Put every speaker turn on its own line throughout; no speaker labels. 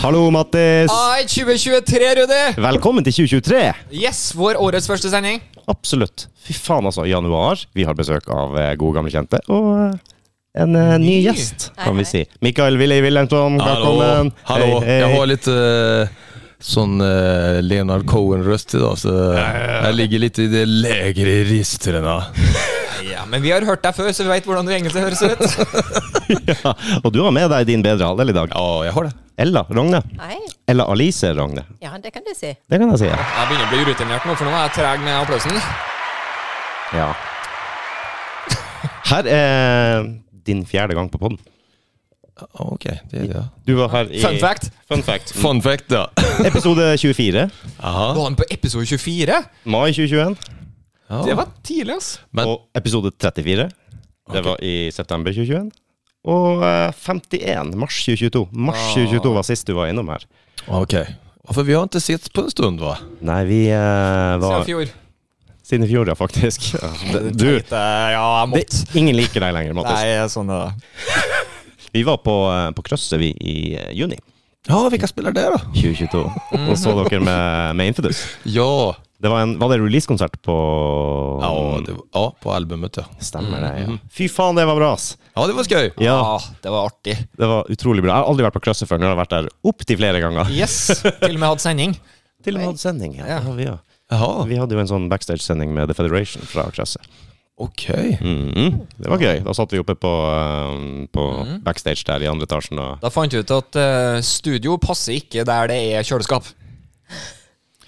Hallo, Mattis.
Ah.
Ai, 2023, Rudi!
Velkommen til 2023.
Yes, vår årets første sending.
Absolutt. Fy faen, altså. I januar vi har besøk av eh, gode, gamle kjente. Og eh, en eh, ny gjest,
Hei,
kan vi
hei.
si. Mikael Willy Wilhelmsson, velkommen.
Hallo.
Hei, hei.
Jeg har litt eh, sånn eh, Leonard Cohen-røst i dag, så jeg ligger litt i det legere ristrene.
Ja, Men vi har hørt deg før, så vi veit hvordan du egentlig høres ut.
Ja, og du har med deg din bedre halvdel i dag.
Ja, jeg har det.
Ella Rogne.
Hei.
Eller Alice Rogne.
Ja, det kan du si.
Det kan jeg si. Ja.
Jeg begynner å bli urutinert nå, for nå er jeg treg med applausen.
ja. Her er din fjerde gang på podden.
Ah, Ok, det er det. ja.
Du var her i
Fun fact.
Fun fact.
Fun fact, da.
Episode 24.
Aha.
Var han på episode 24?
Mai 2021.
Ja.
Det var tidlig, ass.
Men
Og episode 34. Det var i september 2021. Og eh, 51. Mars 2022. Mars 2022 var sist du var innom her.
Ah, ok. Ja, For vi har ikke sett på en stund, va?
Nei, vi eh,
Siden
var
fjor.
Siden i fjor, ja, faktisk. Du,
ja, jeg
det, ingen liker deg lenger, Mattis.
sånn er det.
Vi var på, eh, på krøsset, vi, i eh, juni
Ja, hvilken spiller det, da?
2022. Og så dere med, med Infidus.
Ja.
Det var, en, var det releasekonsert på
Ja, det var, ja, på albumet, ja.
Stemmer det, ja. Fy faen, det var bra, ass!
Ja, det var skøy.
Ja,
Ah, det var artig.
det var utrolig bra. Jeg har aldri vært på krøsset før, nå har jeg vært der opptil flere ganger.
Yes. Til og med hatt sending.
Til og med hatt sending. Ja.
Ja.
Ja, vi, ja.
Jaha,
Vi hadde jo en sånn backstage-sending med The Federation fra Krasset.
ok.
Det var gøy. Da satt vi oppe på, eh, på backstage der i andre etasjen. Og...
Da fant vi ut at eh, studio passer ikke der det er kjøleskap.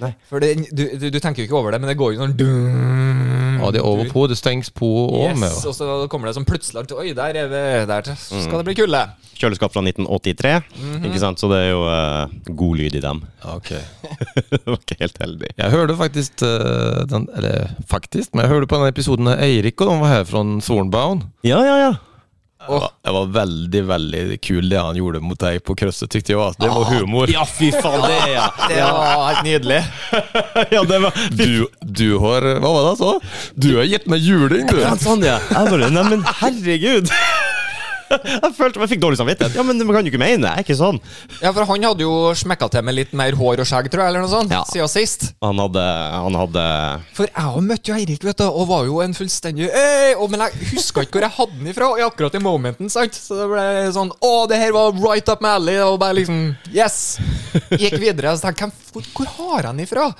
Nei.
For det, du, du, du tenker jo ikke over det, men det går jo sånn dun,
Ja, det er over på, det stengs på og med.
Yes,
va?
og så kommer det sånn plutselig at, Oi, der, er vi, der skal det bli kulde.
Kjøleskap fra 1983, ikke sant? så det er jo eh, god lyd i dem.
Ja, Ok.
det var ikke helt heldig.
Jeg hørte faktisk eh, den, Eller faktisk, men jeg hørte på den episoden da Eirik og de var her fra Zornbaun.
Ja, ja, ja.
Det var, det var veldig veldig kul det han gjorde mot deg på krøsset, tykte jeg. Altså. Det var humor.
Ah, Ja, fy faen, det er ja.
Det var helt nydelig.
ja det var...
Du, du har Hva var det han sa? Du har gitt meg juling, du!
Ja, sånn, ja. Jeg bare, nei, men herregud. Jeg følte jeg fikk dårlig samvittighet. Ja, men man kan jo ikke mene det. Jeg er ikke sånn.
Ja, for han hadde jo smekka til med litt mer hår og skjegg, tror jeg, eller noe sånt,
Ja.
siden sist.
Han hadde, han hadde
For jeg òg møtte jo Eirik, vet du, og var jo en fullstendig «Ei!» og, Men jeg huska ikke hvor jeg hadde den ifra, i akkurat i momenten, sant? Så det ble sånn Å, det her var right up my alley, og bare liksom Yes! Gikk videre. Så tenkte jeg, «Hvem- hvor, hvor har jeg den ifra?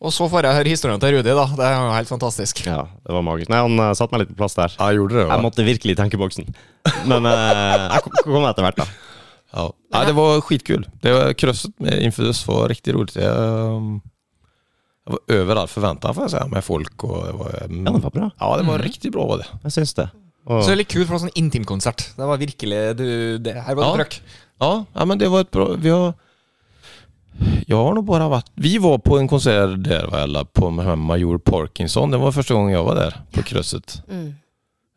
Og så får jeg høre historien til Rudi, da. Det er jo helt fantastisk.
Ja, det var magisk. Nei, han eh, satte meg litt på plass der.
Ja, gjorde det,
Jeg
va?
måtte virkelig tenke boksen. Men eh, jeg kom- kom etter hvert, da.
Ja. Nei, det var skitkul. Det var Krøsset med Infidus var riktig rolig. Jeg, um, jeg var over all forventning, får jeg si, med folk og det var, um,
Ja, Mhm. det var bra.
Ja, det var riktig bra, var det.
Jeg syns det. Og,
Så det er litt kult for en sånn intimkonsert. Det var virkelig du, det, Her var det
Ja.
trøkk.
Ja, ja, men det var ett bra... Vi har... Jag har nog bara varit... Vi var på en konsert där, var alla, på med Major Parkinson. Det var första gången jag var där, på Kröset.
Mm.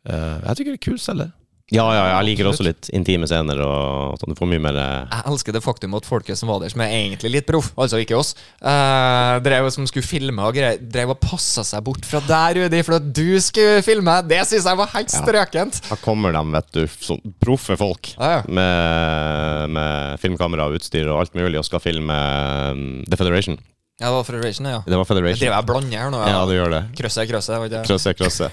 Eh, jag tycker det är kul ställe.
ja, ja, jeg liker også litt intime scener og sånn. Du får mye mer eh,
Jeg elsker det faktum at folket som var der, som er egentlig litt proff, altså ikke oss, eh, drev og som skulle filme og greier, drev og passa seg bort fra der, Rudi, for at du skulle filme. Det syns jeg var helt strøkent.
Her kommer de, vet du. Sånn proffe folk.
Ja, ja.
Med, med filmkamera og utstyr og alt mulig, og skal filme eh, The Federation.
Ja, det var Federation, ja.
Det var
Jeg driver
Federation.
og blander her nå.
Ja, du gjør det.
Krøsset, krøsset. vet du.
Krøsse, krøsse.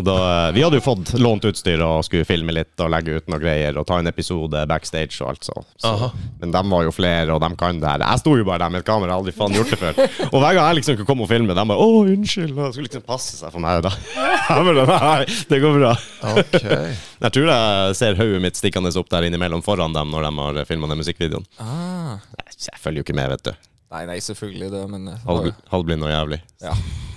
Og da, eh, vi hadde jo fått lånt utstyr og skulle filme litt og legge ut noe greier og ta en episode backstage og alt så. så.
Aha.
Men de var jo flere, og de kan det her. Jeg sto jo bare der med et kamera, jeg hadde aldri faen gjort det før. Og hver gang jeg liksom kunne komme og filme, de bare 'Å, unnskyld', og det skulle liksom passe seg for meg, da. Jeg bare, Nei, det går bra.
Okej.
Jeg tror jeg ser hodet mitt stikkende opp der innimellom foran dem når de har filma den musikkvideoen.
Ah.
Nei, Jeg følger jo ikke med, vet du.
Nei, nei, selvfølgelig det, men eh,
Halv- Halvblind og jævlig.
ja.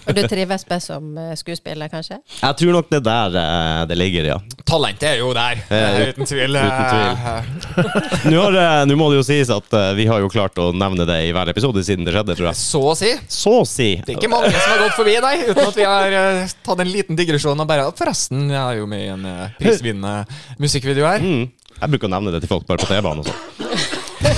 Og du trives best som eh, skuespiller, kanskje?
Jeg tror nok det er der eh, det ligger, ja.
Talentet er jo der, eh, uten tvil.
Uten
Eh,
Nå, har, det- nå må det jo sies at eh, vi har jo klart å nevne det i hver episode siden det skjedde, tror jeg.
Så å si.
Så å si.
Det er ikke mange som har gått forbi, nei, uten at vi har eh, tatt en liten digresjon og bare Forresten, jeg er jo med i en eh, prisvinnende musikkvideo her.
Mm. Jeg bruker å nevne det til folk bare på T-banen og sånn.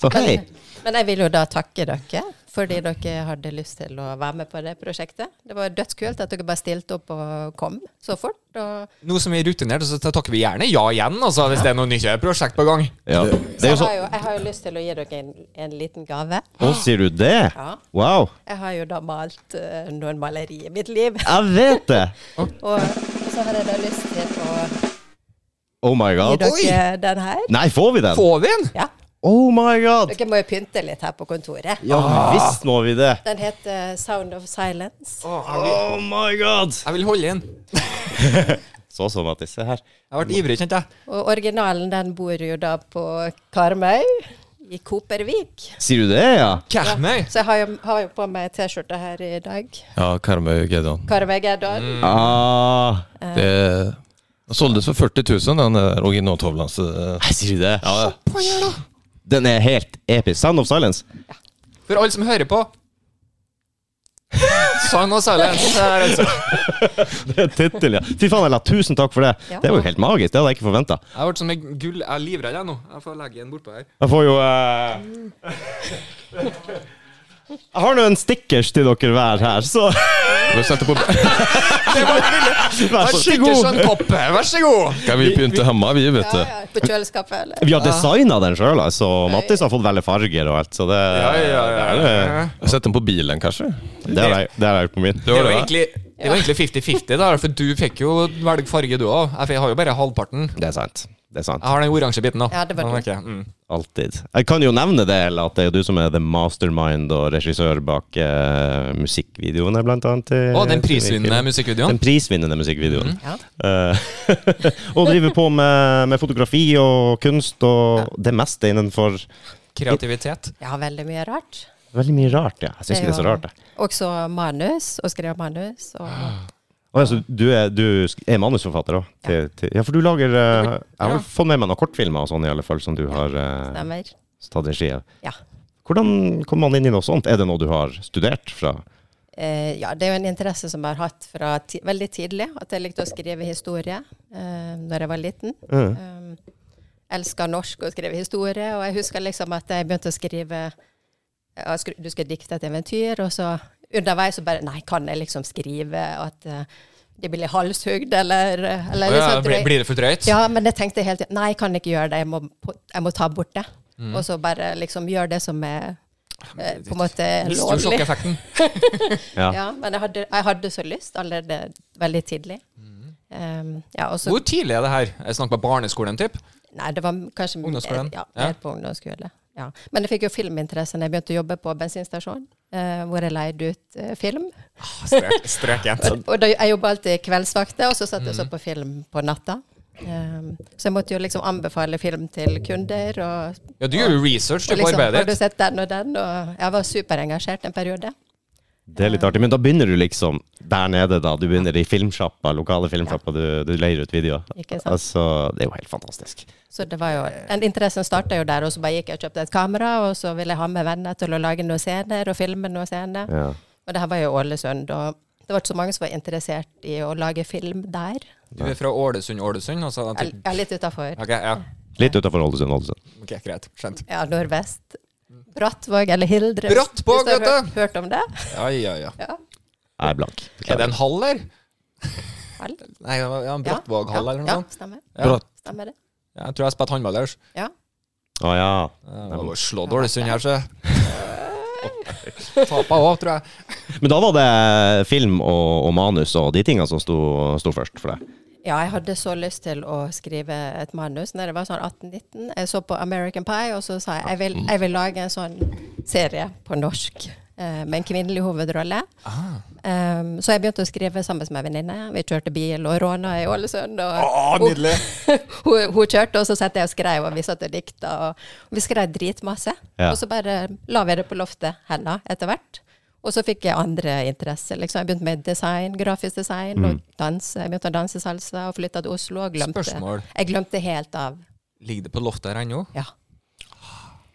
Så hei.
Men jeg vil jo da takke dere fordi dere hadde lyst til å være med på det prosjektet. Det var dødskult at dere bare stilte opp og kom så fort. Og
Nå som vi er rutinert, så takker vi gjerne ja igjen, altså, hvis det er noe nytt prosjekt på gang.
Ja.
så
Det er
jeg
jo
har,
sånn
jo, jeg har jo lyst til å gi dere en, en liten gave.
Å, sier du det?
Ja.
Wow.
Jeg har jo da malt eh, noen malerier i mitt liv.
Jeg vet det!
Og så har jeg da lyst til å
Oh my
gi
god.
dere
Oi!
den her.
Nei, får vi den?
Får vi den?
Ja.
Oh my god! Ah.
Dere må jo pynte litt her på kontoret.
Ja visst må vi det.
Den heter Sound of Silence.
Oh my god!
Jeg vil holde inn.
Så sånn at disse her
Jeg ble ivrig, kjente jeg.
Og originalen den bor jo da på Karmøy i Kopervik.
Sier du det, ja?
Karmøy.
Så jeg har jo, har jo på meg T-skjorte her i dag.
Ja, Karmøy Geddon.
Karmøy Gerdal.
Mm. Ah.
Eh.
Det såldes for 40 000, den der originaltavla. så- eh,
Nei, sier du det?
Ja,
Den er helt episk. Sound of Silence.
For alle som hører på. Sound of silence. her, altså.
Det er tittel, ja. Fy faen, Ella, tusen takk for det.
Ja.
Det var jo helt magisk. Det hadde jeg ikke forventa.
Jeg ble som en gull. Jeg er livredd jeg nå. Jeg får legge en bortpå her.
Jeg får jo eh, Jeg har nå en stickers til dere hver her, så
Vi setter på
vær så god.
Koppe, vær så god.
Kan vi pynte hjemme, vi, vet du.
Ja, ja, på kjøleskapet, eller?
Vi har designa den sjøl, altså. Mattis har fått velge farger og alt, så det
Ja, ja, ja.
Det, er-
Vi setter den på bilen, kanskje.
det har jeg- det har jeg gjort på min.
Det
Det
var
var
det, va?
egentlig det var egentlig 50-50, da, for du fikk jo velge farge, du òg. Jeg har jo bare halvparten.
Det er sant. Det er sant.
Jeg har den oransje biten, da.
Ja, det var
Men,
du.
ok, mm.
Alltid. Jeg kan jo nevne det, Ella, at det er jo du som er the mastermind og regissør bak eh, musikkvideoene, blant annet. til-
Og den
til
prisvinnende
filmen.
musikkvideoen.
Den prisvinnende musikkvideoen.
Ja.
Eh, og driver på med, med fotografi og kunst og det meste innenfor
Kreativitet.
Ja, veldig mye rart.
Veldig mye rart, ja. Jeg syns ikke det Ah, er så
jo
rart, jeg.
Også manus, og skrive manus. Og
Å, ja, så du er, du sk- er manusforfatter òg? Til, til, ja, for du lager eh, Jeg har
Ja.
vel fått med meg noen kortfilmer og sånn, i alle fall, som du har eh,
stemmer.
tatt regi av.
Ja.
Hvordan kom man inn i noe sånt? Er det noe du har studert fra?
Eh, ja, det er jo en interesse som jeg har hatt fra ti veldig tidlig, at jeg likte å skrive historie eh, når jeg var liten.
Mm.
Um, Elska norsk og skrev historie, og jeg husker liksom at jeg begynte å skrive ja, skri- Du skal dikte et eventyr, og så underveis så bare Nei, kan jeg liksom skrive at eh, de blir halshugd, eller,
Å
eller litt
ja,
sånn
blir,
drøy-
blir det for drøyt?
ja, men jeg tenkte hele tiden Nei, jeg kan ikke gjøre det. Jeg må, på- jeg må ta bort det.
Mm.
Og så bare liksom gjøre det som er eh, på en måte
Mister du
lovlig.
sjokkeffekten?
Ja, men jeg hadde, jeg hadde så lyst allerede veldig tidlig. Um, ja, og så
Mm. Hvor tidlig er det her? Jeg snakker på barneskolen, typ.
Nei, det var kanskje mer-
Ungdomsskolen?
Ja,
Ja.
mer på ungdomsskole. Ja. Men jeg fikk jo filminteresse når jeg begynte å jobbe på bensinstasjon, eh, hvor jeg leide ut eh, film.
Ah, Strek, strek igjen.
Og da, jeg jobba alltid kveldsvakter, og så satt
Mm.
jeg og så på film på natta. Um, så jeg måtte jo liksom anbefale film til kunder. Og,
Ja, du gjør jo research du,
og
på
liksom, har du
arbeidet ditt.
sett den og den? Og jeg var superengasjert en periode.
Det er litt artig, men da begynner du liksom der nede, da. Du begynner i filmsjappa, lokale filmsjappa, du, du leier ut videoer.
Ikke sant?
Altså, det er jo helt fantastisk.
Så det var jo, den interessen starta jo der, og så bare gikk jeg og kjøpte et kamera, og så ville jeg ha med venner til å lage noen scener og filme noen scener.
Ja.
Og det her var jo Ålesund, og det var ikke så mange som var interessert i å lage film der.
Du er fra Ålesund, Ålesund? Og så er det
Jeg
typ-
jeg er litt utafor.
Ok, ja.
Litt utafor Ålesund, Ålesund.
Ok, Greit. Skjønt.
Ja, nordvest. Brattvåg eller Hildre. hvis-
Brattvåg,
hvis du har
vet
hørt, hørt om det?
Ja, ja, ja.
Ja.
Jeg er blank.
Er det en hall, eller?
Hall?
Nei, det var- ja, en
Ja,
Brattvåg-hall, eller noe
ja,
sånt?
Ja, stemmer.
Ja.
Bratt-
stemmer det.
Ja, Jeg tror jeg spilte håndball ellers.
Ja.
Å ja.
Slå Ålesund her, så Tapa òg, tror jeg.
Men da var det film og, og manus og de tinga som sto, sto først for deg.
ja, jeg hadde så lyst til å skrive et manus når jeg var sånn 18-19. Jeg så på American Pie, og så sa jeg jeg vil, jeg vil lage en sånn serie på norsk eh, med en kvinnelig hovedrolle. Um, så jeg begynte å skrive sammen med en venninne. Vi kjørte bil og råna i Ålesund. Og,
nydelig!
hun, hun kjørte, og så satt jeg og skrev, og vi satt og dikta. Og vi skrev dritmasse.
Ja.
Og så bare la vi det på loftet hennes etter hvert. Og så fikk jeg andre interesser. Liksom. Jeg begynte med design, grafisk design og danse. Jeg begynte å danse salsa og flytta til Oslo og glemte
Spørsmål.
Jeg glemte helt av
Ligger det på loftet her ennå?
Ja.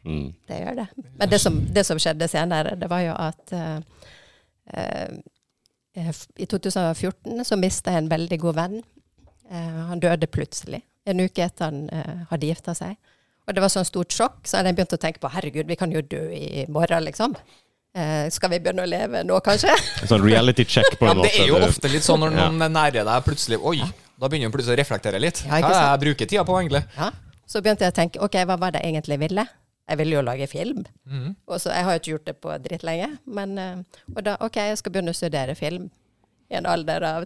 Mm.
Det gjør det. Men det som, det som skjedde senere, det var jo at eh, eh, f- I 2014 så mista jeg en veldig god venn. Eh, han døde plutselig, en uke etter han eh, hadde gifta seg. Og det var sånn stort sjokk, så hadde jeg begynt å tenke på herregud, vi kan jo dø i morgen, liksom. Eh, Eh, skal vi begynne å leve nå, kanskje?
En sånn reality check, på
Ja,
en
men
måte.
det er jo
Du-
ofte litt sånn når
Ja.
noen er nære deg plutselig Oi! Da begynner du plutselig å reflektere litt.
Ja,
Hva
ikke
er det jeg
sant?
bruker tida på, egentlig?
Ja. Så begynte jeg å tenke ok, hva var det jeg egentlig ville? Jeg ville jo lage film. Og så, Jeg har jo ikke gjort det på dritlenge. Men, eh, og da ok, jeg skal begynne å studere film i en alder av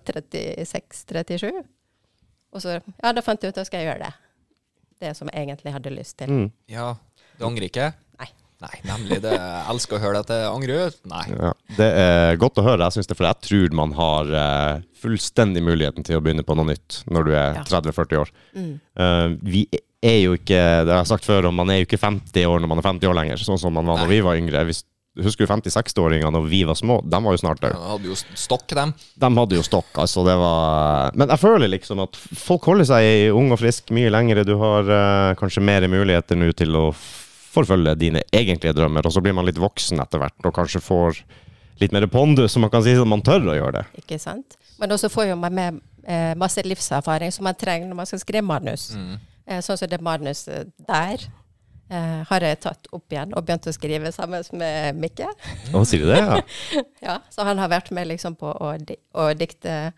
36-37. Og så ja, da fant jeg ut at skal jeg gjøre det. Det som jeg egentlig hadde lyst til.
Ja, Du angrer ikke?
Nei.
Nei, nemlig. det Jeg elsker å høre dette. Angrer du? Nei.
Ja, det er godt å høre. Jeg synes det, for jeg tror man har eh, fullstendig muligheten til å begynne på noe nytt når du er
Ja.
30-40 år.
Mm.
Eh, vi er jo ikke Det har jeg sagt før, og man er jo ikke 50 år når man er 50 år lenger, sånn som man var når vi var yngre. Hvis, husker du 50-60-åringene når vi var små? De var jo snart døde.
Jeg hadde jo stokk, dem.
De hadde jo stokk, altså. Det var Men jeg føler liksom at folk holder seg ung og frisk mye lengre. Du har eh, kanskje mer muligheter nå til å f- forfølge dine egentlige drømmer, og så blir man litt voksen etter hvert og kanskje får litt mer pondus, så man kan si at man tør å gjøre det.
Ikke sant? Men også får jo man med eh, masse livserfaring som man trenger når man skal skrive manus. Eh, sånn som det manuset der eh, har jeg tatt opp igjen og begynt å skrive sammen med Mikke.
Å, sier du det? Ja.
Ja, så han har vært med liksom på å, di å dikte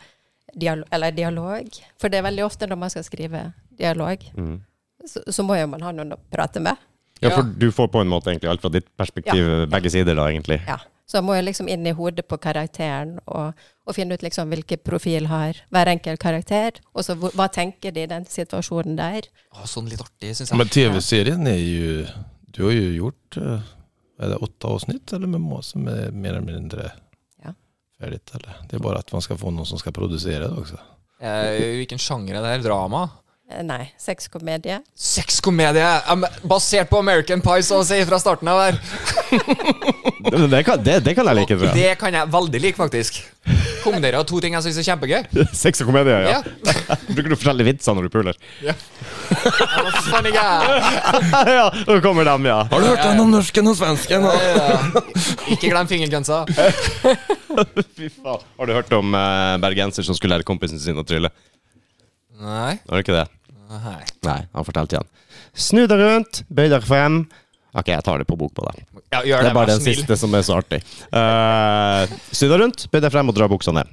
dialog, eller dialog. For det er veldig ofte når man skal skrive dialog, så, så må jo man ha noen å prate med.
ja, for du får på en måte egentlig alt fra ditt perspektiv, begge sider da, egentlig.
Ja. Så man må jo liksom inn i hodet på karakteren og, og finne ut liksom hvilken profil har hver enkelt karakter. Og så hvor- hva tenker de i den situasjonen der.
Å, sånn litt artig, syns jeg.
Men tv-serien är ju... Du har ju gjort eh, är det åtta avsnitt eller med må- som är mer eller mindre
Ja.
färdigt. Eller? Det är bara att man ska få någon som ska producera det också.
Eh, hvilken sjanger er det her? Drama?
Eh, Nei, sexkomedie.
Sexkomedie! Ja, men Basert på American Pie, så å si, fra starten av der.
Det, det, kan, det, det kan jeg like,
Og
tror jeg.
det kan jeg veldig like, faktisk. Kombinere to ting jeg syns er kjempegøy.
Sex og komedie, ja.
Ja.
Bruker du forskjellige vitser når du puler?
Hva faen ikke jeg?
ja, så kommer dem, ja.
Har du hört den om norsken och svensken?
Eh, Ikke glem fingergrensa.
Fy faen. Har du hørt om eh, bergenser som skulle lære kompisen sin å trylle?
Nei.
Har du ikke det?
Nei.
Nei, han fortalte igjen. Snu deg rundt, bøy deg frem. Ok, jeg tar det på bok på deg.
Ja, gjør
Det
det,
er bare
vær
den
snill.
siste som er så artig. Eh, snu deg rundt, bøy deg frem og dra buksa ned.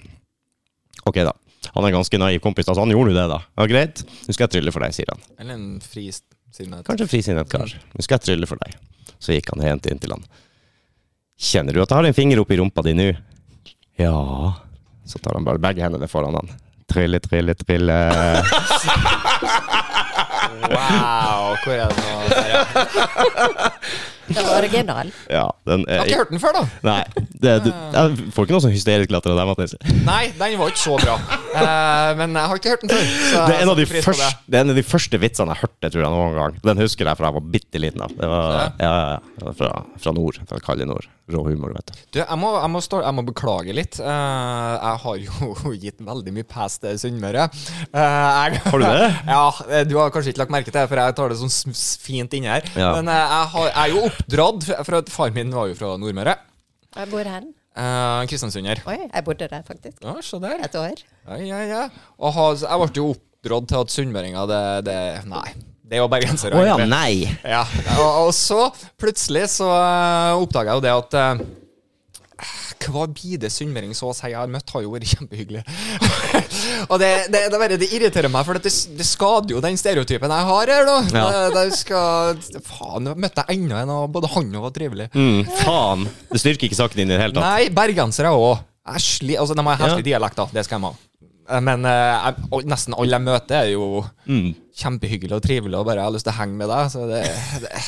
Ok, da. Han er en ganske naiv kompis, altså han gjorde jo det, da. Ja, greit, nå skal jeg trylle for deg, sier han.
Eller en frisinnet
Kanskje frisinnet kar. Nå skal jeg trylle for deg. Så gikk han helt inn til han. Kjenner du at jeg har en finger oppi rumpa di nå? Ja. Så tar han bare begge hendene foran han. Trylle, trylle, trylle.
Wow, hvor er det nå? Der, ja.
Det var original.
Ja, den
Jeg
er
har ikke hørt den før, da.
Nei. Det, det, jeg får ikke noe sånn hysterisk latter av deg, Mathias.
Nei, den var ikke så bra. Eh, men jeg har ikke hørt den før. Så
Det er, en av de
jeg setter pris på
første, det er en av de første vitsene jeg hørte tror jeg, noen gang. Den husker jeg fra jeg var bitte liten. av. Det var,
Ja.
ja, ja, ja. Det var fra, fra nord. Fra kalde nord. Rå humor, vet du.
Du, jeg må, jeg, må stå, jeg må beklage litt. Eh, jeg har jo gitt veldig mye pass til Sunnmøre. Eh, jeg-
Har du det?
ja, eh, Du har kanskje ikke lagt merke til det, for jeg tar det sånn s- s- fint inni her.
Ja.
Men eh, jeg, har, jeg er jo oppdratt, f- for at faren min var jo fra Nordmøre.
Jeg bor hen.
Uh, Kristiansunder.
Oi, jeg bodde der faktisk.
Ja, se der.
Et år.
Ja, ja, ja. Og ha, så jeg ble jo oppdratt til at sunnmøringer det, det Nei. Det er jo bergensere.
Å ja,
egentlig.
nei!
Ja. Og, og så plutselig så uh, oppdaga jeg jo det at eh, hver bide sunnmøring så å si jeg har møtt, har jo vært kjempehyggelig. og det, det, det, er bare, det irriterer meg, for at det, det skader jo den stereotypen jeg har her nå.
Ja.
Det, det skal, faen, nå møtte jeg enda en, og både han og var trivelig.
Mm, faen! Det styrker ikke saken din i det hele tatt.
Nei, bergensere òg. Altså, de har heftig dialekt, da. Det skal de ha. Eh, Men eh, jeg, og nesten alle jeg møter, er jo kjempehyggelig og trivelig og bare har lyst til å henge med deg. Så det, det.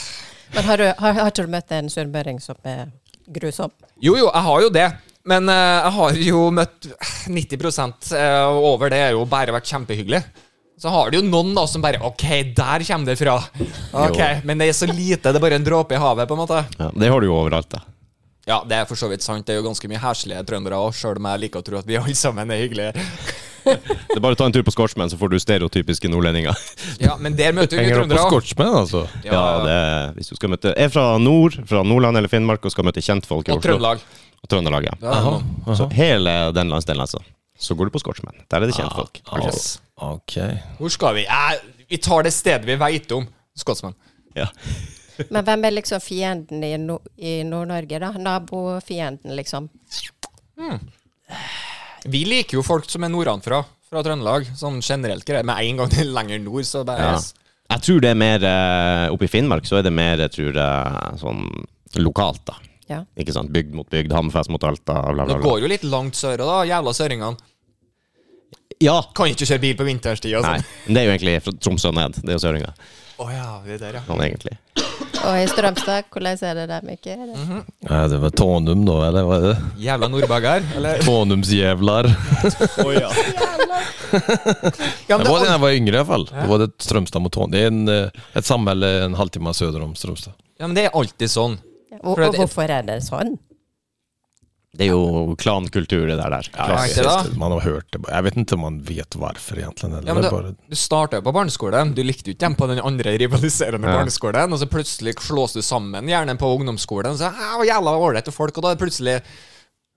Men har, du, har, har ikke du møtt en sunnmøring som er grusom?
Jo, jo, jeg har jo det. Men eh, jeg har jo møtt 90 eh, og over det er jo bare vært kjempehyggelig. Så har du jo noen da som bare OK, der kommer det fra. Ok, Men det er så lite. Det er bare en dråpe i havet, på en måte.
Ja, det har du jo overalt, da.
Ja, det er for så vidt sant. Det er jo ganske mye heslige trøndere òg, sjøl om jeg liker å tro at vi alle sammen er hyggelige.
Det er bare å ta en tur på Scotsman, så får du stereotypiske nordlendinger.
Ja, men der møter vi
Hänger upp på altså.
trøndere. også.
Scotsman alltså?
Ja, det er, Hvis du skal møte Er fra nord, fra Nordland eller Finnmark, og skal møte kjentfolk i
Og
Oslo.
Trøndelag.
Og Trøndelag, ja.
Aha.
Så hele den landsdelen, altså. Så går du på Scotsman. Der er det kjentfolk.
Yes.
Okej.
Hvor skal vi? Eh, vi tar det stedet vi veit om. Skotsmenn.
Ja.
Men hvem er liksom fienden i, no i Nord-Norge, da? Nabofienden, liksom.
Vi liker jo folk som er nordanfra, fra Trøndelag. Sånn generelt greier. Med en gang det er lenger nord, så bare
Ja. Jeg tror det er mer eh, Oppe i Finnmark så er det mer, jeg tror jeg, sånn lokalt, da.
Ja.
Ikke sant? Bygd mot bygd, Hammerfest mot Alta, bla, bla,
Det
bla.
går jo litt langt sør, da, jævla søringene.
Ja!
Kan ikke kjøre bil på vinterstid og
Nei,
sånn.
men det er jo egentlig fra Tromsø og ned. Det er jo søringa,
Å ja, det er der, ja.
sånn egentlig.
Og i Strømstad, hvordan er det der, Mikkel? Er det-
Nej, det var Tanum då, eller vad är det?
Jævla nordbagger. Eller
Tanumsjävlar.
ja,
Det
men
var det
det
när
er
jag var yngre i alla fall. Då var det Strömstad mot Tanum. Det är en, eh, ett samhälle en halvtimme söder om Strömstad.
al- ja, men det er alltid sånn.
Og, og hvorfor er det sånn?
Det er jo klankultur, det der. der. Klassisk.
ikke det?
Man har hört det. bara. Jag vet inte om man vet varför egentligen. Eller
Ja, men
det,
da,
är bara...
du starta jo på barneskolen, du likte jo ikke dem på den andre rivaliserende
Ja.
barneskolen, og så plutselig slås du sammen, gjerne på ungdomsskolen, så «Æ, var jævla ålreite folk, og da er det plutselig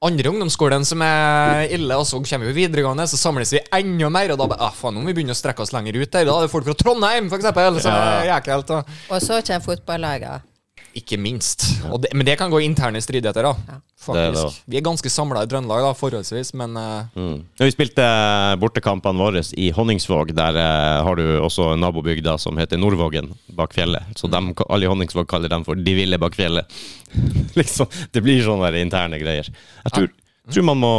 andre ungdomsskolen som er ille, og så kommer vi videregående, så samles vi enda mer, og da bare, ah, faen, nå må vi begynne å strekke oss lenger ut der, da er det folk fra Trondheim, for eksempel, så er jækelt, da.
Og så kommer fotballaget.
Ikke minst. Og det, men det kan gå i interne stridigheter, da.
Det er det
Faktisk.
også.
Vi er ganske samlet i Trøndelag, da, forholdsvis, men eh,
Mm. Vi spilte eh, bortekampene våre i Honningsvåg. Der eh, har du også nabobygda som heter Nordvågen, bak fjellet. Så dem, alle i Honningsvåg kaller dem for De ville bak fjellet. liksom, det blir sånne der interne greier. Jeg tror, tror man må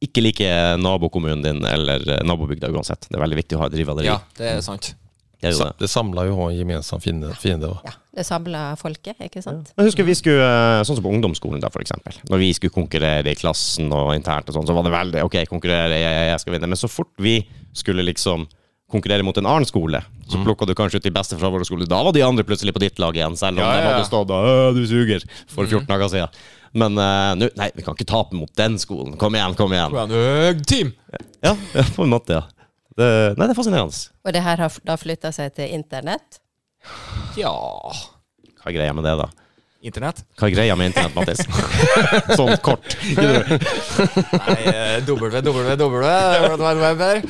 ikke like nabokommunen din eller eh, nabobygda uansett. Det er veldig viktig å ha et rivaleri.
ja, det er sant.
Det er jo det.
Sa- det samlar ju och har en gemensam fiende. fiende va?
Ja, det samla folket, ikke sant?
Jeg husker vi skulle, eh, sånn som på ungdomsskolen da, for eksempel. Når vi skulle konkurrere i klassen og internt og sånn, så var det veldig, ok, konkurrere, jeg, jeg, jeg skal vinne. Men så fort vi skulle liksom konkurrere mot en annen skole,
Mm.
så plukket du kanskje ut de beste fra vår skole. Da var de andre plutselig på ditt lag igjen, selv om
Ja, ja,
de
ja. Mm.
hadde stått og, «Åh, du suger, for 14 dager siden. Men eh, nå, nei, vi kan ikke tape mot den skolen. Kom igjen, kom igjen.
Hvordan, øh, team!
Ja, ja, på en måte, ja. Det, nei, det er fascinerende.
Og det her har f- da flytta seg til internett.
Ja,
Hva er greia med det da?
internett.
Hva er greia med internett, Mattis? sånn kort.
Nei, eh, www.web-er.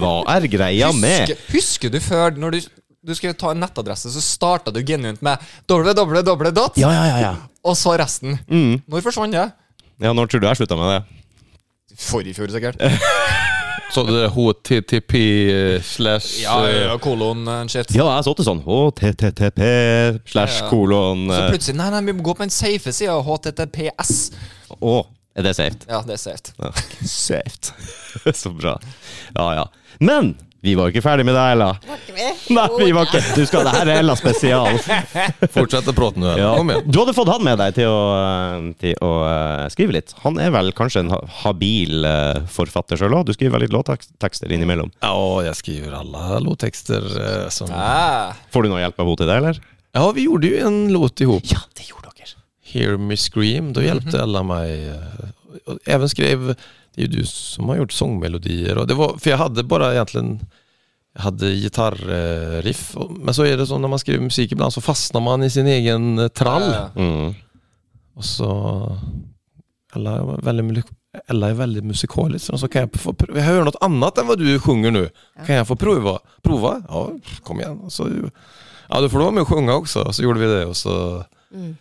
Hva er greia med?
Husker, husker du før, når du, du skulle ta en nettadresse, så starta du genuint med www.
Ja, ja, ja, Mm. ja.
Og så resten. Når forsvant det?
Ja, når tror du jeg slutta med det?
For i fjor, sikkert.
Så det är HTTP eh, slash...
Ja,
eh,
ja, kolon eh, shit.
Ja, jeg så til sånn HTTP slash
Ja, ja.
kolon
Så
eh,
plutselig Nei, nei, vi må gå på den safe sida. HTTPS.
Å, er det safe?
Ja, det er safe.
Ja. safe. så bra. Ja, ja. Men vi var jo ikke ferdig med deg, Ella. Nei, vi var ikke Du skal, det her er Ella spesial.
Fortsätt prata eh, nu.
Ja.
Ja. Kom igen.
Du hadde fått han med deg til å, eh, til å eh, skrive litt. Han er vel kanskje en ha- habil eh, forfatter sjøl òg? Du skriver vel litt låttekster innimellom.
Ja, jag skriver alla låttexter eh, som...
Ah,
Får du noe hjelp av henne til det, eller?
Ja, vi gjorde ju en låt ihop.
Ja, det gjorde dere.
Hear Me Scream, då
Mhm.
hjälpte alla mig. eh, och Även skrev, det är ju du som har gjort sångmelodier. Och det var, för jag hade bara egentligen, jag hade gitarrriff. Och- Men så är det så när man skriver musik ibland så fastnar man i sin egen eh, trall.
eh,
Mm.
Och så, alla är väldigt, mul- alla är väldigt musikaliska. Och så kan jag få prova, jag hör något annat än vad du sjunger nu. Kan jag få prova? Prova? Ja, kom igen. Och så, ja, du får du vara med och sjunga också. Och så gjorde vi det. Och så...
Mm.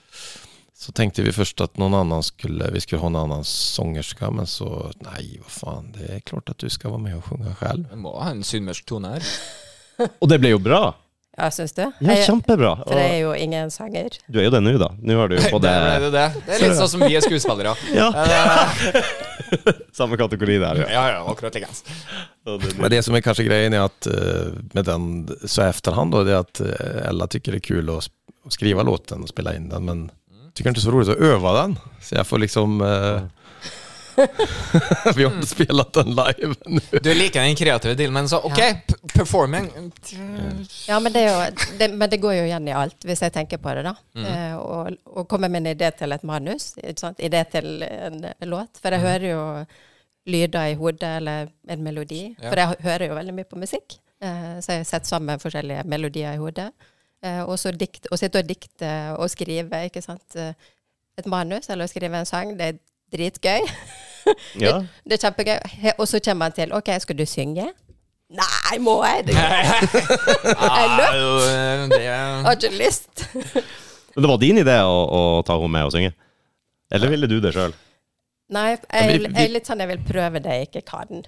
Så tänkte vi först att någon annan skulle, vi skulle ha en annan sångerska, men så nej, vad fan, det är klart att du ska vara med och sjunga själv.
jeg må ha en sunnmørsk tone her.
Og det ble jo bra.
Ja, syns du?
Ja,
Jeg-
kjempebra.
For jeg er jo ingen sanger.
Du er jo det nå, da. Nå har du jo fått
Det,
det.
det, det. det er litt sånn som vi er skuespillere.
Ja,
Eh,
samme kategori der, ja.
Ja, ja, akkurat likens.
Men det som är kanske grejen är att eh, med den, så efterhand då, det är att eh, alla tycker det är kul att, sp- att skriva låten och spela in den, men
Mm.
tycker inte det är så roligt att öva den. Så jag får liksom, eh, vi har inte spelat den live nu.
Du liker den kreative dealen, så OK,
Ja.
p- performing
Ja, men det, er jo, det, men det går jo igjen i alt, hvis jeg tenker på det, da. Eh, og, og komme med en idé til et manus, ikke sant? idé til en låt. For jeg hører jo lyder i hodet, eller en melodi.
Ja.
For jeg hører jo veldig mye på musikk. Eh, så jeg setter sammen forskjellige melodier i hodet. Eh, og så dikt, og sitte og dikte og skrive, ikke sant. Eh, Et manus, eller å skrive en sang, det er dritgøy.
ja.
Det er kjempegøy. He- Og så kommer man til OK, skal du synge? Nei, må jeg? Det jeg
Nei, jo, eh, det
har ikke lyst.
Men det var din idé å, å ta henne med og synge? Eller ville du det sjøl?
Nei,
men
jeg,
vi- vi-
jeg er litt sånn jeg vil prøve det jeg ikke kan.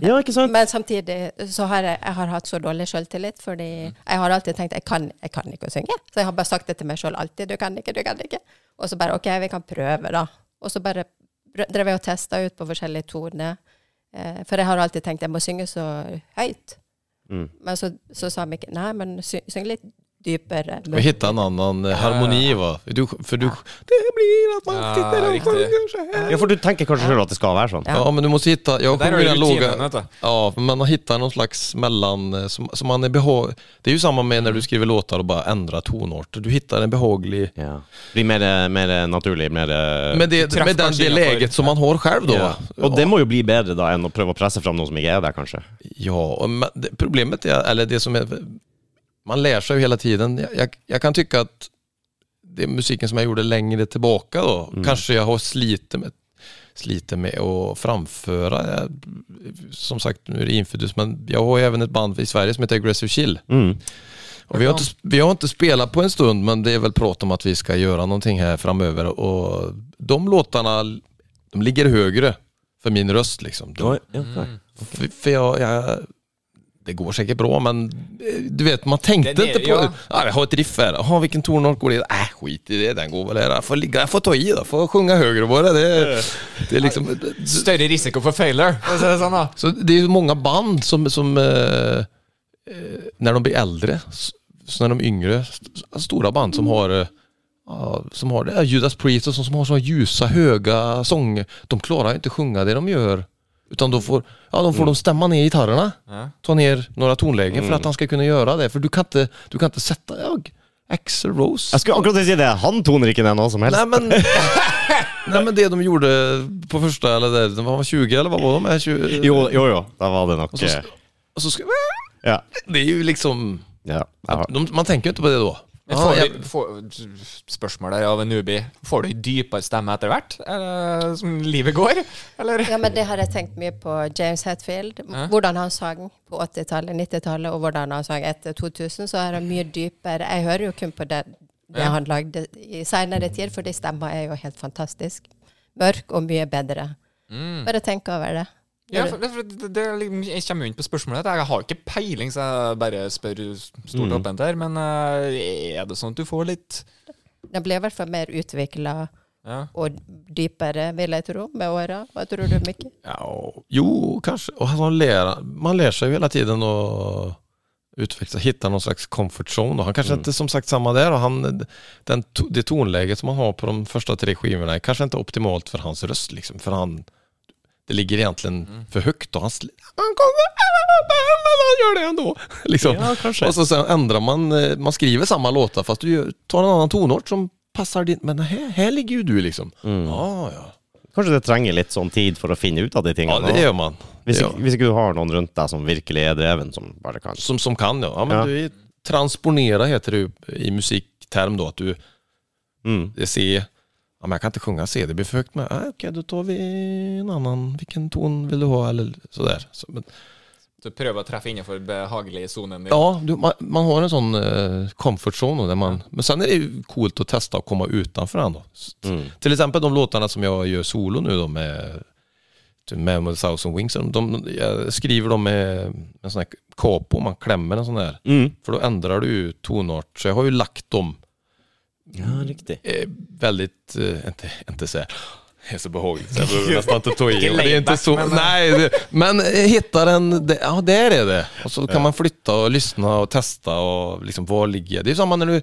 Ja, ikke sant?
Men samtidig så har jeg, jeg har hatt så dårlig selvtillit, fordi
Mm.
jeg har alltid tenkt jeg kan, jeg kan ikke å synge. Så jeg har bare sagt det til meg sjøl alltid. Du kan ikke, du kan ikke. Og så bare OK, vi kan prøve, da. Og så bare prø- drev jeg og testa ut på forskjellige toner. Eh, for jeg har alltid tenkt jeg må synge så høyt.
Mm.
Men så, så sa Mikkel nei, men sy, syng litt dypere.
Å hitta en annen eh, harmoni, va. Du, for du Det blir att man
Ja,
sitter och
riktigt.
sjunger så här.
Ja, for du tenker kanskje sjøl at det skal være sånn?
Ja, men du måste hitta... Jag
Där har
sjunger
du
den
rutinen,
låga...
vet du.
Ja, men att hitta någon slags mellan... eh, Som, som man är behag... Det är ju samma med när du skriver låtar och bara ändrar tonarter. Du hittar en behaglig...
Ja. Blir mer, mer naturlig, mer
Med det,
träffar
med den, det
sina
läget
förut.
som man har själv då.
ja.
va?
Og det må jo bli bedre da enn å prøve å presse fram noe som ikke er der, kanskje.
Ja, och men det, problemet är, eller det som är, man lär sig ju hela tiden. Jag, jag, jag kan tycka att det är musiken som jag gjorde längre tillbaka då, kanske jag har slitit med, slitit med att framföra. Jag, som sagt, nu är det infidus, men jag har ju även ett band i Sverige som heter Aggressive Chill.
Mm.
Och vi, har inte, vi har inte spelat på en stund, men det är väl prat om att vi ska göra någonting här framöver. Och de låtarna, de ligger høyere för min röst liksom. De,
Mm.
för, för jag, jag, det går säkert bra men eh, du vet man tänkte
Det- det-
inte på,
ja.
ah, jag har ett riff här, jaha vilken tonart går det i? Äh skit i det, den går väl här, jag får, ligga, jag får ta i då, får sjunga högre bara. Det, det är liksom,
Større risiko for failure, for å si det sånn, da.
så det är ju många band som, som eh, eh, när de blir äldre, s- så när de är yngre, st- st- stora band som har eh, ja, som har det, ja, Judas Priest och som, som har så ljusa, höga sånger, de klarar ju inte sjunga det de gör. Utan då får, ja, de, får
Mm.
de stämma ner gitarrerna,
Ja.
ta ner några tonlägen för att han ska kunna göra det. För du kan inte, du kan inte sätta, ja, Axl Rose.
Jeg skulle akkurat si det. Han toner ikke ned noe som helst.
Nej men, nej men det de gjorde på första, eller det, de var 20 eller vad var de? Här, 20,
Jo, jo, jo. Da var det nok
Och så,
eh,
och så ska,
Ja.
det är ju liksom...
ja. Jeg har-
De, man tänker ju inte på det Ah, då.
Men
Ja,
får
jag,
du, får, spørsmål der av en newbie. Får du dypere stemme etter hvert? eh, Som livet går? Eller?
Ja, men det har jeg tenkt mye på James Hetfield. Hvordan han sang på 80-tallet, 90-tallet, og hvordan han sang etter 2000, så er det mye dypere. Jeg hører jo kun på det, det
Ja.
han lagde i seinere tid, fordi stemma er jo helt fantastisk. Mørk og mye bedre. Bare tenk over det.
Ja, for, for det, det, er liksom- jeg kommer jo inn på spørsmålet. Jeg har ikke peiling, så jeg bare spør stort åpent her. Men eh, er det sånn at du får litt
Den ble i hvert fall mer utvikla
ja.
og dypere, vil jeg tro, med åra. Hva tror du, Mikkel?
ja, jo, kanske. Och han lär, man lär sig ju hela tiden att utveckla, hitta någon slags comfort zone. Och
Mm.
han kanske inte som sagt samma där. Och han, den, to- det tonläget som han har på de första tre skivorna är kanske inte optimalt för hans röst. Liksom, för han, det ligger egentligen
Mm.
för högt och han, sl- han kommer men han gör det ändå. Liksom.
Ja, kanskje.
Och så sen ändrar man, eh, man skriver samma låtar fast du gör- tar en annan tonart som passar din, men här, här ligger ju du liksom.
Mm.
Ja, ja.
Kanskje det trenger litt sånn tid for å finne ut av de
Ja,
tingene.
det gjør man.
hvis,
Det
ikke,
gjør-
hvis ikke du har noen rundt deg som virkelig er dreven, som bare kan
Som, som kan, ja. ja, men
Ja.
Du är, transponera heter det ju i musikterm då, att du
mm.
det är C. Ja, men jag kan inte sjunga C, det blir för högt med. Ah, Okej, då tar vi en annan. Vilken ton vill du ha? Eller sådär. Så, men,
Du prøver å treffe innenfor behagelig sonen din?
ja, du, man, man har en sån eh, comfort zone då, där man... Men sen är det ju coolt att testa att komma utanför den då. S-
Mm.
Till exempel de låtarna som jag gör solo nu då med med med Thousand Wings, de, de, jag skriver dem med en sån här capo, man klämmer en sån här
Mm.
För då ändrar du ju tonart. Så jag har ju lagt dem
Ja, riktig.
eh, väldigt, eh, inte, inte så här, det är så behagligt så jag behöver nästan inte ta i.
Vilken
men Det är inte
laidback,
så,
men-
nej, det, men eh, hittar en, det, ja där är det. Och så kan man flytta och lyssna och testa och liksom var ligger jag? Det är samma när du,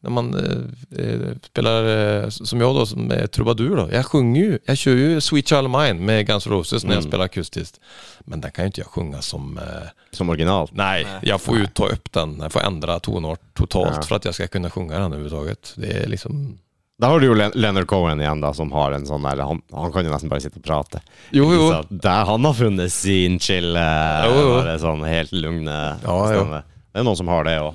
när man eh, eh, spelar, eh, som jag då, som är trubadur då. Jag sjunger ju, jag kör ju Sweet Child of Mine med Guns N' Roses när jag spelar akustiskt. Men den kan ju inte jag sjunga som eh,
Som original.
Nej, jag får ju ta upp den. Jag får ändra tonart totalt
Ja.
för att jag ska kunna sjunga den överhuvudtaget. Det är liksom...
Da har du jo Len- Leonard Cohen igjen, da, som har en sånn der Han, han kan jo nesten bare sitte og prate.
Jo, jo.
Så der han har funnet sin chill eh,
Jo, jo.
Bare sånn helt lugne
Ja, jo.
stemme. Det er noen som har det òg.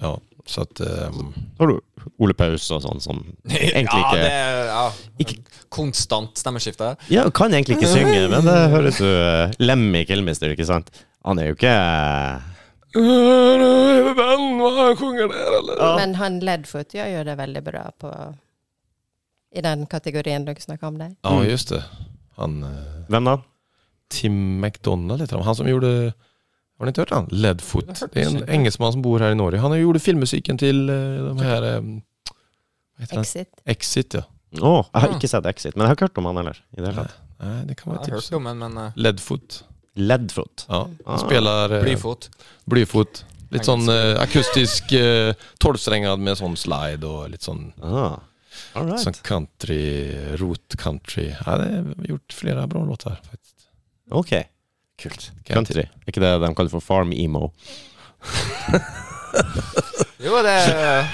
Ja, så att... ehm,
Så har du Ole Paus og sånn, som egentlig
Ja,
ikke
det, er- ja. Konstant stemmeskifte.
Ja, kan egentlig ikke synge, men det høres jo eh, Lemmy Kilmister, ikke sant? Han er jo ikke
Venn, hva sjunger der, eller?
Men han Ledfoot gjør jo det veldig bra på i den kategorien dere snakker om der.
Ja, just det. Han eh,
Hvem da?
Tim McDonald heter han. Han som gjorde Har ni inte hört han? Leadfoot.
Jag har hört
Det är
det.
en engelsman som bor här i Norge. Han gjorde filmmusiken till eh, de här eh, Vad heter den?
Exit.
Exit ja.
Å, jeg har
Ja.
ikke sett Exit, men jeg har ikke hørt om han heller. I det hele tatt.
Nej, det
Jeg
kan vara ett
har
tips.
hørt om den, men eh,
Leadfoot.
Leadfoot.
Ja,
Ah.
han spelar eh,
Blyfot.
blyfot. Lite sån
Engelsk.
eh, akustisk eh, tolvsträngad med sån slide sånn och lite sån,
Ah. All
sån
right.
Sånn country, root country. Ja, det har gjort flera bra låtar faktiskt.
Ok. Kult.
Kan jag
Country. Er ikke det de kaller for farm emo?
Jo, det er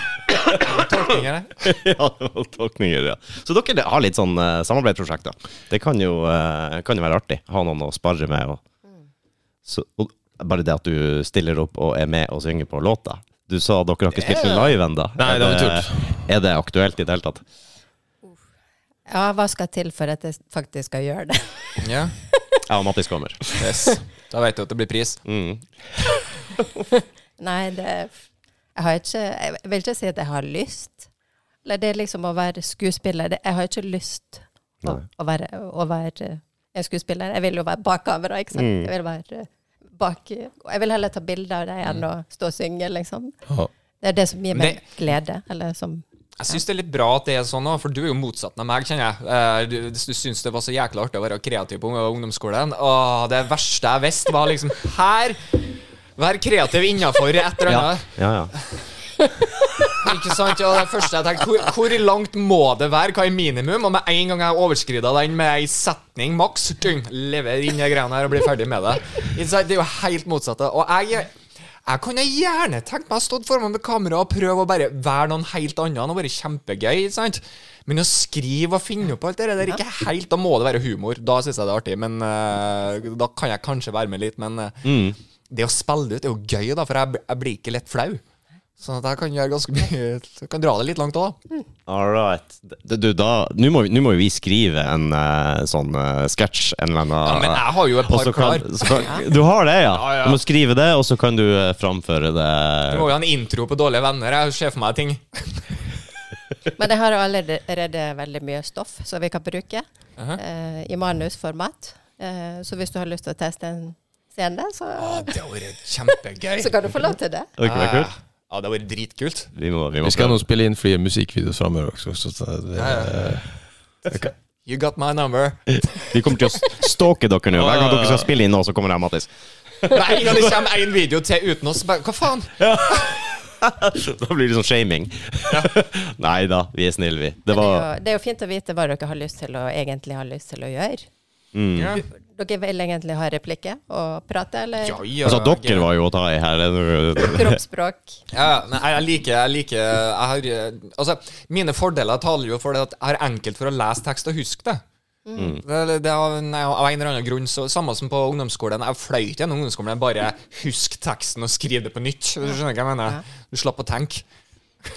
tolkninger, det.
ja, det var tolkninger, ja. Så dere har litt sånn eh, samarbeidsprosjekter. Det kan jo, eh, kan jo være artig. Ha noen å sparre med. Og, så, og bare det at du stiller opp og er med og synger på låta. Du sa dere har ikke spilt den live ennå.
Nei, det har vi
Er det aktuelt i det hele tatt?
Ja, hva skal til for at jeg faktisk skal gjøre det?
Ja.
Ja, Mattis kommer.
Yes. Da vet du at det blir pris.
Mm.
Nei, det Jeg har ikke Jeg vil ikke si at jeg har lyst. Eller det er liksom å være skuespiller det, Jeg har ikke lyst
Nei.
å, å, være, å være eh, en skuespiller. Jeg vil jo være bak kamera, ikke sant.
Mm.
Jeg vil være eh, bak og Jeg vil heller ta bilder av deg
Mm.
enn å stå og synge, liksom.
Ja.
Det er det som gir meg
Men
glede. Eller som
Jeg syns det er litt bra at det er sånn, også, for du er jo motsatt av meg, kjenner jeg. Eh, Du, du syns det var så jækla artig å være kreativ på ungdomsskolen. Åh, det verste jeg visste, var liksom Her! Vær kreativ innafor et eller
Ja,
annet.
ja. ja.
Ikke sant? Og det første jeg tenkte, hvor, hvor langt må det være? Hva er minimum? Og med en gang jeg overskrider den med ei setning maks, tyng, lever inn i greiene her og blir ferdig med det. Ikke sant? Det er jo helt motsatte. Og jeg jeg kunne gjerne tenkt meg å stå foran med kamera og prøve å bare være noen helt annen og være kjempegøy. ikke sant? Men å skrive og finne opp alt det der, ikke helt, da må det være humor. Da syns jeg det er artig. Men eh, da kan jeg kanskje være med litt. Men eh, det å spille det ut er jo gøy, da, for jeg, jeg blir ikke lett flau. Sånn at jeg kan gjøre ganske mye Jeg kan dra det litt langt òg.
All right. Du, du, da Nå må, vi- nå må jo vi skrive en eh, sånn eh, sketsj, en eller annen
Ja, men jeg har jo et
Og
par
så kan,
klar.
så kan, du har det, ja.
Ja, ja.
Du må skrive det, og så kan du eh, framføre
Jeg må
det.
jo ha en intro på Dårlige venner. Jeg ser for meg ting.
Men jeg har allerede veldig mye stoff som vi kan bruke eh, i manusformat. Eh, så hvis du har lyst til å teste en scene, så,
det har vært kjempegøy.
så kan du få lov til det.
Det er ikke det kult?
Ja, det har vært dritkult.
Vi må, vi må
Vi ska
prøve.
nog spela in fler musikvideos framöver också. Så, så, det,
You got my number.
Vi kommer til å s- stalke dere nå. Hver gang dere skal spille inn nå, så kommer jeg, Mattis.
Nei, når det kommer en video til uten oss, bare hva faen?
Da blir det sånn shaming. Nei da, vi er snille, vi. Det
Men Det er,
var
jo, det er jo fint å vite hva dere har lyst til å egentlig har lyst til å gjøre.
Mm.
Ja,
Dere vil egentlig ha replikker og prate, eller
ja, ja.
Altså, dere var jo å ta i her. Det er jo-
kroppsspråk?
Ja, men jeg, jeg liker Jeg liker jeg har, eh, Altså, mine fordeler taler jo for det at jeg har enkelt for å lese tekst og huske det. Det, det, det er, nei, av en eller annen grunn så, Samme som på ungdomsskolen. Jeg fløyt gjennom ungdomsskolen. Jeg bare husk teksten og skriv det på nytt. Du skjønner hva jeg mener? Du slapp å tenke.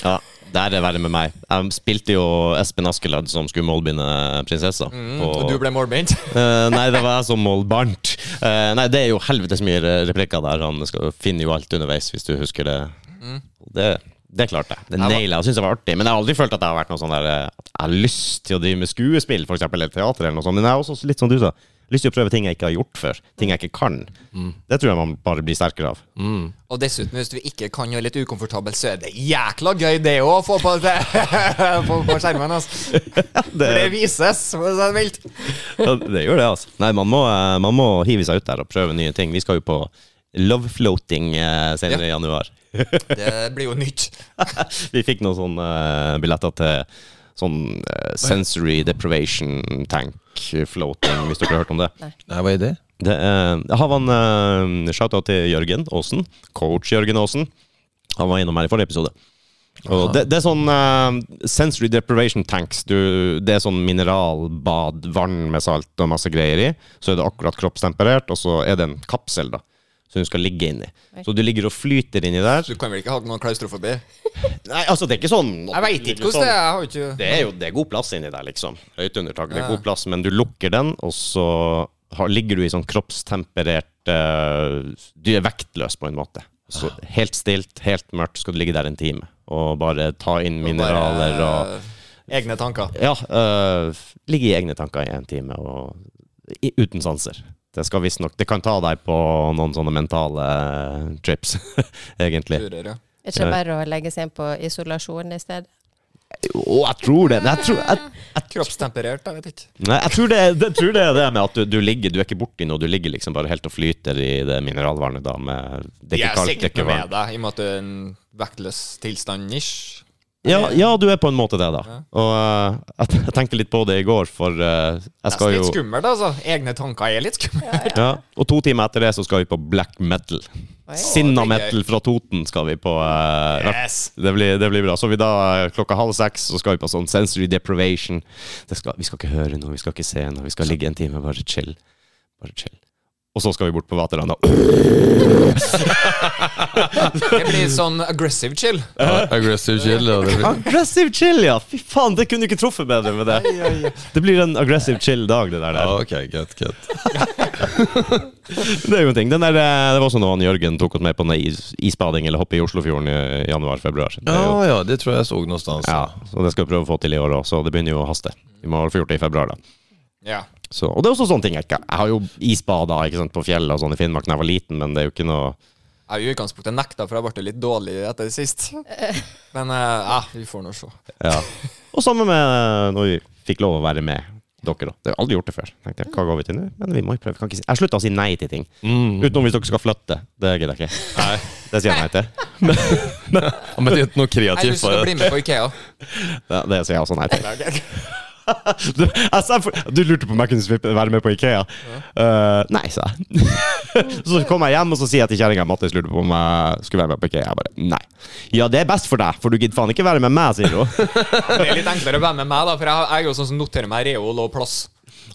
Ja, der er verre med meg. Jeg spilte jo Espen Askeladd som skulle målbinde prinsessa. på-
Mm, Og du ble målbent.
Eh, nei, det var jeg som målte barnt. Eh, nei, det er jo helvetes mye re- replikker der. Han skal, finner jo alt underveis, hvis du husker det. Det, det klarte jeg. Det
Mm. Jeg var-
naila jeg. Syns det var artig. Men jeg har aldri følt at jeg har vært noe sånn der eh, At jeg har lyst til å drive med skuespill, for eksempel, eller teater, eller noe sånt. Men jeg har også litt som du sa, lyst til å prøve ting jeg ikke har gjort før. Ting jeg ikke kan.
Mm.
Det tror jeg man bare blir sterkere av.
Og dessuten, hvis du ikke kan gjøre litt ukomfortabel, så er det jækla gøy, det òg, å få på, det, på, på skjermen. Altså.
Det,
For det vises. Så det er vilt.
det gjør det, altså. Nei, man må, eh, man må hive seg ut der og prøve nye ting. Vi skal jo på Love Floating eh, senere i januar.
Det blir jo nytt.
Vi fikk noen sånne eh, billetter til sånn eh, sensory deprivation tank eh, floating, hvis dere har hørt om det.
nej, vad är det?
det er- jeg har en eh, shout-out til Jørgen Aasen, coach Jørgen Aasen. Han var innom her i forrige episode. Og det, det er sånn eh, sensory deprivation tanks. Du, det er sånn mineralbad, vann med salt og masse greier i. Så er det akkurat kroppstemperert, og så er det en kapsel da, som du skal ligge inni. Så du ligger og flyter inni der.
Du kan vel ikke ha noen klaustrofobi?
Nei, altså, det er ikke sånn
Jeg veit ikke hvordan det er. Jeg har ikke
det er jo det er god plass inni der, liksom. Høyt undertak. Det er god plass, men du lukker den, og så har, ligger du i sånn kroppstemperert eh, Du er vektløs, på en måte. Så helt stilt, helt mørkt, skal du ligge der en time og bare ta inn mineraler og
Egne tanker.
Ja. eh, ligge i egne tanker i en time og i, uten sanser. Det skal visstnok Det kan ta deg på noen sånne mentale trips, egentlig.
Lurer, ja.
Er ikke det bare å legge seg inn på isolasjon i stedet?
Jo, jeg tror det. men Jeg tror, jeg,
Kroppstemperert, jeg vet ikke.
Nei, jeg tror det, det, tror det er det med at du, du ligger Du er ikke borti noe, du ligger liksom bare helt og flyter i det mineralvannet da med Det er ikke kaldt, det er ikke varmt.
deg, i og med at du er en vektløs tilstand-ish.
Ja, ja, du er på en måte det, da. Og eh, jeg, jeg tenkte litt på det i går, for eh, jeg
Nesten
skal jo
litt skummelt, altså. Egne tanker er litt skummelt.
ja, Og to timer etter det så skal vi på black metal.
Oi.
Sinna
Å, det er gøy.
metal fra Toten skal vi på. eh,
Yes!
Det blir, det blir bra. Så vi da eh, klokka halv seks så skal vi på sånn sensory deprivation. Det skal, vi skal ikke høre noe, vi skal ikke se noe, vi skal ligge en time bare chill. Bare chill. Og så skal vi bort på Vaterland. og-
Det blir sånn aggressive chill.
Ja, Aggressive chill. Og det blir,
Aggressive chill, ja! Fy faen, det kunne du ikke truffet bedre med det. Det blir en aggressive chill dag, det der. der.
ja, ok, greit, greit.
Det er jo en ting. Den der, eh, det var også noe han Jørgen tok oss med på den is, isbading eller hoppe i Oslofjorden i januar-februar.
Ja, ja, det tror jeg jeg så noe
Ja,
sted. altså.
så det skal vi prøve å få til i år òg, så det begynner jo å haste. Vi må få gjort det i februar, da.
Ja.
Så, og det er også sånne ting jeg ikke Jeg har jo isbada ikke sant, på fjellet og sånn i Finnmark da jeg var liten, men det er jo ikke noe
Jeg har jo i utgangspunktet nekta, for jeg ble litt dårlig etter det sist. Men eh, ja, vi får nå se.
ja. Og samme med eh, når vi fikk lov å være med dere, da. Det har jeg aldri gjort det før. Tenkte jeg, hva går vi til nå? Men vi må jo prøve. Kan ikke si. Jeg slutta å si nei til ting. Utenom hvis dere skal flytte. Det gidder jeg ikke. Det sier jeg Mm. nei til.
Ja, men det er ikke
Jeg
noe
har
kreativt
lyst til å
bare.
bli med på Ikea.
Det, det sier jeg også nei til.
Det er greit.
Du, jeg sa for, du lurte på om jeg kunne svippe- være med på Ikea. Eh, nei, sa jeg. så kom jeg hjem, og så sier jeg til kjerringa Mattis lurte på om jeg skulle være med på Ikea. Jeg bare nei. Ja, det er best for deg, for du gidder faen ikke være med meg, sier hun.
Det er litt enklere å være med meg, da, for jeg jeg er jo sånn som noterer meg reol og plass.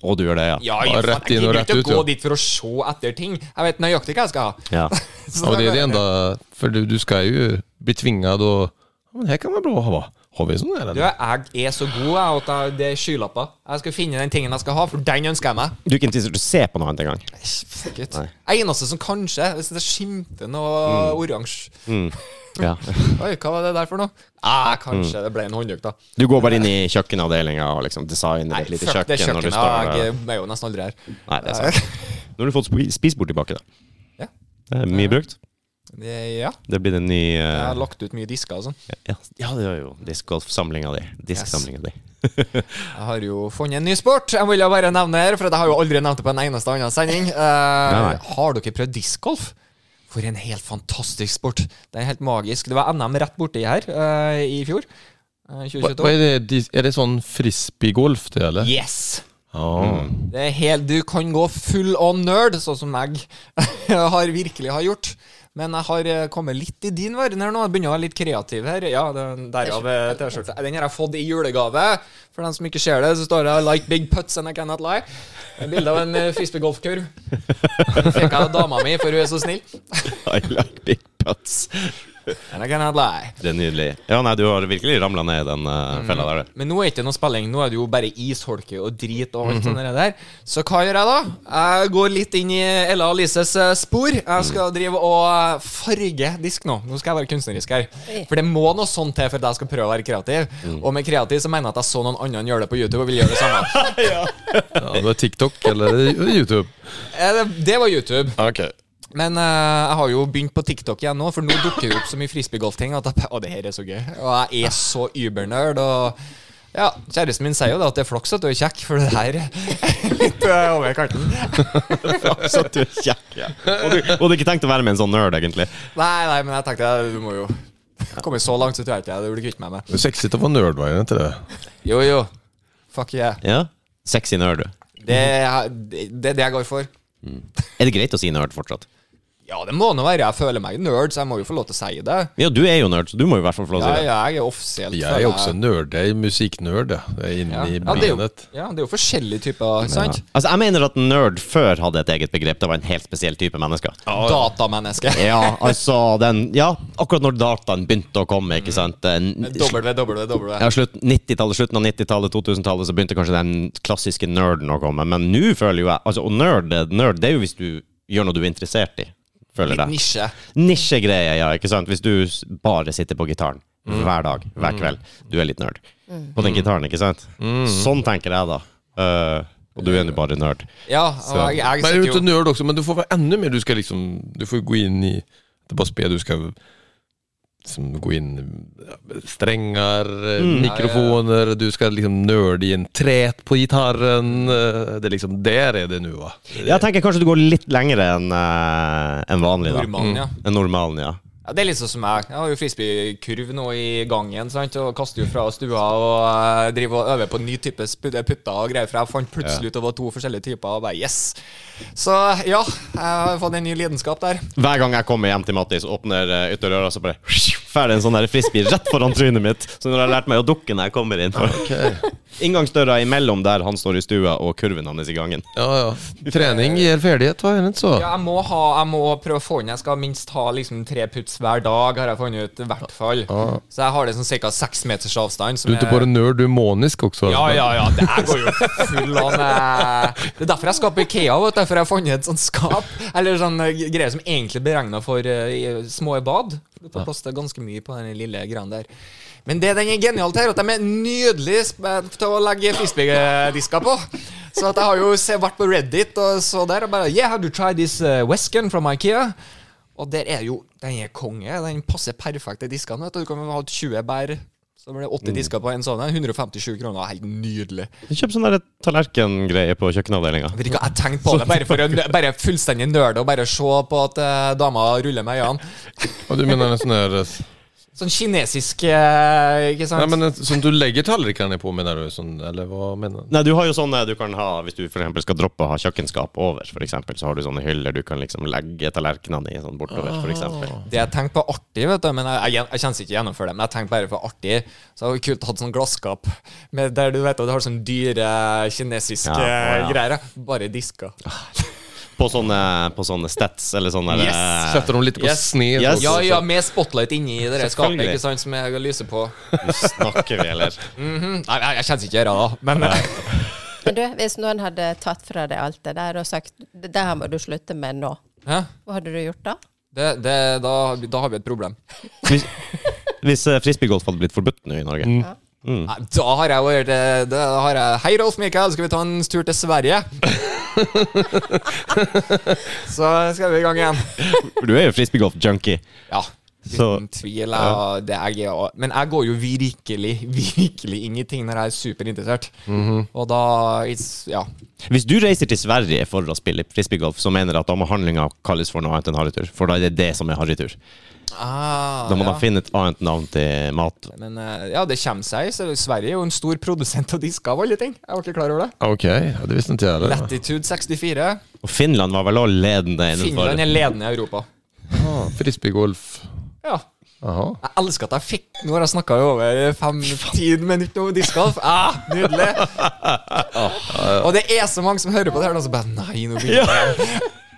Og du gjør det, ja.
Ja,
Bare
ja, faen,
rett inn
jeg
og
gidder
rett
ikke
ut,
å gå
ja.
dit for å se etter ting. Jeg vet nøyaktig hva jeg skal ha.
Ja.
Så
Ja, men det är det
bare-
enda, för du, du ska ju bli tvingad och, ja, men här kan man bra ha, har vi sån här
Du,
eller?
jeg er så god jeg, at jeg, det er skylapper. Jeg skal finne den tingen jeg skal ha, for den ønsker jeg meg.
Du er ikke interessert i å se på noe annet engang?
Fuck it.
Nei. Mm.
Jeg eneste som kanskje Hvis det skimter noe oransje
Ja.
Oi, hva var det der for noe? Ah, kanskje
Mm.
det ble en hånddukt, da.
Du går bare inn i kjøkkenavdelinga og liksom designer et lite
Fuck
kjøkken?
det
når du
kjøkkenet.
står
Jeg
der.
er jo nesten aldri her.
Nei, det er sant. Nå har du fått spi- spisebord tilbake, da.
Ja.
Det
Eh,
er mye brukt.
Det- Ja.
Det blir en ny eh,
Jeg har lagt ut mye disker og sånn.
ja, ja, det er jo diskgolfsamlinga di. Disksamlinga di.
Jeg har jo funnet en ny sport. Jeg vil jo bare nevne her, for jeg har jo aldri nevnt det på en eneste annen sending. Eh,
nei.
har dere prøvd discgolf? For en helt fantastisk sport. Det er helt magisk. Det var NM rett borti her eh, i fjor. eh,
Vad vad
2022.
är det, dis- är det sånn frisbeegolf det eller?
Yes!
Ja.
Det er helt, du kan gå full on nerd, sånn som jeg har virkelig har gjort. Men jeg har eh, kommet litt i din verden her nå. Jeg begynner å være litt kreativ her. Ja, den derav eh, T-skjorta. Den har jeg fått i julegave. For dem som ikke ser det, så står det 'I like big putts and I cannot lie'. Et bilde av en eh, frisbeegolfkurv. Den fikk jeg av dama mi, for hun er så snill.
I like big putts.
And I cannot lie.
Det er nydelig. Ja, nei, du har virkelig ramla ned i den
Mm.
eh, fella der, du.
Men nå er det ikke noe spilling, nå er det jo bare isholke og drit og alt sånt der. Så hva gjør jeg da? Jeg går litt inn i Ella Alises eh, spor. Jeg skal drive og eh, farge disk nå. Nå skal jeg være kunstnerisk her.
Oi.
For det må noe sånt til for at jeg skal prøve å være kreativ. Og med kreativ så mener jeg at jeg så noen andre gjøre det på YouTube og vil gjøre det samme.
ja, det är TikTok eller är det YouTube?
Eh, det- Det var YouTube.
Okej.
Men eh, jeg har jo begynt på TikTok igjen nå, for nå dukker det opp så mye frisbeegolfting at jeg bare, å, det her er så gøy. Og jeg er så ubernerd. Og ja, kjæresten min sier jo da at det er flaks at du er kjekk, for det her er litt eh, over kanten.
Så du er kjekk. Ja. Og du og du har ikke tenkt å være med en sånn nerd, egentlig.
Nei, nei, men jeg tenkte du må jo komme så langt, så tror jeg ikke jeg du blir kvitt meg med.
Det är sexigt att vara nörd va, är det inte det?
Jo, jo. Fuck yeah.
Ja? Sexy nerd, du.
Det er det, er det jeg går for.
Er det greit å si nerd fortsatt?
Ja, det må nå være. Jeg føler meg nerd, så jeg må jo få lov til å si det.
Ja, du er jo nerd, så du må jo i hvert fall få lov
Ja,
til å si det.
jeg er offisielt
Jeg er også nerd. Jeg er musikknerd, jeg. Jeg er
ja.
inne i
ja, det er, jo,
brynet.
ja, det er jo forskjellige typer, sant?
Altså, jeg mener at nerd før hadde et eget begrep. Det var en helt spesiell type mennesker.
Datamenneske.
Ja, altså den Ja, akkurat når dataen begynte å komme, ikke sant. Den-
W, W, W.
Ja, slutt, 90-tallet, slutten av 90-tallet, 2000-tallet, så begynte kanskje den klassiske nerden å komme. Men nå føler jo jeg altså, Og nerd, nerd, det er jo hvis du gjør noe du er interessert i, føler
Litt
jeg.
nisje.
Nisjegreie, ja, ikke sant. Hvis du s- bare sitter på gitaren hver dag, hver kveld. Du er litt nerd. På den gitaren, ikke sant. Sånn tenker jeg, da. Eh, og du er jo bare nerd.
Ja, og jeg, jeg
Men jeg er
sitter
jo
jo
ikke nerd også, men du får være enda mer. Du skal liksom Du får gå inn i Det er bare spel du skal liksom gå inn ja, Strenger, eh,
Mm.
mikrofoner Du skal liksom nerde i en tret på gitaren. eh, Det er liksom Der er det nå, va.
Jeg tenker kanskje du går litt lengre enn eh, enn vanlig, da.
nordmann,
Mm.
ja.
Enn normalen, ja.
Ja, det er litt sånn som jeg. Jeg har jo frisbeekurv nå i gangen. sant? Og kaster jo fra stua og eh, driver og øver på ny type sp- eh, putter og greier. For jeg fant plutselig ut det var to forskjellige typer, og bare yes! Så ja, jeg har fått en ny lidenskap der.
Hver gang jeg kommer hjem til Mattis, åpner eh, ytterdøra, så bare ferdig en sånn der frisbee rett foran trynet mitt. Så nå har jeg lært meg å dukke når jeg kommer inn. Inngangsdøra imellom der han står i stua, og kurven hans i gangen.
Ja, ja. Trening gir ferdighet, hva er det så?
Ja, jeg må, ha, jeg må prøve å få inn Jeg skal minst ha liksom tre puts hver dag, har jeg funnet ut. I hvert fall. Så jeg har det sånn ca. seks meters avstand. Som
Du er ikke
er-
bare nerd, du er manisk også.
Ja, ja, ja. Det her går jo full an. eh. Det er derfor jeg skal på Ikea. Vet, du, derfor jeg har funnet et sånt skap. Eller sånn eh, greier som egentlig er beregna for eh, i- små bad. Du får plass til ganske mye på den lille greia der. Men det den er genialt her, at de er nydelige sp- eh, til å legge frisbeegdisker på. Så at jeg har jo se- vært på Reddit og så der og bare Yeah, have you tried this eh, Wesken from Ikea? Og der er jo Den er konge. Den passer perfekt til diskene. Vet du. du kan ha 20 bær. Så blir det 80 disker på en sånn. en. 157 kroner. Helt nydelig.
Kjøp sånn der tallerkengreie på kjøkkenavdelinga.
Jeg vet ikke hva jeg tenkte på det. Bare for å bare fullstendig nerde og bare se på at eh, dama ruller med øynene.
Og du mener en sånn her eh,
Sånn kinesisk eh, Ikke sant?
Nei, men en sånn du legger tallerkenene på, mener du? Sånn, eller hva mener du?
Nei, du har jo sånne du kan ha hvis du for eksempel skal droppe å ha kjøkkenskap over, for eksempel, så har du sånne hyller du kan liksom legge tallerkenene i sånn bortover,
Ah.
for eksempel.
Det jeg tenkte på artig, vet du, men jeg, jeg, jeg kjenner ikke gjennomføre det, men jeg tenkte bare for artig, så hadde det vært kult å ha et sånt glasskap med, der du vet at du har sånne dyre kinesiske eh,
Ja, å, ja.
greier. Bare disker.
På sånne, på sånne stats eller sånne
Yes!
eh,
Setter dem litt på
Yes.
sne?
Yes.
Ja, ja, med spotlight inni det der skapet,
Selvfølgelig.
ikke sant, som jeg lyser på.
Snakker vi, eller?
Mhm. Nei, jeg, jeg kjenner ikke gjerda, da, men
Men du, hvis noen hadde tatt fra deg alt det der og sagt det her må du slutte med nå,
Hæ?
hva hadde du gjort da?
det, det, da, da har vi et problem.
Hvis, hvis eh, frisbeegolf hadde blitt forbudt nå i Norge.
Mm. Nei, Da har jeg vært eh, da har jeg, Hei, Rolf Mikael, skal vi ta en tur til Sverige? Så skal vi i gang igjen.
For du er jo frisbeegolf-junkie.
Ja.
Så-
Uten tvil. Jeg, det er jeg, også. men jeg går jo virkelig virkelig inn i ting når jeg er superinteressert.
Mhm.
Og da it's- Ja.
Hvis du reiser til Sverige for å spille frisbeegolf, så mener jeg at da må handlinga kalles for noe annet enn harrytur. For da er det det som er harrytur.
Ah,
Da må
ja.
de finne et annet navn til mat.
Men eh, ja, det kommer seg. Så Sverige er jo en stor produsent av disker av alle ting. Jeg var ikke klar over det.
Ok, ja, det visste ikke jeg heller.
Latitude 64.
Og Finland var vel òg ledende innenfor
Finland er ledende i Europa.
Ah, Frisbeegolf.
Ja
Aha.
Jeg elsker at jeg fikk Nå har jeg snakka i over fem-ti minutter om discgolf. Ah, nydelig. Og det er så mange som hører på det her, og så bare Nei, nå begynner jeg.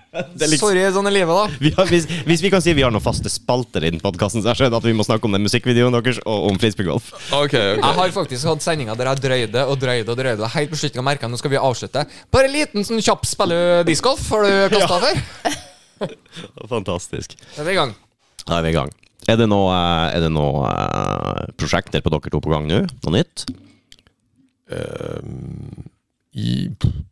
er liksom-
Sorry, sånn er livet, da.
Vi har, hvis, hvis vi kan si vi har noen faste spalter innen podkasten, så skjønner jeg at vi må snakke om den musikkvideoen deres og om frisbeegolf.
Ok,
Jeg
ok.
har faktisk hatt sendinger der jeg drøyde og drøyde og drøyde. og Helt på slutten merka nå skal vi avslutte. Bare en liten sånn kjapp spiller du discgolf? Har du kasta før?
Fantastisk.
Da er vi i gang.
Da er vi i gang. Er det noe, eh, er det noe eh, prosjekter på dere to på gang nå? Noe nytt?
Ehm, i,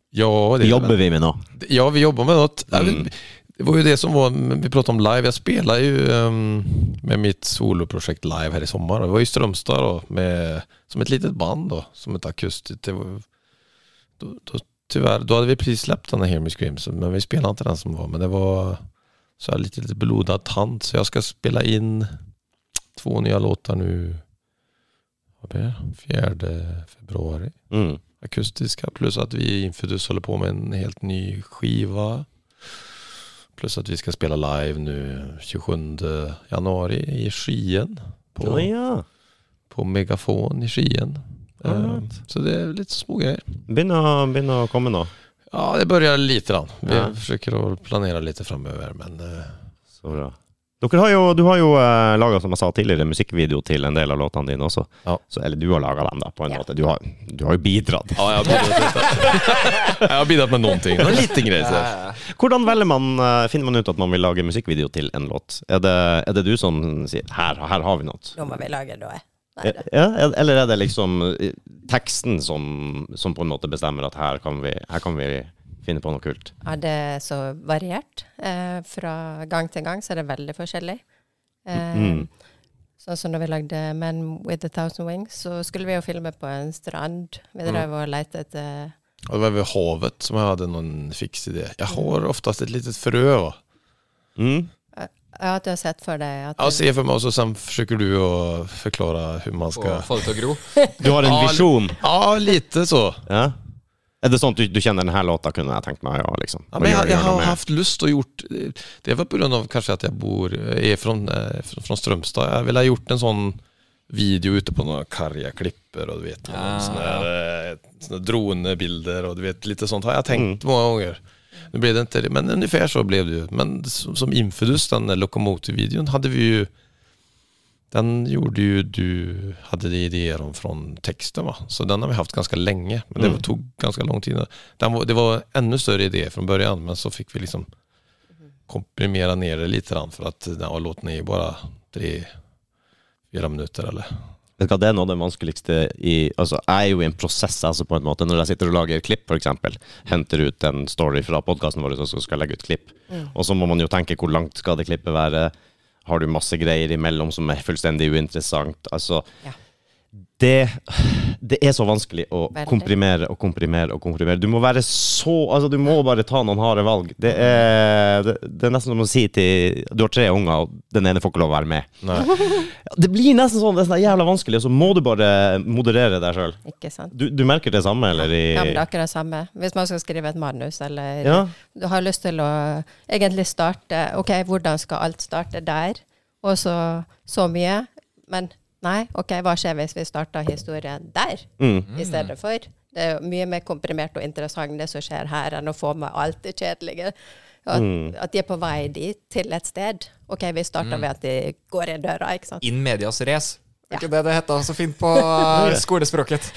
ja, det,
Jobber vi med noe?
ja, vi jobbar med något. Ja, det- Det var ju det som var, vi pratade om live. Jag spelar ju ehm, med mitt soloprojekt live här i sommar. Det var i Strömstad då, med, som ett litet band då, som ett akustiskt. Det var- Då, då, tyvärr, då hade vi precis släppt den här Hear Me Scream, så- men vi spelade inte den som var. Men det var så här lite, lite blodad tand, så jag ska spela in två nya låtar nu. Vad blir det? Fjärde februari
Mm.
akustiska plus att vi i Infidus håller på med en helt ny skiva. Plus att vi ska spela live nu 27 januari i Skien. På,
Å ja.
på Megafon i Skien. Eh,
Alright.
så det är lite små grejer.
Begynner å, begynner å komme nå.
Ja, det börjar lite grann. Vi
Ja.
försöker att planera lite framöver. Men eh,
Så bra. Dere har jo, du har jo eh, laga, som jeg sa tidligere, musikkvideo til en del av låtene dine også.
Ja.
Så, eller du har laga dem, da, på en
Ja.
måte. Du har, du har jo bidratt.
ja, jag har bidragit lite. jag har bidragit med någonting. En liten grej. Så. här.
Eh,
Hvordan velger man, eh, finner man ut at man vil lage musikkvideo til en låt? Er det, er det du som sier her, 'her har vi noe'?
Nå må vi lage da. Nei,
Ja,
da.
er- eller er det liksom eh, teksten som, som på en måte bestemmer at her kan vi, her kan vi finne på noe kult?
Ja, det er så variert. Eh, fra gang til gang så er det veldig forskjellig. Eh,
Mm.
Sånn som når vi lagde 'Men with a thousand wings', så skulle vi jo filme på en strand.
Mm.
Vi drev og lette etter
Och det var väl havet som jag hade någon fix idé. Jag har oftast ett litet frö. Va?
Mm?
Ja, at du har sett for deg at
Ja, se för mig och så sen försöker du att förklara hur man
Få
ska...
få det til å gro.
Du har en
Ja,
visjon?
Ja, lite så.
Ja? Er det sånn at du, du kjenner denne låta kunne jeg tenkt meg å ja, liksom?
Ja,
og
men
gjøre-
jag, jag
gjøre noe
har
med?
haft lust och gjort, det var på grund av kanske att jag bor, är från, eh, fr- från Strömstad. Jag vill ha gjort en sån video ute på några karga klippor och du vet,
Ah,
såna, här, eh, såna drönbilder och du vet, lite sånt har jag tänkt många gånger. Nu blev det inte det, men ungefär så blev det ju. Men som, som infidus, den där lokomotivvideon hade vi ju, den gjorde ju du, hade det idéer om från texten va? Så den har vi haft ganska länge, men det
Mm.
tog ganska lång tid. Den var, det var ännu större idé från början, men så fick vi liksom komprimera ner det lite grann för att ja, låten är ju bara tre, fyra minuter eller?
Vet du hva, Det er noe av det vanskeligste i altså, Jeg er jo i en prosess, altså, på en måte. Når jeg sitter og lager klipp, f.eks. Henter ut en story fra podkasten vår og så skal jeg legge ut klipp.
Mm.
Og så må man jo tenke hvor langt skal det klippet være? Har du masse greier imellom som er fullstendig uinteressant? Altså
Ja.
det, det er så vanskelig å
Veldig.
komprimere og komprimere og komprimere. Du må være så Altså, du må bare ta noen harde valg. Det er, det, det er nesten som å si til Du har tre unger, og den ene får ikke lov å være med. Ja, Det blir nesten sånn, det er sånn jævla vanskelig, og så må du bare moderere deg sjøl.
Ikke sant?
Du, du merker det samme, eller? I,
Ja, men det er akkurat det samme. Hvis man skal skrive et manus, eller
Ja.
du har lyst til å egentlig starte OK, hvordan skal alt starte der? Og så så mye. Men nei, OK, hva skjer hvis vi starter historien der?
Mm.
i stedet for. Det er jo mye mer komprimert og interessant det som skjer her, enn å få med alt det kjedelige. At, at de er på vei dit, til et sted. OK, vi starter ved at de går i døra, ikke sant.
In medias race. Er
Ja.
ikke det det heter så fint på eh, skolespråket?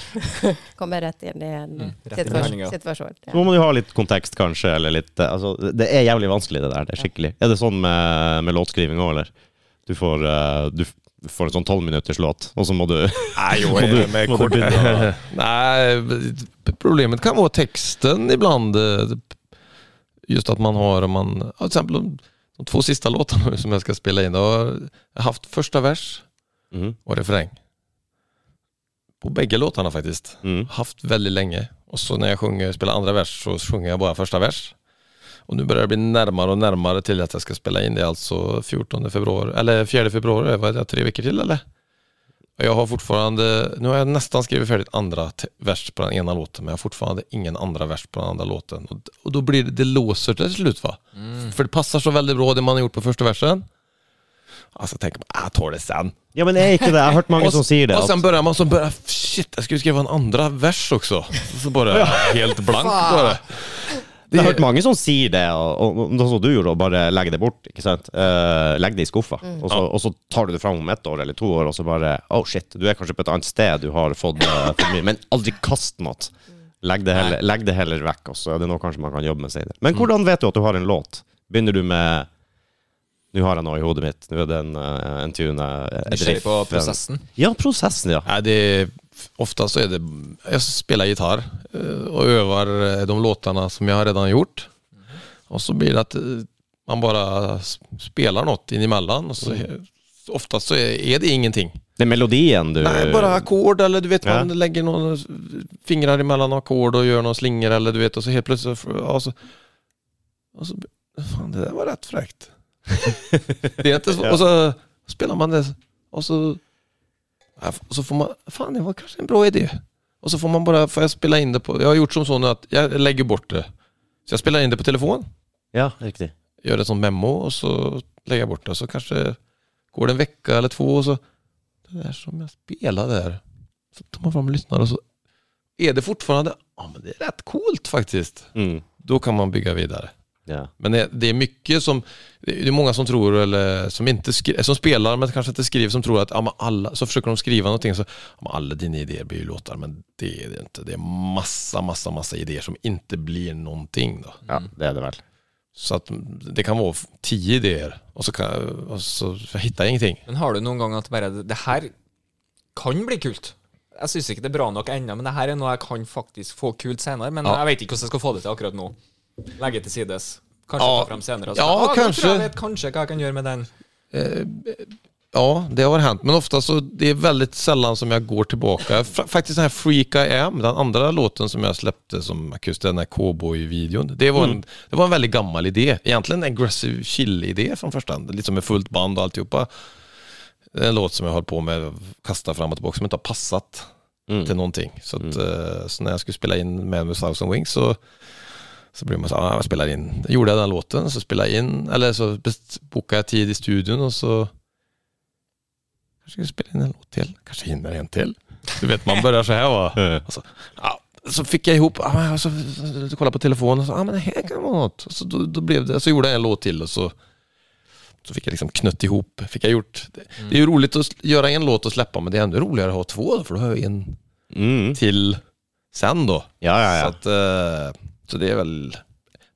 Kommer rett inn i en
rett inn i
situasjon.
handlinga.
situasjon ja.
Så må du ha litt kontekst, kanskje, eller litt eh, Altså, det er jævlig vanskelig, det der. Det er skikkelig. Er det sånn med, med låtskriving òg, eller? Du får, eh, du f- får en sånn tolvminutters låt, og så må du
Nej,
Må du- må du begynne å-
Nej, problemet kan vara texten ibland. eh, Just att man har, om man, ja, till exempel de, de två sista låtarna som jag ska spela in, då har jag haft första vers
Mhm,
och refräng. På bägge låtarna faktiskt.
mhm.
haft väldigt länge. Och så när jag sjunger, spelar andra vers så sjunger jag bara första vers. Och nu börjar det bli närmare och närmare till att jag ska spela in. Det är alltså 14 februari, eller 4 februari, vad är det, tre veckor till eller? Och jag har fortfarande, nu har jag nästan skrivit färdigt andra te- vers på den ena låten, men jag har fortfarande ingen andra vers på den andra låten. Och, d- och då blir det, det låser till slut va? För det passar så väldigt bra det man har gjort på första versen. Alltså tänker man, jag tar det sen.
Ja, men er ikke det? Jeg har hørt mange
Och-
som sier det.
Och sen
At,
börjar man så börjar, shit, jag skulle skriva en andra vers också. Så bara helt blank
Fan.
bara.
jeg har hørt mange som sier det, og, og, og sånn som du gjorde, og bare legger det bort. ikke sant? Eh, legg det i skuffa,
Mm.
og, så, og så tar du det fram om ett år eller to år, og så bare Oh shit, du er kanskje på et annet sted, du har fått eh, for mye, men aldri kast noe. Legg det, heller, legg det heller vekk, og så er det noe kanskje man kan jobbe med senere.
Mm.
Men hvordan vet du at du har en låt? Begynner du med Nå har jeg noe i hodet mitt, nå er det en, eh, en tune eh, et
Nysgjerrig på
en-
prosessen.
Ja, prosessen, ja.
Nej, det är, ofta så är det, jag spelar gitarr eh, och övar eh, de låtarna som jag har redan gjort. Och så blir det att eh, man bara s- spelar något in emellan och så
Mm.
oftast så är är det ingenting.
Det er melodien du
Nej, bara ackord eller du vet
Ja.
man lägger några fingrar emellan ackord och gör någon slinger eller du vet och så helt plötsligt så- ja, så, och så fan det där var rätt fräckt. det är inte så, och så spelar man det och så ja, och så får man fan det var kanske en bra idé. Och så får man bara får jag spela in det på jag har gjort som så nu att jag lägger bort det. Så jag spelar in det på telefon
Ja, riktig.
gör ett sånt memo och så lägger jag bort det. Så kanske går det en vecka eller två och så, det där som jag spelade där. Så tar man fram och lyssnar och så är det fortfarande, ja men det är rätt coolt faktiskt.
Mm.
Då kan man bygga vidare.
Ja.
Men det, det är mycket som, det är många som tror, eller som inte skri- som spelar men kanske inte skriver, som tror att ja, men alla, så försöker de skriva någonting så, ja, men alla dina idéer blir ju låtar, men det är det inte. Det är massa, massa, massa idéer som inte blir någonting då.
ja, det är det väl.
Så att det kan vara tio idéer och så, kan, och så jag hittar jag ingenting.
Men har du noen gang at bare Det her kan bli kult. Jeg syns ikke det er bra nok ennå, men det her er noe jeg kan faktisk få kult senere. Men
Ja.
jeg vet ikke hvordan jeg skal få det til akkurat nå. Legge til sides. Kanskje
Ja.
ta frem senere. og
Ja,
så- da
kanskje.
Tror jeg vet kanskje hva jeg kan gjøre med den.
Ja, det har hänt. Men ofta så, det är väldigt sällan som jag går tillbaka. F- Faktiskt den här Freak I Am, den andra låten som jag släppte som akustisk, den här cowboy-videon. Det var, en, det var en väldigt gammal idé. Egentligen en aggressive chill-idé från första hand. Liksom med fullt band och alltihopa. Det är En låt som jag höll på med, kasta fram och tillbaka, som inte har passat till någonting. Så, att, eh, så när jag skulle spela in Man with Thousand Wings så så blir man så ah, jag spelar in. Då gjorde jag den låten, så spelade jag in, eller så best- bokade jag tid i studion och så kanske ska jag spela in en låt till, kanske hinner en till. Du vet, man börjar så här va. Och så, ja, så fick jag ihop, ah, men, och så, så, så kollade jag på telefonen och så, ah, men det här kan vara något. Och Så, då, då blev det, så gjorde jag en låt till och så, så fick jag liksom knött ihop, fick jag gjort. Det, det är ju roligt att sl- göra en låt och släppa, men det är ännu roligare att ha två, för då har jag en
Mm.
till sen då.
Ja, ja,
Så,
ja.
att, eh, så det är väl...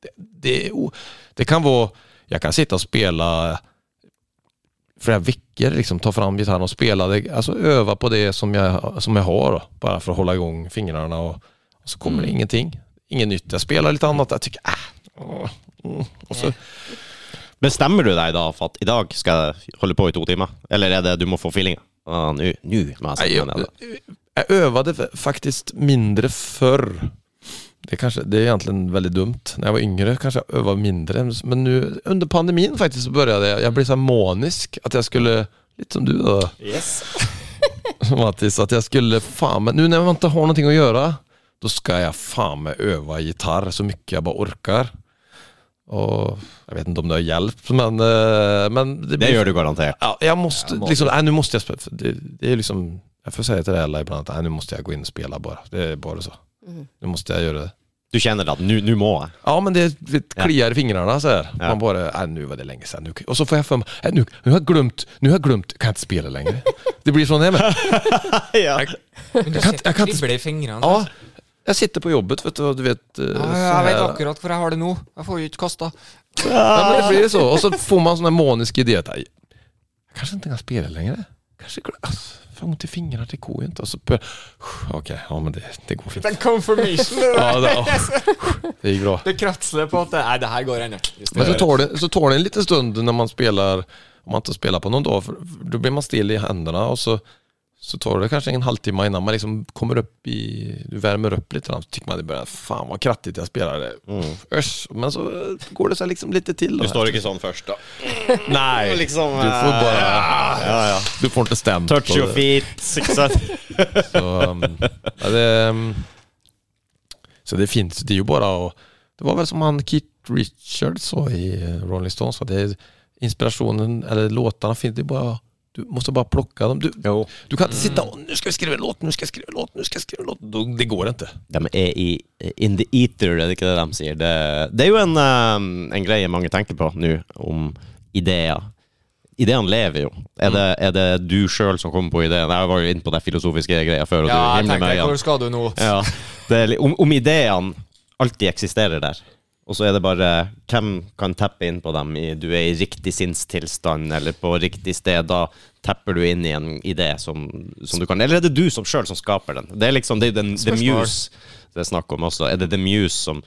Det, det, är o- det kan vara... Jag kan sitta och spela flera veckor, liksom, ta fram gitarren och spela. Det, alltså öva på det som jag, som jag har, då, bara för att hålla igång fingrarna. Och, och så kommer
Mm.
det ingenting. Inget nytt. Jag spelar lite annat. Jag tycker... Äh, åh, mm. och så,
Bestemmer du deg da for at i dag skal jeg holde på i to timer? Eller er det du må få feelinga? Ah, Nå nå må jeg
Nej,
sette meg
jag,
ned.
jag övade f- faktiskt mindre förr. Det, kanske, det är egentligen väldigt dumt. När jag var yngre kanske jag övade mindre. Men nu under pandemin faktiskt så började jag, jag blev så här manisk att jag skulle, lite som du då
Yes.
Mattis, att jag skulle fan, men nu när man inte har någonting att göra, då ska jag fan med öva gitarr så mycket jag bara orkar. Och jag vet inte om det har hjälpt, men, eh, men det,
Det
blir
gjør du garantert.
Ja, jag måste,
Ja, måste.
liksom, nej, nu måste jag spela. För Det, det är liksom, jag får säga till alla ibland att nej, nu måste jag gå in och spela bara. Det är bara så.
Mm.
Nu måste jeg gjøre det.
Du kjenner at nå nå må jeg.
Ja, men det, det kliar i fingrarna så här.
Ja.
Man bara, nej, nu var det länge sedan. Nu, och så får jag för mig, nej, nu, nu har jag glömt, nu har jag glömt, kan jag inte spela längre. Det blir sån här med.
Ja.
Men du
kan ikke- jeg
sitter
kan ikke
kribler i fingrene.
Ja, jag sitter på jobbet, vet du, och du vet. eh,
Ja,
så
ja, jeg
här-
vet akkurat hvor jeg har det nå. Jeg får jo ikke kasta.
Ja, men det blir så. Och så får man sån här manisk idé att "Aj, jag kanske inte kan spela längre. Kanske, alltså, för ont i fingrarna, det går ju inte. Och så börjar, okej, ja men det, det går fint.
confirmation.
Ja, det, ja. det gick bra.
Det kratsler på at det, Nei, det her går ennå. Just
Men så
det.
tar, det, så tar det en liten stund när man spelar, om man inte spelar på någon dag, för då blir man still i händerna och så, så tar det kanske en halvtimme innan man liksom kommer upp i, du värmer upp lite grann, så tycker man det börjar, fan vad krattigt jag spelade.
Mm.
Usch, men så eh, går det så här liksom lite till. då.
ikke sånn først, da.
Nej,
Liksom,
du får
eh,
bara,
Ja, ja.
du får inte stämt.
Touch your feet. Ikke sant?
Så, um, ja, det, um, så det finns, det är ju bara att, Det var väl som han Keith Richards sa i eh, Rolling Stones, va? det är inspirationen, eller låtarna finns, det är bara, du måste bara plocka dem. Du,
Jo.
du kan inte sitta och nu ska vi skriva en låt, nu ska jag skriva en låt, nu ska jag skriva en låt. Då, det går inte.
De er i in the eater, er det ikke det de sier? Det, det er jo en, eh, en greie mange tenker på nå, om ideer. Ideene lever jo.
Mm.
Er det, er det du sjøl som kommer på ideen? Jeg var jo inne på det filosofiske greia før. Og
Ja,
du
jeg
himler med
tenker,
øynene.
hvor skal du nå?
Ja, det er, li- om, om ideene alltid eksisterer der, og så er det bare hvem kan teppe inn på dem i du er i riktig sinnstilstand eller på riktig sted, da tepper du inn i en idé som, som du kan Eller er det du som sjøl som skaper den? Det er liksom det er den, The
Spørsmål.
Muse det er snakk om også. Er det The Muse som,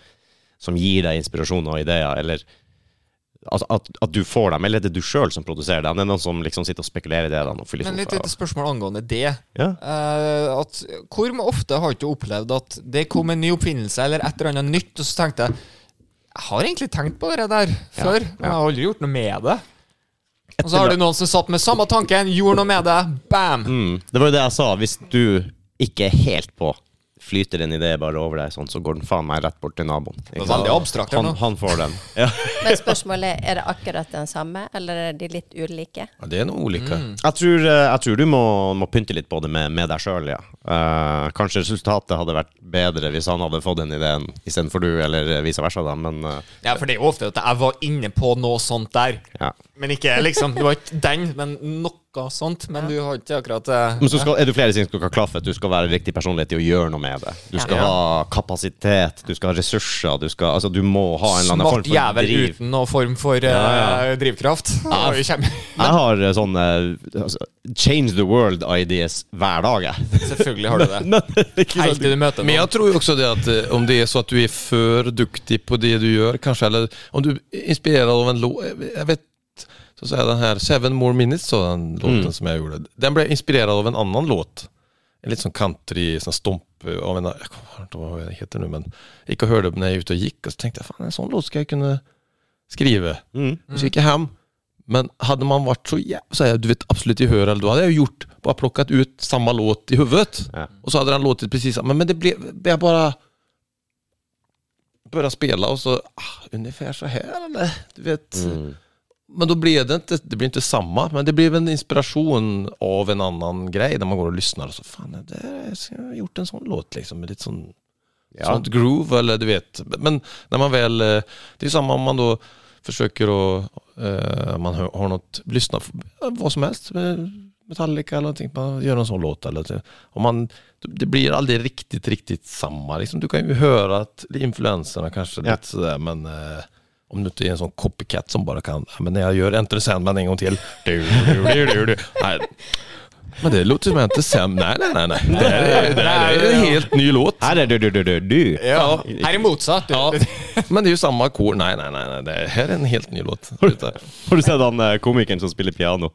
som gir deg inspirasjon og ideer, eller at, at, at du får dem, eller er det du sjøl som produserer dem? Det er noen som liksom sitter og spekulerer i det. da, og
Men
filosofer
litt et
og-
spørsmål angående det.
Ja.
Eh, at, hvor ofte har ikke du opplevd at det kom en ny oppfinnelse eller et eller annet nytt, og så tenkte jeg jeg har egentlig tenkt på det der før, men jeg har aldri gjort noe med det. Og så har du noen som satt med samme tanken, gjorde noe med det, bam!
Mm. Det var jo det jeg sa. Hvis du ikke er helt på flyter en idé bare over deg, sånn, så går den faen meg rett bort til naboen. Ikke
Det var
sant?
veldig abstrakt her
Han,
nå.
han får den. Ja.
Men spørsmålet er, er det akkurat den samme, eller er de litt ulike?
Ja, det er noe ulike.
Jeg tror, eh, jeg tror du må, må pynte litt på det med, med deg sjøl, ja. Eh, kanskje resultatet hadde vært bedre hvis han hadde fått den ideen istedenfor du, eller vice versa, da, men eh,
Ja, for det er jo ofte at jeg var inne på noe sånt der.
ja.
Men ikke liksom, det var ikke den, men noe sånt. Men du har ikke akkurat eh,
Men så skal, er det flere ting som skal klaffe. Du skal være riktig personlighet til å gjøre noe med det. Du skal
Ja.
ha kapasitet, du skal ha ressurser, du skal Altså, du må ha en eller annen form
Smart
for
jævel
driv.
uten noen form for eh, drivkraft. Og vi kommer-
Jeg har eh, sånne eh, altså, Change the world ideas hver dag, jeg.
Selvfølgelig har du det. Helt til du møter
Men
noen.
jag tror ju också det att eh, om det är så att du är för duktig på det du gör kanske, eller om du är inspirerad av en låt, jag vet, så att säga den här Seven More Minutes, så den låten som jag gjorde, den blev jag inspirerad av en annan låt. En lite sån country, sån stomp eh, av en, jag kommer inte ihåg vad den heter nu, men jag gick och hörde när jag ute och gick och så tänkte jag, fan en sån låt ska jag kunna skriva.
Mm.
Och så gick jag hem, men hade man varit så jä- så här, du vet absolut i hör, eller då hade jag gjort, bara plockat ut samma låt i huvudet.
Ja.
Och så hade den låtit precis samma, men det blev, jag bara började spela och så, ah, ungefär så här eller? Du vet.
Mm.
Men då blev det inte, det blev inte samma, men det blev en inspiration av en annan grej när man går och lyssnar och så, fan, det där är- jag har gjort en sån låt liksom, med lite sån
Sånn
Ja.
sånt groove eller du vet. Men när man väl, eh, det är samma om man då försöker att, eh, man hör, har något, lyssna på eh, vad som helst, eh, Metallica eller någonting, man gör en sån låt eller så. Om man, det blir aldrig riktigt, riktigt samma liksom. Du kan ju höra att influenserna kanske
Ja.
lite sådär men eh, om du inte är en sån copycat som bara kan, "Ja, men när jag gör Enter Sandman en gång till, du, du, du, du, du. Nej. Men det låter som Enter Sandman, nej, nej, nej, nej. Det här är, det här är en helt ny låt.
Her er du, du, du, du, du.
Ja. Her er motsatt. Du.
Men det är ju samma kor. Nej, nej, nej, nej. Det här är en helt ny låt.
Har du sett han eh, komikeren som spiller piano?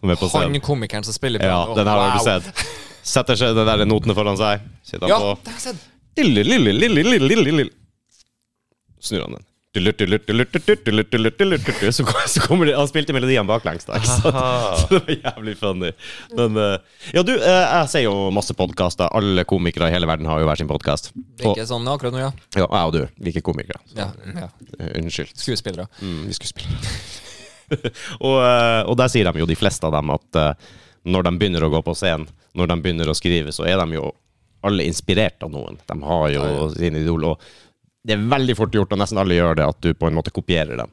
Som er på
Han
scenen?
komikeren som spiller
Ja,
piano.
den her har du
Wow.
sett. Setter seg den der notene foran seg. Sitter
Ja,
han på
det har jeg sett.
Lille, lille, lille, lille, lille, lille. Snur han den. Dulurt, dulurt, dulurt, dulurt, dulurt, dulurt, dulurt, dulurt. Så kom- Så kommer det Han spilte melodien baklengs, da. Ikke sant? Så det var jævlig funny. Men eh, Ja, du, eh, jeg ser jo masse podkaster. Alle komikere i hele verden har jo hver sin podkast.
Det er ikke sånn akkurat nå, ja.
Ja, jeg og du. Vi er ikke komikere. Så,
ja, ja.
eh, Unnskyld.
Skuespillere.
Mm, vi skuespillere. og, eh, og der sier de jo de fleste av dem at eh, når de begynner å gå på scenen, når de begynner å skrive, så er de jo alle inspirert av noen. De har jo sin idol. Og det er veldig fort gjort, og nesten alle gjør det, at du på en måte kopierer dem.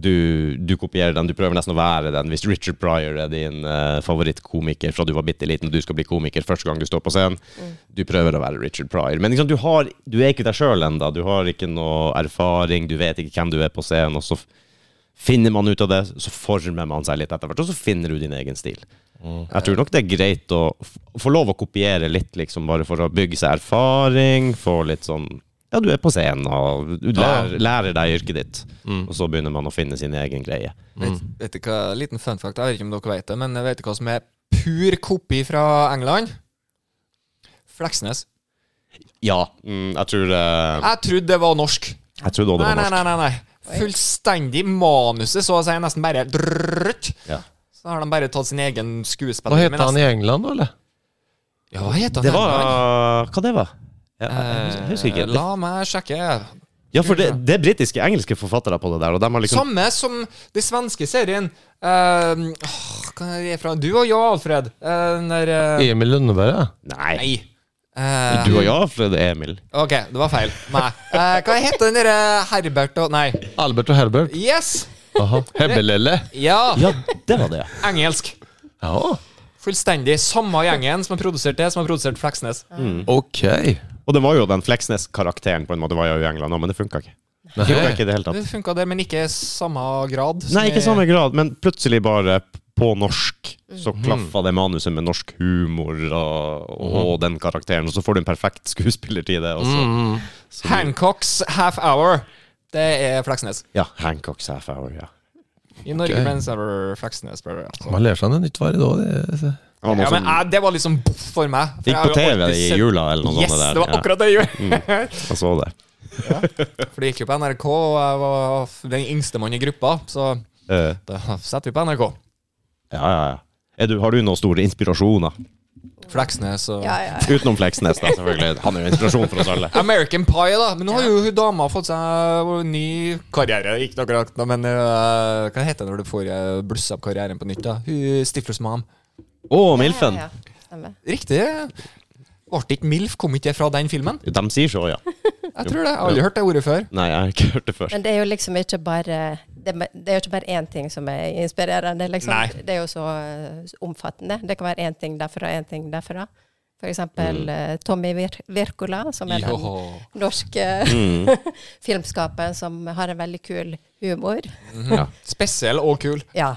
Du, du kopierer den, du prøver nesten å være den. Hvis Richard Pryor er din eh, favorittkomiker fra du var bitte liten, og du skal bli komiker første gang du står på scenen, du prøver å være Richard Pryor. Men liksom, du, har, du er ikke deg sjøl ennå. Du har ikke noe erfaring, du vet ikke hvem du er på scenen. Og så f- Finner man ut av det, så former man seg litt etter hvert, og så finner du din egen stil. Jeg tror nok det er greit å f- få lov å kopiere litt, liksom, bare for å bygge seg erfaring, få litt sånn Ja, du er på scenen, og du lærer, lærer deg yrket ditt, og så begynner man å finne sin egen greie.
Vet,
Mm.
vet du hva, liten fun fact, jeg vet ikke om dere vet det, men vet du hva som er pur kopi fra England? Fleksnes.
Ja, mm, jeg tror eh,
Jeg trodde det var norsk.
Jeg trodde også det
Nei,
var
nei,
norsk.
nei. nei, nei. Fullstendig manuset, så å si, nesten bare drrrt.
Ja.
Så har de bare tatt sin egen skuespiller.
Vad hette han i England då eller?
Ja, hva heter han?
Det var
England?
Hva det var? Ja, jeg husker- jeg husker
Eh,
ikke.
La meg sjekke.
Ja, for det, det er britiske, engelske forfattere på det der, og de har liksom
Samme som den svenske serien eh, åh, Hva er det fra? Du og jeg, Alfred. Eh, den der eh,
Emil Lönneberg ja.
Nei.
Nei. Eh,
Du og jeg, Fred Emil.
Ok, det var feil. Nei. Eh, hva heter den derre Herbert og Nei.
Albert och Herbert.
Yes!
Jaha. Hebbelelle.
Ja!
Ja, det var det.
Engelsk.
Ja,
Fullstendig. Samme gjengen som har produsert det, som har produsert Fleksnes.
Mm. okej.
Og det var jo den Fleksnes-karakteren på en måte var jo i England òg, men det funka ikke. Det funka
Nej.
ikke i det hele
Det
tatt.
funka, det, men ikke samme grad. som
Nei, ikke
i-
i samme grad, men plutselig bare på norsk så
Mm.
klaffa det manuset med norsk humor og, og
Mm.
den karakteren, og så får du en perfekt skuespiller til det. Og så. Så, du-
Hancocks Half Hour. Det er Fleksnes.
ja, Hancocks half hour, ja.
I Norge
Ok.
finnes det Fleksnes. bare, ja.
Man lär sig något nytt varje dag. Det är, så.
Det var noe
Ja, men
som
eh, Det var liksom boff for meg. For
gikk
jeg
på
har jo
TV
alltid
i
sett-
jula eller noe
Yes,
sånt. der.
det var
Ja,
akkurat det jeg gjorde!
jeg så det.
For det gikk jo på NRK, og jeg var den yngste mann i gruppa, så
Eh,
da setter vi på NRK.
ja, ja, ja. Er du, har du noen store inspirasjoner?
Fleksnes og
Ja, ja.
Utenom Fleksnes, da, selvfølgelig. Han er jo inspirasjon for oss alle.
American Pie, da. Men nå har jo hun dama fått seg eh, ny karriere. Ikke noe rart, da, men øh, hva heter det når du får øh, blussa opp karrieren på nytt? da? Hun Stiflers mam.
Å, Milfen!
Ja, ja. Stemmer.
Riktig. Ble det ikke MILF? Kom ikke det fra den filmen?
De sier så, ja.
Jeg tror det. Jeg har aldri hørt det ordet før.
Nei, jeg har ikke hørt det før.
Men det er jo liksom ikke bare det, det er jo ikke bare én ting som er inspirerende. Liksom.
Nei.
Det er jo så eh, omfattende. Det kan være én ting derfra, én ting derfra. For eksempel eh, Tommy Vir Virkola, som er den
Joho.
norske filmskaperen som har en veldig kul humor.
Mhm.
Ja.
Spesiell og kul.
Ja,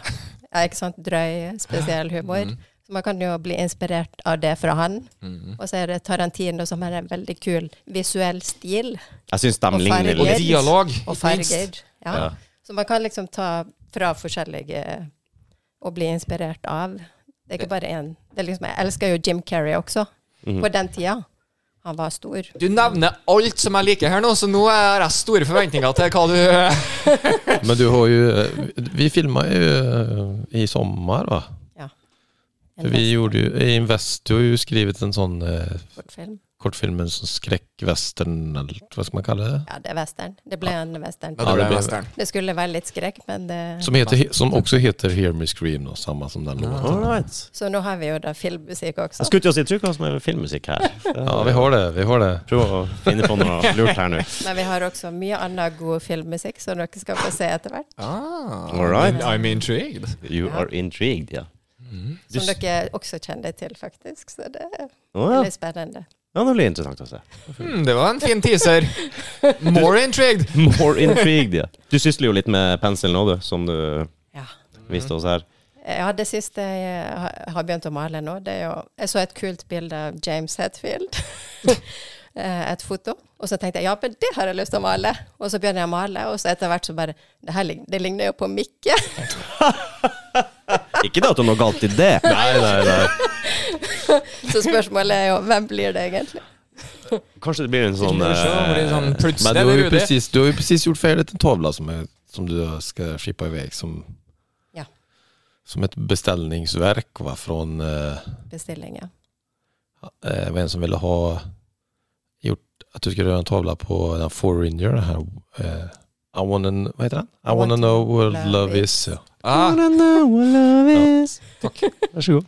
ja ikke sant? Drøy, spesiell humor. Så man kan jo bli inspirert av det fra han. Og så er det Tarantino, som har en veldig kul visuell stil.
Jeg syns de
Og
ligner
Og
farger.
litt.
dialog,
Og
ikke minst.
farger. Ja.
Ja.
Så man kan liksom ta fra forskjellige og bli inspirert av. Det er ikke bare én. Det er Liksom, jeg elsker jo Jim Carrey også, på den tida. Han var stor.
Du nevner alt som jeg liker her nå, så nå har jeg store forventninger til hva du
Men du har ju, eh, vi filmade ju eh, i sommar va?
Ja.
För vi gjorde ju, i Invest, du har ju skrivit en sån eh,
Westernfilm.
kortfilm, en sån skräckvästern, eller vad ska man kalla det?
Ja, det er western. Det ble en western.
Ja, det blir-
western.
Det skulle være litt skrekk, men det
Som, heter, som också heter Hear Me Scream då, samma som den låten.
All right.
Så nå har vi jo da filmmusikk også.
Jeg skulle til å si tro hva som er filmmusikk her.
Ja, vi har det, vi har det.
Prøv å finne på noe lurt her nå.
Men vi har også mye annen god filmmusikk som dere skal få se etter hvert.
Ah,
All right.
I'm intrigued.
You are intrigued, ja. Mm.
Som
Just-
dere også kjenner til, faktisk. Så det er
Å ja.
veldig spennende.
ja, det blir interessant å se.
Hmm, det var en fin teaser. More intrigued.
More intrigued, ja. Du sysler jo litt med pensel nå, du, som du
Ja.
viste oss her.
Ja, det siste jeg har- har begynt å male nå, det er jo Jeg så et kult bilde av James Hetfield. Eh, et foto. Og så tenkte jeg ja, men det har jeg lyst til å male. Og så begynner jeg å male, og så etter hvert så bare Det her lign- det ligner jo på Mikke.
Ikke det at det er noe galt i det. Nei, nei, nei.
Så spørsmålet er jo hvem blir det egentlig?
Kanskje det blir en sånn,
Kanskje det
eh,
blir sånn plutselig,
Men
det
du har
blir
ju
ju det.
precis, du har ju precis gjort färdigt en tavla som, är, som du ska skippa iväg som,
Ja.
som ett beställningsverk va? från eh,
Bestilling, ja.
eh, var en som ville ha gjort att du skulle göra en tavla på den Foreigner, den här eh, I wanna, vad heter den? I wanna know what love, is. Ja.
Ah,
Wanna eh, know what love is. Vær så god.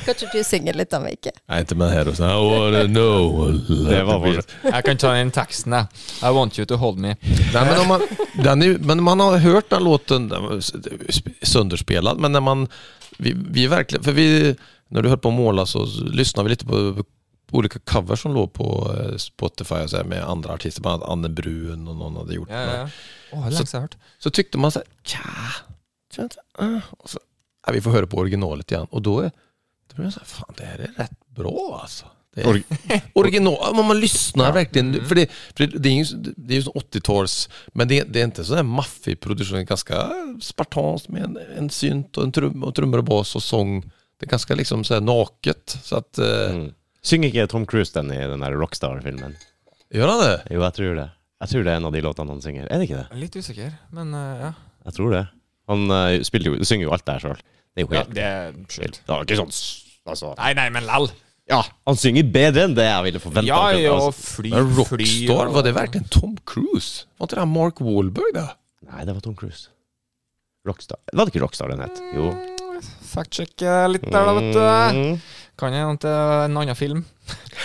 Kan ikke du synge litt om Mikke?
Nej, inte med den här då. så I wanna know what love
Det var
is.
vår.
jeg kan ta den teksten, jeg. I want you to hold me.
Nej, men, om man, den är, ju- men man har hört den låten den var s- sönderspelad, men när man... Vi, vi verkligen... För vi, när du höll på att måla så lyssnade vi lite på olika covers som låg på eh, Spotify och så här med andra artister, bland annat Anne Brun och någon hade gjort
Ja,
den.
ja. Åh, det er lenge siden jeg har hørt.
Så tyckte man så här, tja, tror jag inte, ah." och så, ja, vi får höra på originalet igen. Och då, är, då blir man så här, fan det här är rätt bra alltså. Det är, original, ja, Mm. men man lyssnar verkligen. För, det, för det, det är ju det är ju sån 80-tals, men det, det är inte sån här maffig produktion, det är ganska spartanskt med en, en synt och en trum, och trummor och bas och sång. Det är ganska liksom så här naket. Så att, eh,
Mm. Synger ikke Tom Cruise den i den der Rockstar-filmen?
gör han det?
Jo, jeg tror det. Jeg tror det er en av de låtene han synger. Er det ikke det?
Jeg er Litt usikker, men eh, ja.
Jeg tror det. Han eh, spiller jo, synger jo alt det her sjøl. Det er jo
ja.
helt
Det er
vilt.
sjukt.
Det var ikke sånn s- altså.
Nei, nei, men lell.
Ja, han synger bedre enn det jeg ville forventa.
Ja, ja,
altså.
fly,
Men
fly
Rockstar,
og-
var det verkligen Tom Cruise? Var inte det här Mark Wahlberg där?
Nei, det var Tom Cruise. Rockstar. Var det ikke Rockstar den het? Jo.
Mm. Fact-check eh, litt der, da, vet du. Kan jeg hente en annen film?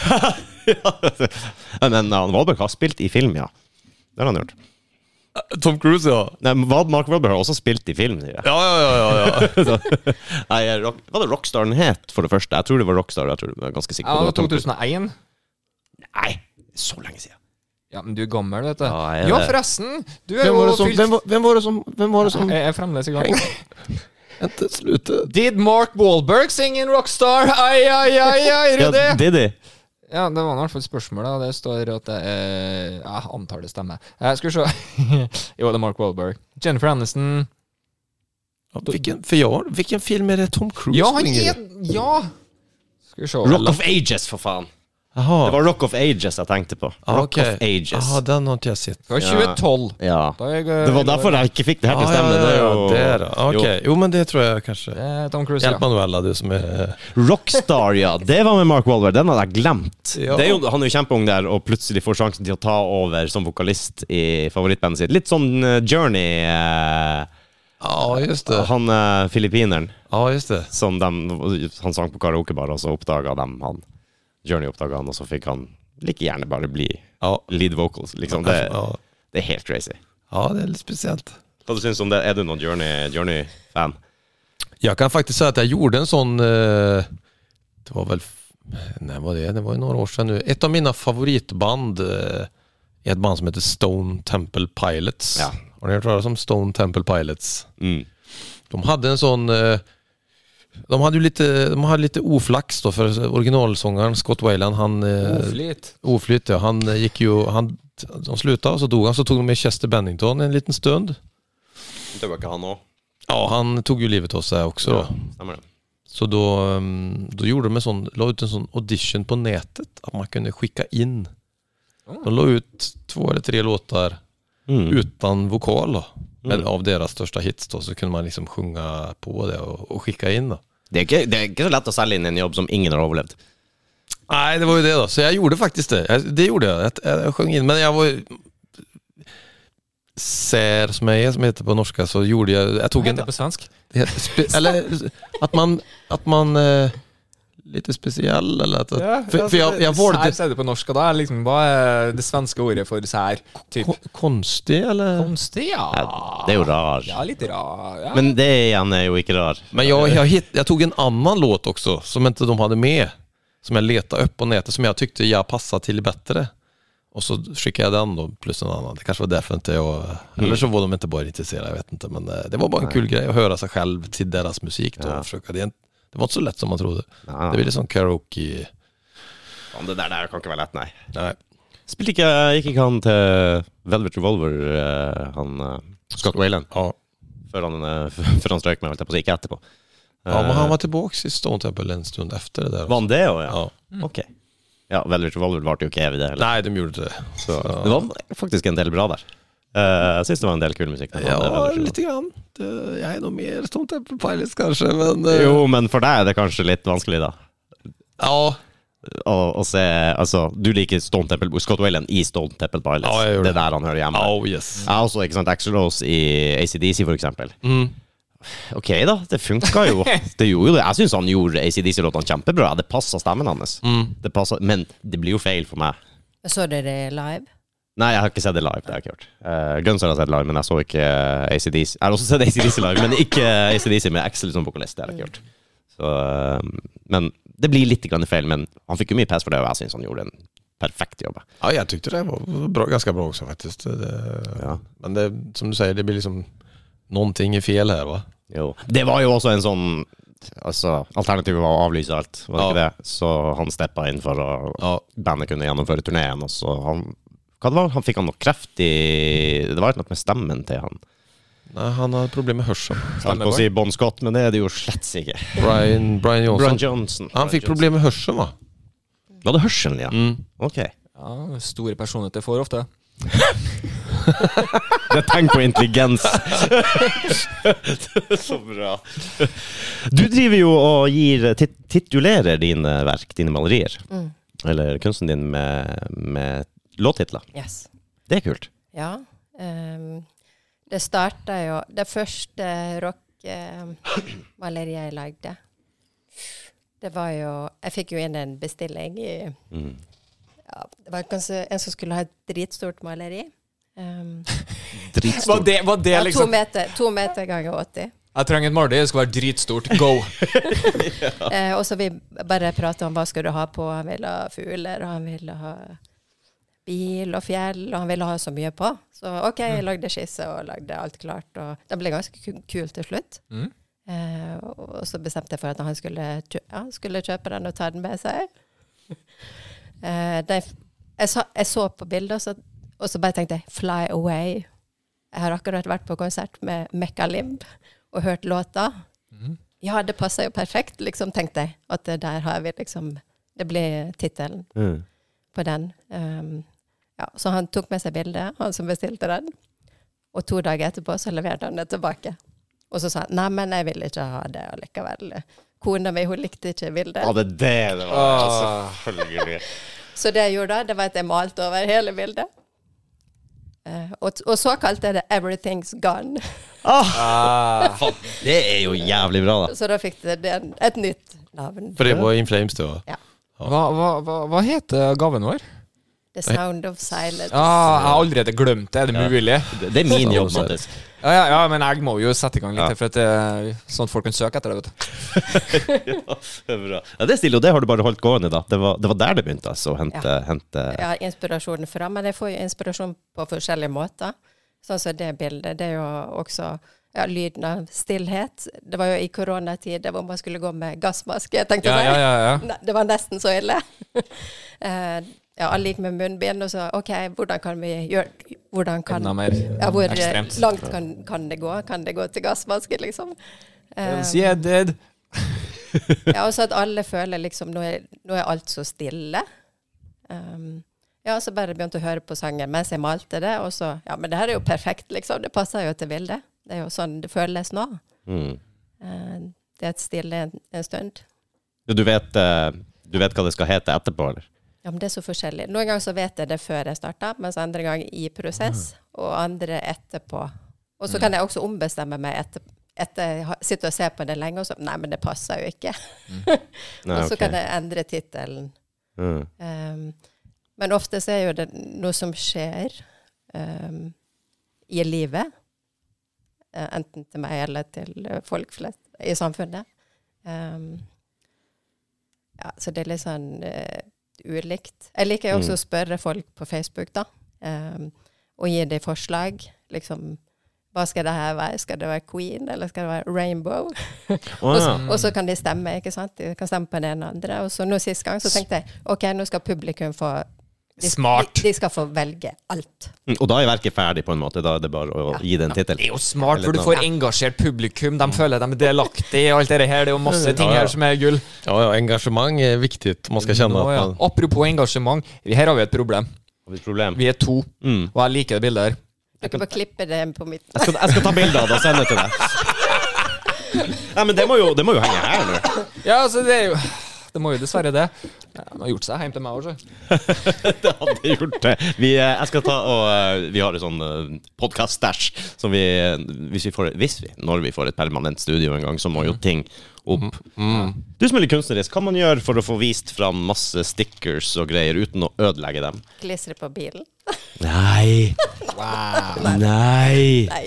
Ja, Men han Wahlberg har spilt i film, ja. Det har han gjort.
Tom Cruise ja.
Nei, men Wal- Mark Wahlberg har også spilt i film, sier jeg.
Ja, ja, ja, ja, ja.
Nei, eh, rock, var det Rockstar den het, for det første? Jeg tror det var Rockstar. Jeg tror jeg var ganske sikker
Ja,
på
det
det.
var 2001.
Nei, så lenge siden.
Ja, men du er gammel, vet du.
Ja, jeg er
Ja,
det.
forresten. Du er
Vem var
jo
det som... Vem var, vem var det som... Vem var det som...
Jeg er fremdeles i gang.
Inte slutet.
Did Mark Wahlberg sing in Rockstar? Ai, ai, ai,
Ja,
ai, Rudi!
Diddy.
Ja, det var i hvert fall spørsmålet, og det står at det er Jeg antar det stemmer. Jeg skal vi se Jo, det er Mark Wahlberg. Jennifer Aniston.
Vilken, för jag, har- vilken film är det Tom Cruise
Ja, han
springer i?
er Ja! Skal vi se
Rock of Ages, for faen.
Jaha.
Det var Rock of Ages jeg tenkte på.
Ah,
Rock
okej.
of Ages.
Ah, den har inte jag sett.
Fra 2012.
Ja.
Da er jeg,
Det var derfor jeg ikke fikk det her til å stemme.
Ah, ja,
Det er
ja,
jo,
det är det. Ah, Okej.
jo.
Jo, men det tror jag kanske.
Eh, Tom Cruise,
Hjälp
ja.
Manuela, du som är...
Rockstar, ja. Det var med Mark Wahlberg. Den hadde jeg glemt.
Ja.
Det er jo, han er jo kjempeung der, og plutselig får sjansen til å ta over som vokalist i favorittbandet sitt. Litt sånn eh, Journey eh,
Ja, just det.
Han eh, filippineren
Ja, just det.
som dem- han sang på karaokebar, og så oppdaga dem han. Journey oppdaga han, og så fikk han like gjerne bare bli
Ja.
lead vocals. Liksom. Det,
Ja.
det er helt crazy.
ja, det är lite speciellt.
Hva du syns om det? Er du noen Journey- Journey-fan?
Jag kan faktiskt säga att jag gjorde en sån... Eh, det var väl... f- När var det? Det var ju några år sedan nu. Ett av mina favoritband eh, är ett band som heter Stone Temple Pilots.
Ja.
Har ni hört talas om Stone Temple Pilots?
mm.
De hade en sån... eh, De hade ju lite, eh, de hade lite oflax då för originalsångaren Scott Wayland han... eh,
Oflyt.
Oflytt ja, han eh, gick ju... Han, de slutade och så dog han, så tog de med Chester Bennington en liten stund.
Det var ikke han òg.
Ja, han tog ju livet av sig också då.
Stemmer det.
Så då, ehm, då gjorde de en sån, la ut en sånn audition på nätet, att man kunde skicka in. De la ut två eller tre låtar utan vokal då. Eller av deras största hits då, så kunde man liksom sjunga på det och, och skicka in då.
Det, er ikke, det er ikke så lett å selge inn en jobb som ingen har overlevd.
Nej, det var ju det då. Så jag gjorde faktiskt det. Jag- Det gjorde jag. Jag, jag sjöng in, men jag var ju- Sär som jag är, som heter på norska, så gjorde jag... Jag
Hva
tog en...
heter det på svensk?
Det heter spe- eller att man, att man eh, lite speciell eller att, för, för jag, jag valde
Sær sier altså, det på norsk, og da er liksom hva er det svenske ordet for sær? Typ.
ko- konstig eller?
Konstig, ja.
Det er jo rar.
Ja, litt rar. Ja.
Men det igjen er jo ikke rar.
Men jag, jag, hitt, jag tog en annan låt också som inte de hade med. Som jag letade upp på nätet som jag tyckte jag passade till bättre. Och så skickade jag den då plus en annan. Det kanske var därför inte jag... Eller så var de inte bara intresserade, jag vet inte. Men eh, det var bara en kul grej att höra sig själv till deras musik då. Och försöka, det, är inte- det var inte så lätt som man trodde.
Ja.
Det blir liksom karaoke...
Faen, det der, der kan ikke være lett, nei.
Nej.
Spilte ikke, gikk ikke han til Velvet Revolver, eh, han eh, Scott Wayland,
Ja.
før han, eh, før han strøk meg, holdt jeg på å si, ikke etterpå.
Ja, men han var tillbaka i Stone Temple en stund efter det där.
Var han det òg, Eh. ja?
Ja.
Ok. Ja, Velvet Revolver varte jo ikke evig, det heller.
Nej, de gjorde inte det.
Så det var faktisk en del bra der. Eh, jeg syns det var en del kul musikk. når han hadde
Ja,
Velvet Revolver.
lite grann. Det- Jag är nog mer Stone Temple Pilots kanske, men... eh,
Jo, men for deg er det kanskje litt vanskelig, da.
Ja,
Å, å se Altså, du liker Stone Temple Scott Wayland i Stone Temple Pilots.
Ja, jeg gjør
det er
det.
der han hører hjemme.
oh yes.
Ja, også, ikke sant, Axel Rose i ACDC, for eksempel.
Mm.
Ok, da. Det funka jo. Det gjorde jo det. Jeg syns han gjorde ACDC-låtene kjempebra. Det passa stemmen hans.
Mm.
Det passer, men det blir jo feil for meg.
Så dere det live?
Nei, jeg har ikke sett det live. det har jeg ikke gjort. Eh, Guns har jeg sett live, men jeg så ikke eh, ACDC. Jeg har også sett ACDC live, men ikke eh, ACDC med Axel som vokalist. Det har jeg ikke gjort. Så, eh, men det blir litt grann feil, men han fikk jo mye pes for det, og jeg syns han gjorde en perfekt jobb.
Ja, jag tyckte det var bra, ganska bra också faktiskt. Det,
Ja.
Men det, som du säger, det blir liksom... Någonting är fel här va?
Jo. Det var jo også en sånn Altså, alternativet var å avlyse alt, var det
Ja.
ikke det? Så han steppa inn for å
Ja.
bandet kunne gjennomføre turneen, og så han Hva det var han? Fikk han noe kreft i Det var ikke noe med stemmen til han.
Nej, han har problem med hörseln.
Jeg holdt på å si Bon Scott, men det er det jo slett ikke.
Brian, Brian Johnson.
Brian Johnson. Mm.
Han fick problem med hörseln va?
Var det hørselen, ja? Ok.
Ja, store personligheter får ofte.
Det er tegn på intelligens. så bra. Du driver jo og gir tit titulerer dine verk, dine malerier,
Mm.
eller kunsten din, med, med låttitler.
Yes.
Det er kult.
Ja. ehm, det starta jo Det første rockmaleriet jeg lagde, det var jo Jeg fikk jo inn en bestilling i
Mm.
ja, Det var kanskje en som skulle ha et dritstort maleri. Ehm,
Var det, var det
ja, to,
liksom
meter, to meter ganger 80.
Jeg trenger et maleri, det skal være dritstort. Go!
Eh, og så vi bare prata om hva skal du ha på. Han ville ha fugler, og han ville ha bil og fjell, og han ville ha så mye på. Så OK, jeg lagde skisse og lagde alt klart, og det ble ganske ku- kul til slutt.
Mm.
Eh, og og så bestemte jeg for at han skulle, kjø ja, han skulle kjøpe den og ta den med seg. eh, det, jeg, så, jeg så på bildet, og så, og så bare tenkte jeg 'Fly Away'. Jeg har akkurat vært på konsert med Mekka Limb og hørt låta. Ja, det passer jo perfekt, liksom, tenkte jeg. At det der har vi liksom Det blir tittelen
Mm.
på den. Ehm, ja, så han tok med seg bildet, han som bestilte den. Og to dager etterpå så leverte han det tilbake. Og så sa han nei, men jeg vil ikke ha det allikevel. Kona mi hun likte ikke bildet.
Ja, det er det det var.
Ah.
Ja, selvfølgelig.
Så det jeg gjorde da, det var at jeg malte over hele bildet. Eh, og, og så kalte jeg det 'Everything's Gone'.
Ah,
Det er jo jævlig bra, da.
Så da fikk det den, et nytt navn.
För det var In Flames då?
hva, hva, hva, hva heter gaven vår?
'The Sound of Silence'.
Ah, jeg har allerede glemt det. Er det mulig?
Det, det er min jobb, Mattis.
Ja, ja, ja, men jeg må jo sette i gang litt,
Ja.
her, for at det, sånn at folk kan søke etter det. vet du
Ja, det er bra. Ja, det er stille, og det har du bare holdt gående, da. Det var, det var der det begynte, altså. Å hente, hente
Jeg har inspirasjonen fra, men jeg får jo inspirasjon på forskjellige måter. Sånn som det bildet. Det er jo også ja, lyden av stillhet. Det var jo i koronatider hvor man skulle gå med gassmaske. Jeg tenkte
Ja,
sånn,
ja, ja, ja.
Ne- Det var nesten så ille. Eh, ja, alle gikk med munnbind, og så OK, hvordan kan vi gjøre hvordan kan,
Enda mer
ja, Hvor eh,
ekstremt.
langt kan, kan det gå? Kan det gå til gassmaske, liksom? Eh,
Yes, yeah, dude.
ja, også at alle føler liksom Nå er, nå er alt så stille. Um, ja, så bare begynte jeg å høre på sangen mens jeg malte det, og så Ja, men det her er jo perfekt, liksom. Det passer jo til bildet. Det er jo sånn det føles nå.
Mm.
Uh, det er et stille en, en stund.
Ja, Du, vet, eh, du vet hva det skal hete etterpå, eller?
Ja, men det er så forskjellig. Noen ganger så vet jeg det før jeg starter, mens andre ganger i prosess, og andre etterpå. Og
Mm.
så kan jeg også ombestemme meg etter, etter jeg har- sitter og ser på det lenge, og så Nei, men det passer jo ikke.
Nei,
og så
ok.
kan jeg endre tittelen.
Mm.
Um, men ofte så er jo det noe som skjer um, i livet. eh, enten til meg eller til eh, folk flest i samfunnet. Um, ja, så det er litt sånn eh, ulikt. Jeg liker jo også å spørre folk på Facebook, da. Um, og gi dem forslag. Liksom Hva skal det her være? Skal det være Queen, eller skal det være Rainbow?
Å,
Og så,
ja.
og så kan de stemme, ikke sant? De kan stemme på den ene og andre. Og så nå sist gang så tenkte jeg ok, nå skal publikum få de,
Smart.
De, de skal få velge alt.
Mm, Og da er verket ferdig, på en måte. Da er det bare å gi det en tittel.
Det er jo smart, for du får engasjert publikum. De føler de er delaktige i alt det her. Det er jo masse ting her som er gull.
Ja, ja, engagemang är viktigt. Man ska
Mm,
känna
Nå,
att
ja.
man...
Apropos engasjement, her har vi et problem.
Har vi et problem?
Vi er to,
Mm.
og jeg liker det bildet her.
Du kan bare klippe det på midten.
Jeg skal, jeg skal ta bilde av det og sende det til deg. Nei, men det må jo, det må jo henge her nå.
Ja, altså, det er jo Det må jo dessverre det. Ja, De har gjort seg hjem til meg òg, så.
Det hadde gjort det. Vi, eh, jeg skal ta og eh, Vi har en sånn eh, podcast-stæsj som vi eh, hvis vi, får, hvis vi, når vi får et permanent studio en gang, så må jo ting opp. Du som er litt kunstnerisk, hva man gjør for å få vist fram masse stickers og greier uten å ødelegge dem?
Klistre på bilen.
Nei.
Wow.
Nei.
Nei, nei.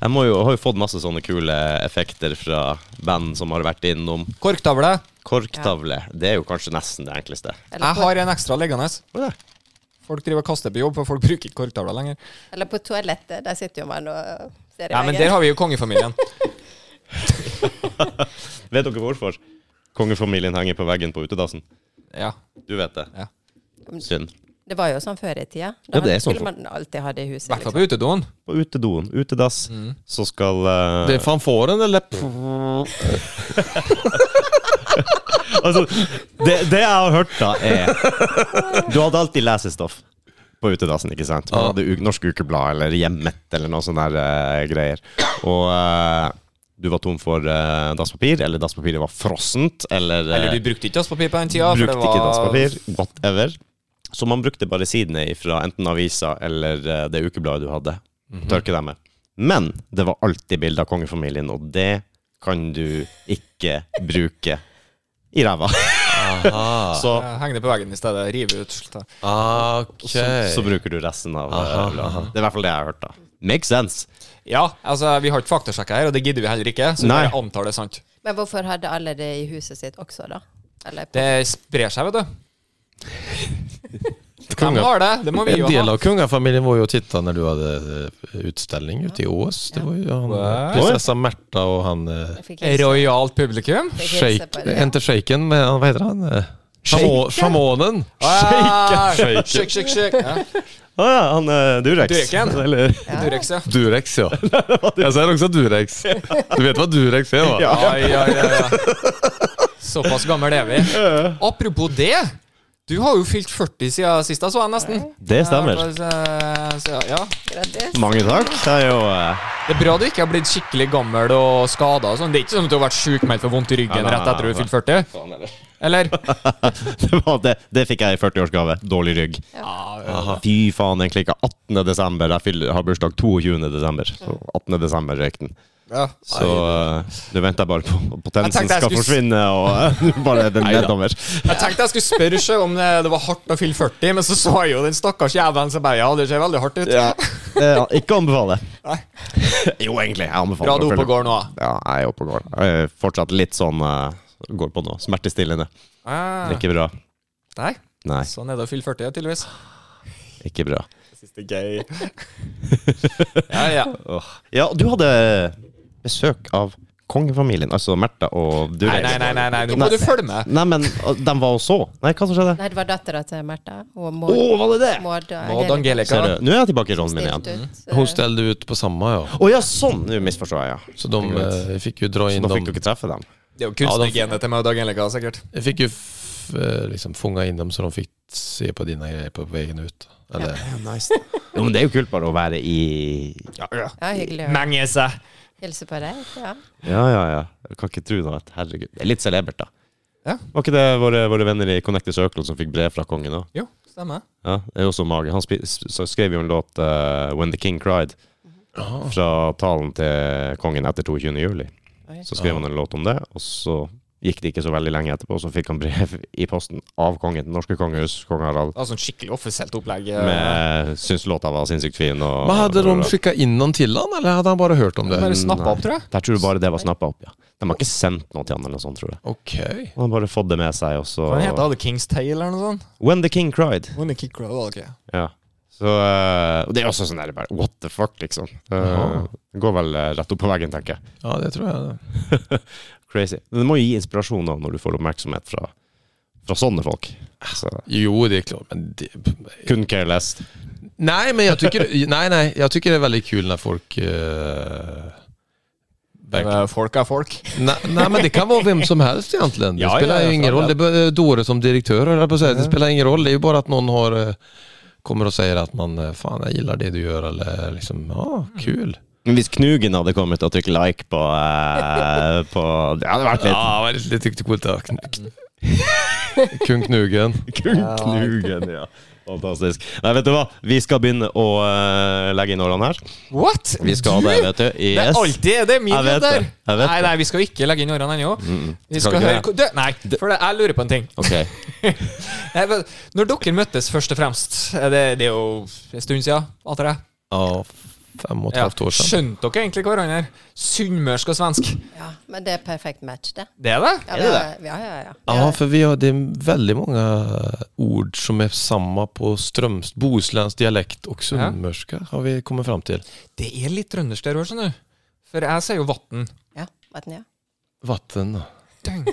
Jeg må jo, har jo fått masse sånne kule effekter fra band som har vært innom.
Korktavle.
Korktavle. Det er jo kanskje nesten det enkleste.
Eller
Jeg
på,
har en ekstra liggende. Folk driver og kaster på jobb, for folk bruker ikke korktavla lenger.
eller på toalettet. Der sitter jo man og ser i
Ja, men der
veggen.
har vi jo kongefamilien.
Vet dere hvorfor? Kongefamilien henger på veggen på utedassen.
Ja.
Du vet det.
Ja.
Synd.
Det var jo sånn før i tida. Da
Ja, det er sånn
skulle man alltid ha det i huset.
I hvert fall
Liksom.
på utedoen.
På utedoen, utedass, så skal eh,
Det är fanfåren eller?
Altså, det, det jeg har hørt, da, er Du hadde alltid lesestoff på utedassen, ikke sant? Man
Ja.
hadde u- Norsk Ukeblad eller Hjemmet eller noe sånne der, eh, greier. Og eh, du var tom for eh, dasspapir, eller dasspapiret var frossent, eller, eh,
Eller du brukte ikke dasspapir på den tida. for det
brukte ikke
var-
dasspapir, whatever. Så man brukte bare sidene fra enten avisa eller eh, det ukebladet du hadde.
Mhm.
Tørke dem med. Men det var alltid bilde av kongefamilien, og det kan du ikke bruke i ræva.
Aha.
Så,
Ja, Heng det på veggen i stedet. Rive ut. slett.
så,
Okej.
så bruker du resten av eh,
Aha,
bladet. Det er i hvert fall det jeg har hørt, da. Makes sense.
Ja, altså, vi har ikke faktasjekka her, og det gidder vi heller ikke. Så vi
Nei.
bare antar det er sant.
Men hvorfor hadde alle det i huset sitt også, da? Eller på,
Det sprer seg, vet du. De
Kunga-
har det. Det må vi
En
jo
del
ha.
av kungafamiljen var ju och tittade när du hade eh, utställning ute i Ås. Det var ju han, eh,
Wow.
prinsessa Märta och han... eh,
jeg fikk hilse-
Rojalt publikum.
fikk hilse på
Shake, eh,
det.
inte shaken, men han- vad heter han? Eh, Shamo- Shamanen.
Ah, Shake, shake, shake. Ja.
Å ja, han eh, Durex.
Dureken.
Eller
Durex, ja.
Durex ja. Jag säger också Durex. Du vet vad Durex är va?
Ja, ja, ja, ja. Såpass gammel er vi. Apropos det. Du har jo fylt 40 siden sist jeg så deg, nesten.
Det stemmer.
Ja, så- så- ja.
Grattis.
Mange takk. Det er jo eh,
Det er bra du ikke har blitt skikkelig gammel og skada. og sånn. Det er ikke sånn at du har vært sjukmeldt for vondt i
Ja,
ryggen
nei,
rett etter du
nei,
fylte 40? Eller?
det, var det, det fikk jeg i 40-årsgave. Dårlig rygg. Fy faen, den klikka 18. desember. Jeg fyller, har bursdag 22. desember. Så 18. desember røyk den.
Ja.
Så eh, nå venter jeg bare på at
Jeg
potensen
tenkte jeg
skal
skulle s-
forsvinne, og eh, bare den
Neida.
nedover.
Jeg tenkte jeg skulle spørre seg om det, det var hardt å fylle 40, men så så jeg jo den stakkars jævelen som bare Ja, det ser veldig hardt ut.
Eh, ikke å anbefale.
Nei.
Jo, egentlig. Jeg anbefaler
Bra du
å
er oppe
følge-
og går nå.
Ja, jeg er oppe og går. Jeg er fortsatt litt sånn eh, Går på nå. Smertestillende.
Ah.
Ikke bra.
Nei,
Nei,
sånn er det å fylle 40, tydeligvis.
ikke bra.
Ja, ja.
Ja, du hadde besøk av kongefamilien, altså Märtha og du.
Nei, nei, nei, nei, nei, nå må du følge med.
Nei, men uh, de var og så. Nei, hva som skjedde?
Nei, det var dattera til Märtha. Og
Å,
Maud,
var det det?
Maud
Maud Angelica.
Ser du, nå er jeg tilbake i rollen min igjen.
stilte ut.
Hun ställde ut på samma ja.
Å ja, sånn! Nå misforstår jeg, ja.
Så de eh, fick ju dra
Så
in
da fikk
dem.
du ikke treffe dem?
Det er jo
Ja, da-
kunstnergenet til Maud Angelica, sikkert.
Jag fick ju f- eh, liksom fånga in dem så de fick se på dina grejer på vägen ut. Eller,
Jo, men det er jo kult bare å være i
Ja, ja.
Ja, hyggelig å
Mange seg.
hilse på deg. Ja.
Ja, ja, ja. Jeg kan ikke tro det. at- Herregud. Det er litt celebert, da.
Ja.
Var ikke det våre, våre venner i Connected Circle som fikk brev fra kongen òg?
Jo, stemmer.
Ja, det er jo også mage. Han spi- s- så skrev jo en låt, eh, 'When the King Cried',
Jaha.
fra talen til kongen etter 22. juli.
Oi.
Så skrev han en låt om det, og så gikk det ikke så veldig lenge etterpå, og så fikk han brev i posten av kongen til norske kongehus, kong Harald,
Altså en skikkelig offisielt opplegg. eh.
med syns låta var sinnssykt fin. Og,
Men hade de skickat in någon till honom eller hade han bara hört om det?
Bare snappa opp, tror jeg.
Jeg tror bare det var snappa opp, ja. De har ikke sendt noe til han eller noe sånt, tror jeg.
Okej.
Han har bare fått det med seg, og
Hva heter
så
det? The King's Tale eller noe sånt?
When the King Cried.
When the kick crowd, var det ikke?
Ja. Så eh, og Det er også sånn der bare What the fuck, liksom. Eh,
Ja.
Det går vel eh, rett opp på veggen, tenker jeg.
Ja, det tror jag.
Crazy. Men Det må jo gi inspirasjon da, når du får oppmerksomhet fra, fra sånne folk. Så,
Jo, det är klart. Men det,
kun careless.
nej, men jag tycker, nej, nej, jag tycker det är väldigt kul när folk... eh, verkligen-
Men Folk er folk.
Nej, nej men det kan vara vem som helst egentligen. Det
Ja,
spelar
ja, ja,
ju ingen roll. Det är Dåre som direktör höll jag på att säga. Det spelar ingen roll. Det är ju bara att någon har, eh, kommer och säger att man eh, fan jag gillar det du gör eller liksom ja kul.
Men Hvis Knugen hadde kommet og trykket like på, eh, på Det hadde vært litt
Ja, det tyckte coolt ja. Kung Knugen.
Kun Knugen, ja. Fantastisk. Nei, vet du hva? Vi skal begynne å eh, legge inn årene her.
What?
Vi skal det, vet du.
Det er
Yes.
alltid det er min
Jeg vet
jobb der.
det. Jeg vet
Nei,
det.
nei, vi skal ikke legge inn årene ennå. Vi
Skal
Mm, skal
vi
høre
ikke
ko- Dø- Nei, for det, jeg lurer på en ting.
Ok.
Jeg vet- Når dere møttes først og fremst, er det, det er jo en stund siden, antar jeg.
Ja, fem og et
Ja.
halvt år sedan.
Skjønte dere egentlig hverandre? Sunnmørsk og svensk.
ja, men det er perfekt match, det.
Det er det? Ah,
Ja, vi har- Ja, ja, ja.
Ja, för vi har, det är väldigt många ord som är samma på ströms, bohuslänsk dialekt och sunnmörska har vi kommit fram till.
Det er litt trøndersk der òg, skjønner du. For jeg sier jo vatn.
ja. Vatten, ja.
Vatten,
Døgn.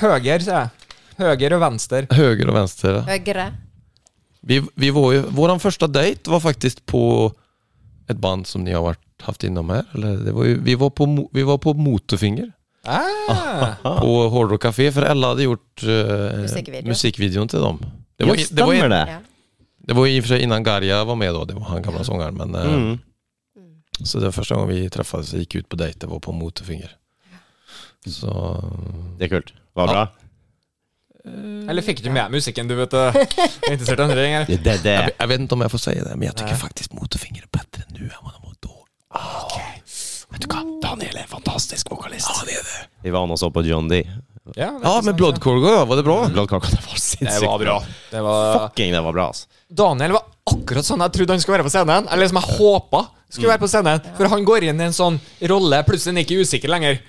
Høger, sier jeg. Høger og venstre.
höger och vänster.
Høyre.
Vi, vi var ju, våran första dejt var faktiskt på ett band som ni har varit, haft inom här. Eller det var ju, vi, var på, Mo- vi var på Motorfinger
Ah.
på Hårdrock Café för Ella hade gjort eh,
Musikvideo.
musikvideon till dem. Det
Ja,
var, det, var,
stemmer det.
Ja.
det var i och för sig innan Garja var med då, det var han gamla sångaren. Men, eh,
Mm.
Så den första gången vi träffades och gick ut på dejt, det var på Motorfinger. Så,
Det er kult. Var det bra?
Eller fikk du med musikken, du vet det? Jeg er Interessert i andre ting, eller?
Det, det, det.
jag, jag vet inte om jag får säga det, men jag tycker faktiskt Motorfinger är bättre nu än vad de var då.
Vet du hva? Daniel er en fantastisk vokalist. Ja, det er det. Vi var nå og så på John D.
Ja, det
Ja,
er
men
sant, ja.
Bloodcorgo, var det bra?
Blodkaka, det var sinnssykt
Det var bra. Det var
Fucking, det var bra, altså.
Daniel var akkurat sånn jeg trodde han skulle være på scenen. Eller som jeg håpa skulle være på scenen. For han går inn i en sånn rolle, plutselig er han ikke usikker lenger.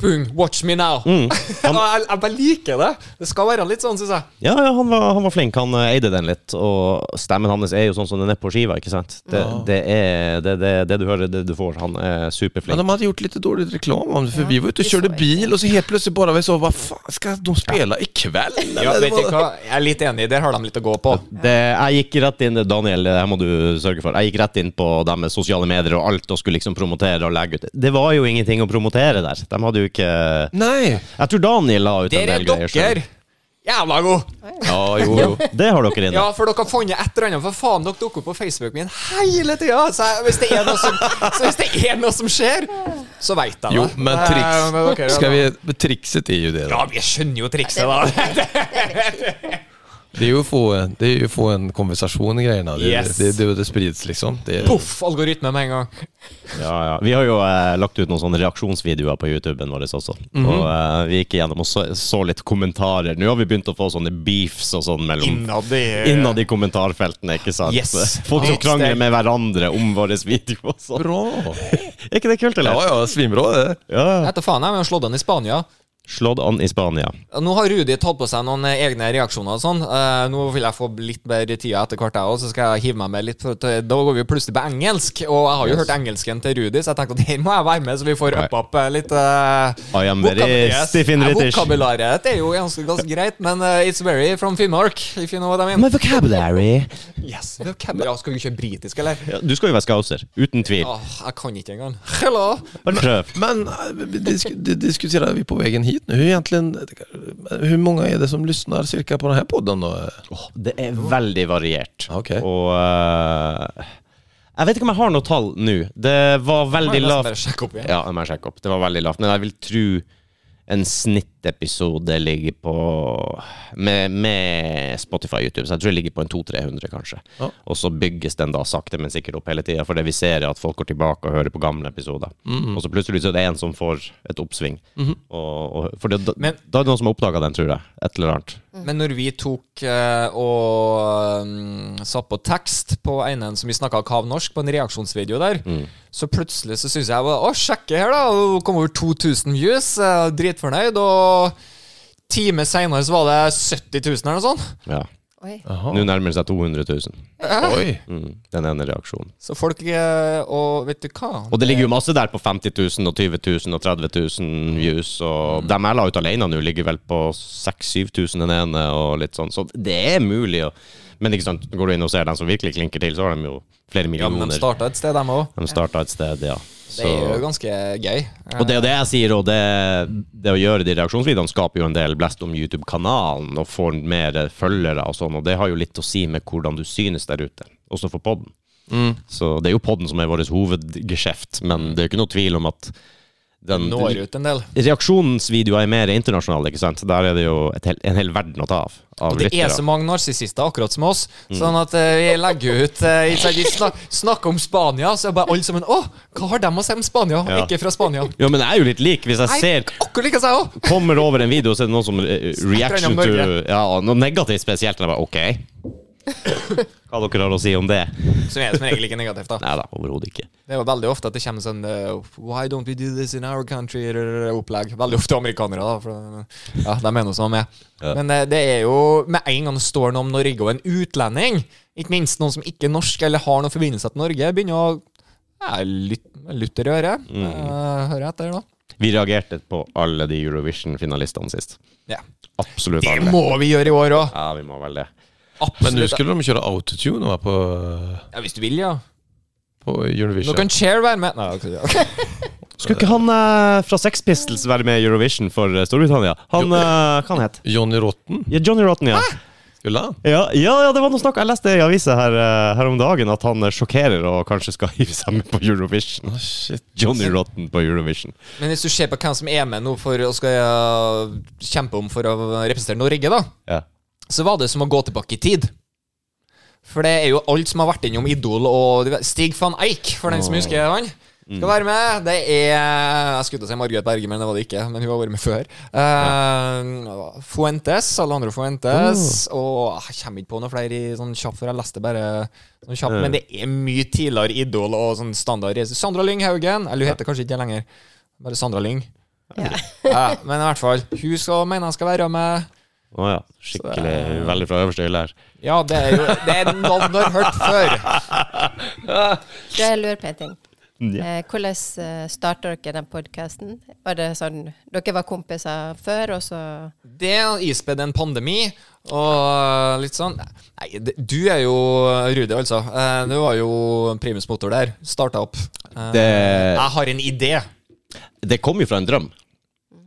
Boom, watch me now.
Mm.
Og jeg, jeg bare liker det. Det skal være litt sånn, syns jeg.
Ja, ja han, var, han var flink. Han eh, eide den litt. Og stemmen hans er jo sånn som den er på skiva, ikke sant? Det, det er det, det, det du hører, det du får. Han er
Men
superflink.
de hade gjort lite dålig reklam om det, för vi var ute och
vi
körde
såg
bil och så helt plötsligt bara vi sa, vad fan ska de spela ikväll?
Ja,
Eller
vet
vad-
du hva? Jeg er litt enig, der har de litt å gå på.
Det, jeg gikk rett inn Daniel, det her må du sørge for. Jeg gikk rett inn på deres sosiale medier og alt og skulle liksom promotere og legge ut. Det var jo ingenting å promotere der. De hadde hadde jo ikke
Nei!
Jeg tror Daniel la ut en
Der
del
er
greier. selv.
dere! Jævla god!
Ja, jo, jo.
Det har dere inne.
Ja, for dere har funnet et eller annet. For faen, dere dukker opp på Facebook min hele tida! Så, jeg- hvis, det er noe som- så hvis det er noe som skjer, så veit jeg det.
Jo, men
Eh,
triks-
men dere,
Skal vi, men trikset er jo det, da.
Ja, vi skjønner jo trikset, da.
Det er jo å få, det er jo å få en konversasjon i greiene. Det,
Yes.
det, det, det, sprids, liksom. Det,
Poff, algoritme med en gang.
Ja, ja. Vi har jo eh, lagt ut noen sånne reaksjonsvideoer på YouTuben vår også. Og eh, vi gikk igjennom og så, så litt kommentarer. Nå har vi begynt å få sånne beefs og sånn mellom
Innad i
Innad i kommentarfeltene, ikke sant?
Yes.
Folk som
Yes,
krangler
det-
med hverandre om vår video og sånn.
Bra!
Er ikke det kult,
Ja,
eller?
ja, svinbra, det.
Ja.
Etter faen, jeg har slått han i Spania.
Slått an i Spania.
Nå har Rudi tatt på seg noen eh, egne reaksjoner og sånn. Eh, nå vil jeg få litt bedre tida etter hvert, jeg òg, så skal jeg hive meg med litt. for at Da går vi plutselig på engelsk, og jeg har jo hørt engelsken til Rudi, så jeg tenkte at her må jeg være med, så vi får
Nei.
uppe opp eh, litt eh,
I am
vokab-
very
Yes.
stiff in
Eh,
British.
Vokabularet det er jo ganske, ganske greit, men eh, it's very from Finnmark, if you know what I mean.
vocabulary
Yes, vokabulary. Skal vi ikke kjøre britisk, eller?
ja, Du skal jo være scouser, uten tvil.
Åh, jeg kan ikke engang. Hello!
Har du prøvd?
Men eh, vi disk, det diskuterar vi på vägen hit nu. Hur, egentligen, hur många är det som lyssnar cirka på den här podden då?
Åh, det er veldig variert.
Ok.
Og eh, Jeg vet ikke om jeg har noe tall nå. Det var
Må jeg
veldig
nesten
lavt.
bare sjekke opp igjen.
Ja, jeg må sjekke opp. Det var veldig lavt. Men jeg vil tro en snittepisode ligger på Med, med Spotify og YouTube, så jeg tror jeg ligger på en 200-300, kanskje.
Ja.
Og så bygges den da sakte, men sikkert opp hele tida, fordi vi ser at folk går tilbake og hører på gamle episoder.
Mhm.
Og så plutselig så er det en som får et oppsving. og, og, for det, da,
Men-
da er det noen som har oppdaga den, tror jeg. Et eller annet.
Men når vi tok eh, og mm, satt på tekst på ene som vi snakka kavnorsk, på en reaksjonsvideo der,
Mm.
så plutselig så syns jeg bare, Å, sjekke her, da! Det kom over 2000 views. eh, Dritfornøyd. Og time seinere så var det 70 000 eller noe sånt.
Ja.
Oi.
Ah.
Nå nærmer det seg 200 000.
Oj.
Mm. Den ene reaksjonen.
Så folk eh, Og vet du hva?
Og det ligger jo masse der på 50 000 og 20 000 og 30 000 views,
Mm.
og dem jeg la ut alene nå, ligger vel på 6000-7000 den ene, og litt sånn, så det er mulig. å- Men ikke sant, går du inn og ser dem som virkelig klinker til, så har de jo flere
Ja, men
millioner.
de starta et sted, dem òg.
de starta et sted, ja.
Det er jo
Så,
ganske gøy.
og det er jo det jeg sier, og det, det å gjøre de reaksjonsvideoene skaper jo en del blest om YouTube-kanalen, og får mer følgere og sånn, og det har jo litt å si med hvordan du synes der ute, også for podden.
Mm.
Så det er jo podden som er vårt hovedgeskjeft, men det er jo ikke noe tvil om at den
Eh, Når ut en del.
reaksjonsvideoer er mer internasjonale, ikke sant? Der er det jo et hel, en hel verden å ta av. av
Og det er
lyttere.
så mange narsissister, akkurat som oss. Sånn at eh, vi legger ut eh, ikke sant, Vi snak, snakker om Spania, så er bare alle sammen Å, hva har de å si om Spania?
Ja.
Ikke fra Spania.
Jo, men jeg er jo litt lik. Hvis jeg
Nei,
ser
akkurat like seg òg!
kommer over en video, så er det noe som eh, reaction
Snakker
to
han om
ja, Noe negativt spesielt. Og jeg bare OK. Hva dere har å si om det?
Som er som regel ikke negativt, da.
Nei da, overhodet ikke.
Det er jo veldig ofte at det kommer sånn eh, Why don't we do this in our country? eller Opplegg. Veldig ofte amerikanere, da. For, ja, de er nå som de er.
Ja.
Men eh, det er jo Med en gang det står noe om Norge og en utlending, ikke minst noen som ikke er norsk eller har noen forbindelse til Norge, begynner å ja, lytte lytter i øret. Eh, hører etter, da.
Vi reagerte på alle de Eurovision-finalistene sist.
Ja.
Absolutt
Det
alle.
må vi gjøre i år òg.
Ja, vi må vel det.
Men nu
Absolutt.
skulle de köra autotune va, på,
Ja, hvis du vil, ja.
på
Nå
Eurovision.
kan Cher være med. Nei, ok, ja.
Skulle ikke han eh, fra Sex Pistols være med i Eurovision for eh, Storbritannia? Han,
Jo.
eh, hva han het?
Johnny Rotten,
Ja, Johnny Rotten, ja.
skulle han?
Ja, ja, ja, det var noe snakk Jeg leste i avisa her, eh, her om dagen at han eh, sjokkerer og kanskje skal hive seg med på Eurovision.
Ah, shit.
Johnny Rotten på Eurovision.
Men hvis du ser på hvem som er med nå for å skal eh, kjempe om for å representere Norge, da,
Ja.
så var det som å gå tilbake i tid. For det er jo alt som har vært innom Idol og Stig van Eik, for den som husker han. Skal være med. Det er Jeg skulle til å si Margaret Berge, men det var det ikke. Men hun har vært med før. Eh, Fuentes, Alejandro Fuentes. Og jeg kommer ikke på noen flere i sånn kjapt, for jeg leste bare sånn kjapt. Men det er mye tidligere Idol og sånn standard Sandra Lyng Haugen. Eller hun heter kanskje ikke det lenger. Bare Sandra Lyng.
Ja.
Ja, men i hvert fall. Hun skal, mener jeg skal være med.
Å ja. Skikkelig
eh,
veldig fra øverste hylle her.
Ja, det er jo Det er navn du har hørt før.
Du, jeg lurer på en ting.
Ja.
Eh, hvordan eh, starta dere den podkasten? Var det sånn Dere var kompiser før, og så
Det ispedd en pandemi og litt sånn Nei, det- du er jo Rudi, altså. Eh, Du var jo primus motor der. Starta opp. Eh,
Det-
Jeg har en idé.
Det kom jo fra en drøm.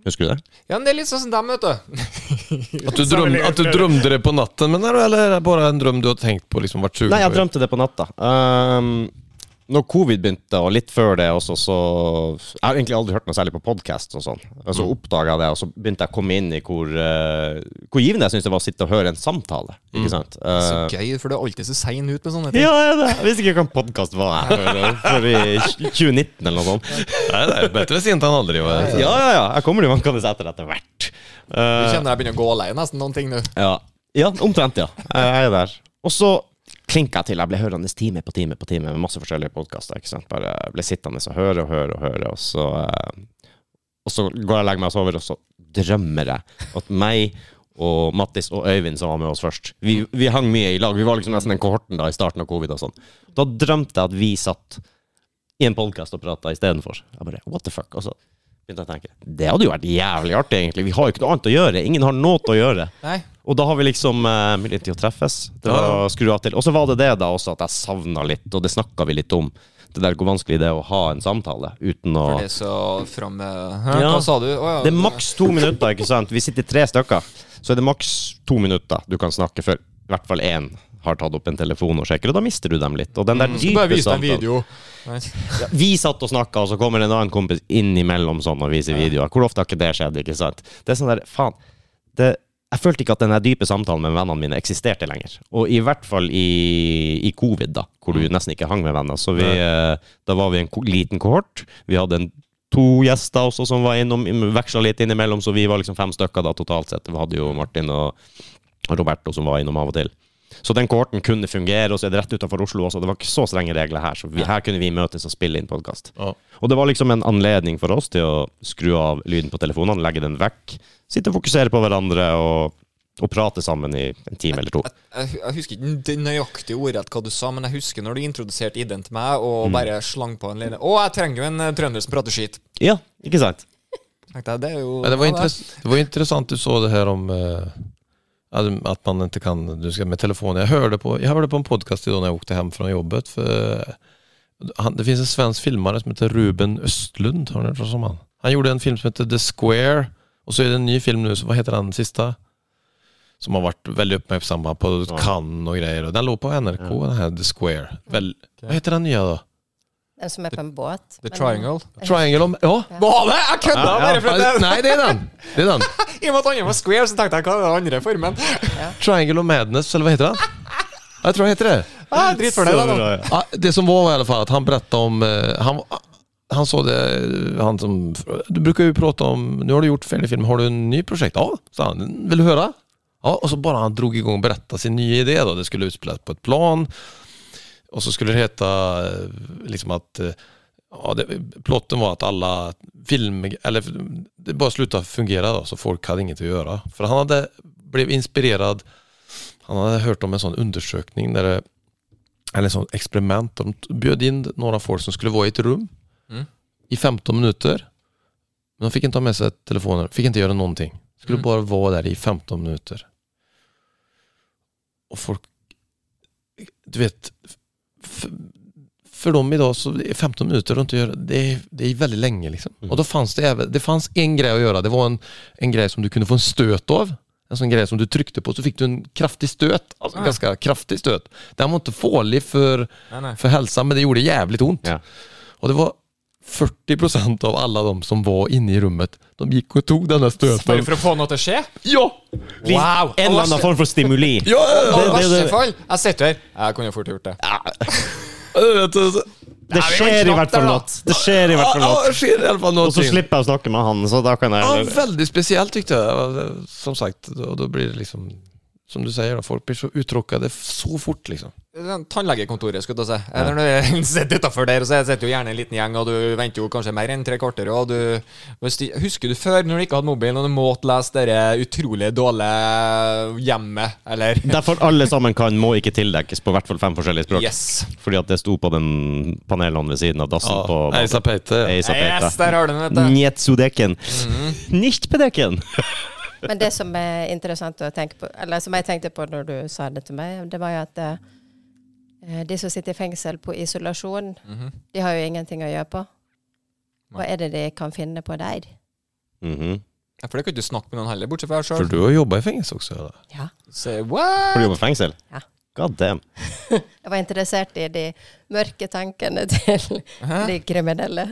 Husker du det?
Ja, men det er litt sånn som dem, vet du.
At du, drøm, at du drømte det på natten, men er det, eller er det bare en drøm du har tenkt på? liksom vært sugen
Nei, jeg
på?
drømte det på natta. Um, når covid begynte, og litt før det også, så Jeg har egentlig aldri hørt noe særlig på podkast og sånn. Og så oppdaga jeg det, og så begynte jeg å komme inn i hvor, eh, hvor givende jeg syns det var å sitte og høre en samtale. Ikke sant?
Så
Uh,
gøy, for du er alltid så sein ut med sånne ting.
ja, jeg, vet det. jeg visste ikke hva en podkast var jeg hører, for i 2019 eller noe sånt.
Nei, det er bedre sint enn aldri. hva jeg-
Ja, ja, ja. Jeg kommer jo vankende etter etter hvert.
Du
Eh,
kjenner jeg begynner å gå alene nesten noen ting nå.
Ja, ja omtrent, ja. Jeg er der. Og så klinka jeg til. Jeg ble hørende time på time på time med masse forskjellige podkaster. Bare ble sittende og høre og høre og høre, og så eh, Og så går jeg og legger meg og sover, og så drømmer jeg at meg og Mattis og Øyvind, som var med oss først Vi, vi hang mye i lag. Vi var liksom nesten den kohorten da i starten av covid og sånn. Da drømte jeg at vi satt i en podkast og prata istedenfor. Jeg bare what the fuck? Og så begynte jeg å tenke det hadde jo vært jævlig artig, egentlig. Vi har jo ikke noe annet å gjøre. Ingen har noe å gjøre.
Nei.
Og da har vi liksom eh, mulighet til å treffes. Det var å skru av til. Og så var det det da også at jeg savna litt, og det snakka vi litt om. Det der hvor vanskelig det er å ha en samtale uten å
For det er så fram med Hæ,
Ja.
Hva sa du? Å, ja.
Det er maks to minutter, ikke sant? Vi sitter tre stykker. Så er det maks to minutter du kan snakke før i hvert fall én har tatt opp en telefon og sjekker, og da mister du dem litt. Og den der
Du bare
dype
viste en
samtalen
video. Nei.
ja, Vi satt og snakka, og så kommer en annen kompis innimellom sånn og viser videoer. Hvor ofte har ikke det skjedd? ikke sant? Det er sånn der, faen, det, Jeg følte ikke at den her dype samtalen med vennene mine eksisterte lenger. Og i hvert fall i, i covid, da, hvor du nesten ikke hang med venner. Så vi, eh, da var vi en ko- liten kohort. Vi hadde en, to gjester også som var innom, veksla litt innimellom, så vi var liksom fem stykker da totalt sett. Vi hadde jo Martin og Roberto som var innom av og til. Så den kohorten kunne fungere, og så er det rett utenfor Oslo også. Det var ikke så strenge regler her, så vi, her kunne vi møtes og spille inn podkast.
Ja.
Og det var liksom en anledning for oss til å skru av lyden på telefonene, legge den vekk, sitte og fokusere på hverandre og, og prate sammen i en time eller to.
Jeg, hu- jeg husker ikke den nøyaktige ordrett hva du sa, men jeg husker når du introduserte ideen til meg og bare slang på en lille Å, jeg trenger jo en eh, trønder som prater skit.
Ja, ikke sant?
Tenkte jeg, det er jo
Men det, var
ja, det er-
interess det var interessant du så det her om eh, att- att man inte kan, du ska med telefonen. Jag hörde på, jag hörde på en podcast idag när jag åkte hem från jobbet. För han, det finns en svensk filmare som heter Ruben Östlund, har ni hört talas om han? Han gjorde en film som heter The Square och så är det en ny film nu, så vad heter den sista? Som har varit väldigt uppmärksamma på Cannes och grejer. Och den låg på NRK, den här The Square. Väl, Vad heter den nya då?
Den som er på en båt.
The
men-
Triangle.
Triangle om... Ja!
Var det? Jeg kødda bare for at det
Nej, det är den! Det är den.
I og med at andre var square, så tenkte jeg hva er den andre formen?
Triangle of Madness, eller vad heter den? Ja, Jag tror det heter det.
Ah, drit for det, da. da.
Ja, Ah, det som var i alla fall att han berättade om, eh, han, han sa det, han som, du brukar ju prata om, nu har du gjort färdig film, har du en ny projekt? Ja, sa han, vill du höra? Ja, och så bara han drog igång och berättade sin nya idé då, det skulle utspelas på ett plan och så skulle det heta eh, liksom att eh, Ja, det, plotten var att alla film, eller det bara slutade fungera då, så folk hade inget att göra. För han hade, blev inspirerad, han hade hört om en sån undersökning där det eller sånt experiment. De t- bjöd in några folk som skulle vara i ett rum
Mm.
i 15 minuter. Men de fick inte ha med sig telefoner, fick inte göra någonting. Skulle
Mm.
bara vara där i 15 minuter. Och folk, du vet, för, för dem idag så är 15 minuter och inte göra, det är, det är väldigt länge liksom.
Mm.
Och då fanns det även, det fanns en grej att göra, det var en, en grej som du kunde få en stöt av. En sån grej som du tryckte på så fick du en kraftig stöt, alltså en
Ah.
ganska kraftig stöt. Den var inte farlig för,
Nei, nei.
för hälsan, men det gjorde jävligt ont.
Ja.
Och det var 40% av alla de som var inne i rummet, de gick och tog den där
Bare
stöten.
for å få noe til å skje?
Ja!
Wow!
En eller annen form for stimuli.
Ja, ja, ja.
I
det-
verste
det-
fall. Jeg sitter her. Jeg kunne fort gjort det.
Du vet, alltså.
Det skjer i hvert fall noe. Det skjer i hvert
Ja,
fall noe.
ja, det sker i alla
Og
fall
så
någonting.
slipper jeg å snakke med han, så da kan
Ja,
jeg
väldigt speciellt tyckte jag. Som sagt, då, då blir det liksom, som du säger, då, folk blir så uttråkade så fort liksom.
Den sånn Tannlegekontoret, skulle jeg til å si. Eller når du sitter utenfor der, og så sitter jo gjerne en liten gjeng, og du venter jo kanskje mer enn tre kvarter, og du hvis de- Husker du før, når du ikke hadde mobilen, og du måtte lese dere utrolig dårlige hjemmet, eller
Derfor alle sammen kan må ikke tildekkes på hvert fall fem forskjellige språk.
Yes.
Fordi at det sto på den panelen ved siden av dassen
Ja,
på
Ejsa Peite.
Eisa Peta.
Yes, der har du den, vet du. Mhm,
Njetsudeken. Nichtbedeken.
Men det som er interessant å tenke på, eller som jeg tenkte på når du sa det til meg, det var jo at eh, de som sitter i fengsel på isolasjon,
mhm.
de har jo ingenting å gjøre på. Hva er det de kan finne på der?
Mhm.
Ja, For det kan du ikke snakke med noen heller, bortsett fra deg
For
sjøl.
du har jobba i fengsel også? Eller?
Ja.
Say
Har
what?
du jobbet i fengsel?
Ja.
God damn.
Jeg var interessert i de mørke tankene til de kriminelle.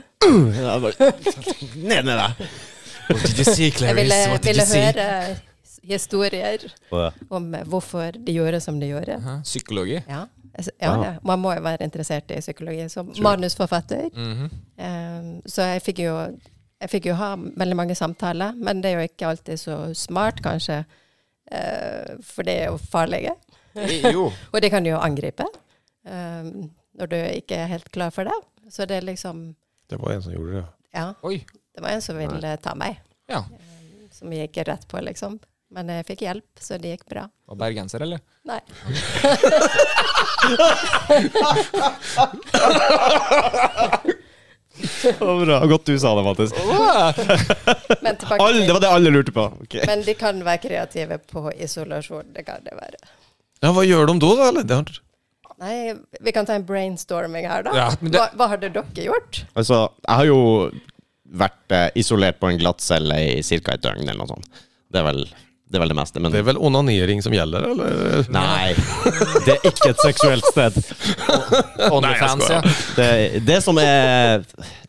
Ned med deg!
What did you see,
Jeg
Clarice?
ville,
What did
ville
you see?
høre historier om eh, hvorfor de gjorde som de gjorde.
Hæ? Psykologi?
Ja, altså, ja
Ah.
ja. Man må jo være interessert i psykologi som manusforfatter.
Mhm.
Eh, så jeg fikk, jo, jeg fikk jo ha veldig mange samtaler, men det er jo ikke alltid så smart, kanskje. eh, for det er jo farlige.
Eh, Jo.
Og det kan du jo angripe eh, når du ikke er helt klar for det. Så det er liksom
Det var en som gjorde det.
Ja,
Oi.
det var en som ville ta meg,
Ja.
som jeg gikk rett på, liksom. Men jeg fikk hjelp, så det gikk bra.
Var bergenser, eller?
Nei.
bra. Godt du sa det, Mattis.
Men tilbake
Alle, det var det alle lurte på. Ok.
Men de kan være kreative på isolasjon. Det kan det være.
Ja, Hva gjør de da, da? Eller? Det har-
Nei, vi kan ta en brainstorming her, da.
Ja, men det-
hva, hva hadde dere gjort?
Altså, jeg har jo vært eh, isolert på en glattcelle i ca. et døgn, eller noe sånt. Det er vel det, er vel det meste. Men
Det er vel onanering som gjelder, eller?
Nei, det er ikke et seksuelt sted.
Onlyfans, ja.
Det, det som er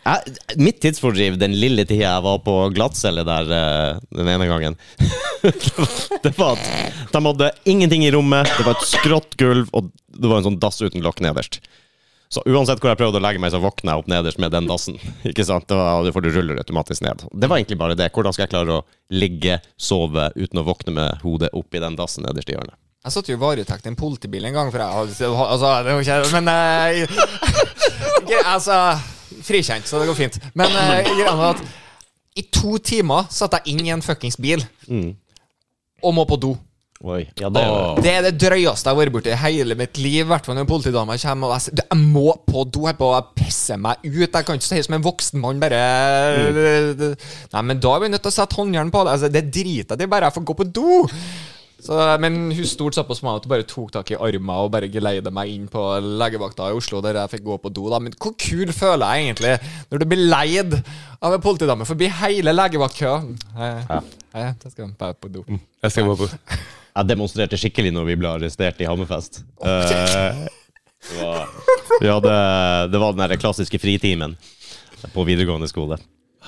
jeg, Mitt tidsfordriv den lille tida jeg var på glattcelle der eh, den ene gangen, det var at de hadde ingenting i rommet, det var et skrått gulv, og det var en sånn dass uten lokk nederst. Så uansett hvor jeg prøvde å legge meg, så våkna jeg opp nederst med den dassen. Ikke sant? Det var, for du ruller automatisk ned. Det var egentlig bare det. Hvordan skal jeg klare å ligge, sove, uten å våkne med hodet oppi den dassen nederst i hjørnet?
Jeg satt jo i varetekt i en politibil en gang, for jeg hadde altså, det var ikke, Men eh, gre- Altså Frikjent, så det går fint. Men eh, greia var at i to timer satt jeg inn i en fuckings bil og må på do.
Oi, ja, det er
Åh.
det.
Det er det drøyeste jeg har vært borti i hele mitt liv. I hvert fall når politidama kommer og jeg sier Jeg må på do, jeg bare pisser meg ut. Jeg kan ikke stå her som en voksen mann, bare Nei, men da er vi nødt til å sette håndjern på det. Altså, det driter jeg i, bare jeg får gå på do. Så, men hun stolte såpass på meg at hun bare tok tak i armen og bare geleide meg inn på legevakta i Oslo, der jeg fikk gå på do. da Men hvor kul føler jeg egentlig når du blir leid av en politidame forbi hele legevaktkøa? Ja. Jeg skal jeg bare på do.
Jeg skal bare på.
Jeg demonstrerte skikkelig når vi ble arrestert i Hammerfest. Eh, det, var, vi hadde, det var den der klassiske fritimen på videregående skole.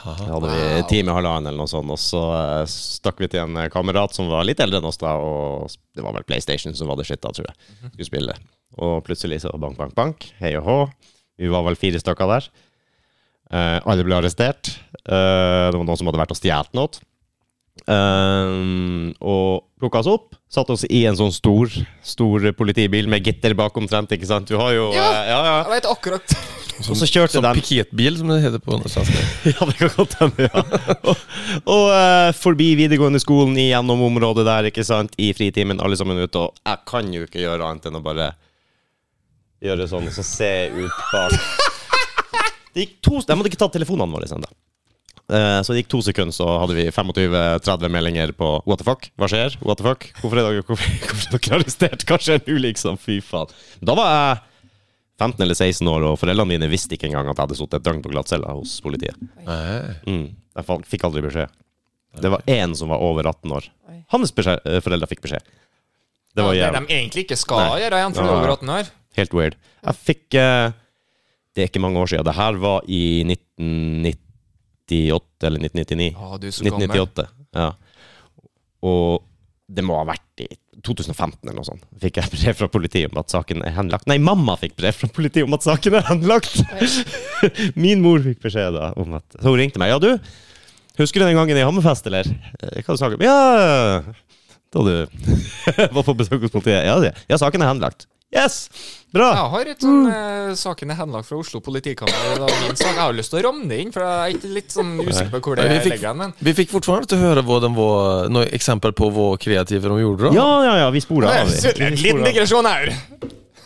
Da hadde vi en time og halvannen eller noe sånt, og så eh, stakk vi til en eh, kamerat som var litt eldre enn oss da, og s- det var vel PlayStation som var det shit da, tror jeg, skulle spille. Og plutselig så bank, bank, bank, hei og hå. Vi var vel fire stykker der. Eh, alle ble arrestert. Eh, det var noen som hadde vært og stjålet noe. Ehm, og plukka oss opp. Satt oss i en sånn stor Stor politibil med gitter bak omtrent. Ikke sant? Du har jo
Ja.
eh, ja, ja.
Jeg vet akkurat
Og så kjørte
Sånn
de
piketbil, som det heter på norsk.
Ja, det kan godt hende, ja. Og, og eh, forbi videregående skolen, igjennom området der, ikke sant, i fritimen, alle sammen ute, og jeg kan jo ikke gjøre annet enn å bare gjøre sånn, og så se ut bak. Det gikk to, de hadde ikke tatt telefonene våre ennå. Eh, Så det gikk to sekunder, så hadde vi 25-30 meldinger på What the fuck? Hva skjer? What the fuck? Hvorfor er dere, hvorfor, hvorfor er dere arrestert? Hva skjer nå, liksom? Fy faen. Da var jeg 15 eller 16 år, og foreldrene mine visste ikke engang at jeg hadde sittet et døgn på glattcella hos politiet.
Nei.
Mm. Jeg fa- fikk aldri beskjed. Det var én som var over 18 år.
Oi.
Hans beskjed, eh, foreldre fikk beskjed. Det var
ja, det
jævlig.
de egentlig ikke skal
Nei.
gjøre igjen, for du er
Ja, ja.
over 18 år.
Helt weird. Jeg fikk eh, Det er ikke mange år siden. Det her var i 1998 eller 1999.
Å, du er så gammel.
1998. Ja. Og det må ha vært i 2015 eller noe sånt. Fikk jeg brev fra politiet om at saken er henlagt. Nei, mamma fikk brev fra politiet om at saken er henlagt! Min mor fikk beskjed da om at Så hun ringte meg. Ja, du, husker du den gangen i Hammerfest, eller? Eh, Hva du snakket om? Ja! Da du var på besøk hos politiet. Ja, det. ja, saken er henlagt. Yes! Bra!
Jeg har et sånn eh, Saken er henlagt fra Oslo politikammer. da, min sak. Jeg har lyst til å ramme det inn, for jeg er ikke litt sånn usikker på hvor det
Nei, vi fikk-
ligger hen. Men
Vi fikk fortfarande inte höra vad de var, några exempel på vad kreativa de gjorde. Då.
Ja, ja, ja, vi sporer av.
Det er
vi.
en
Vi
liten
sporer av.
digresjon her.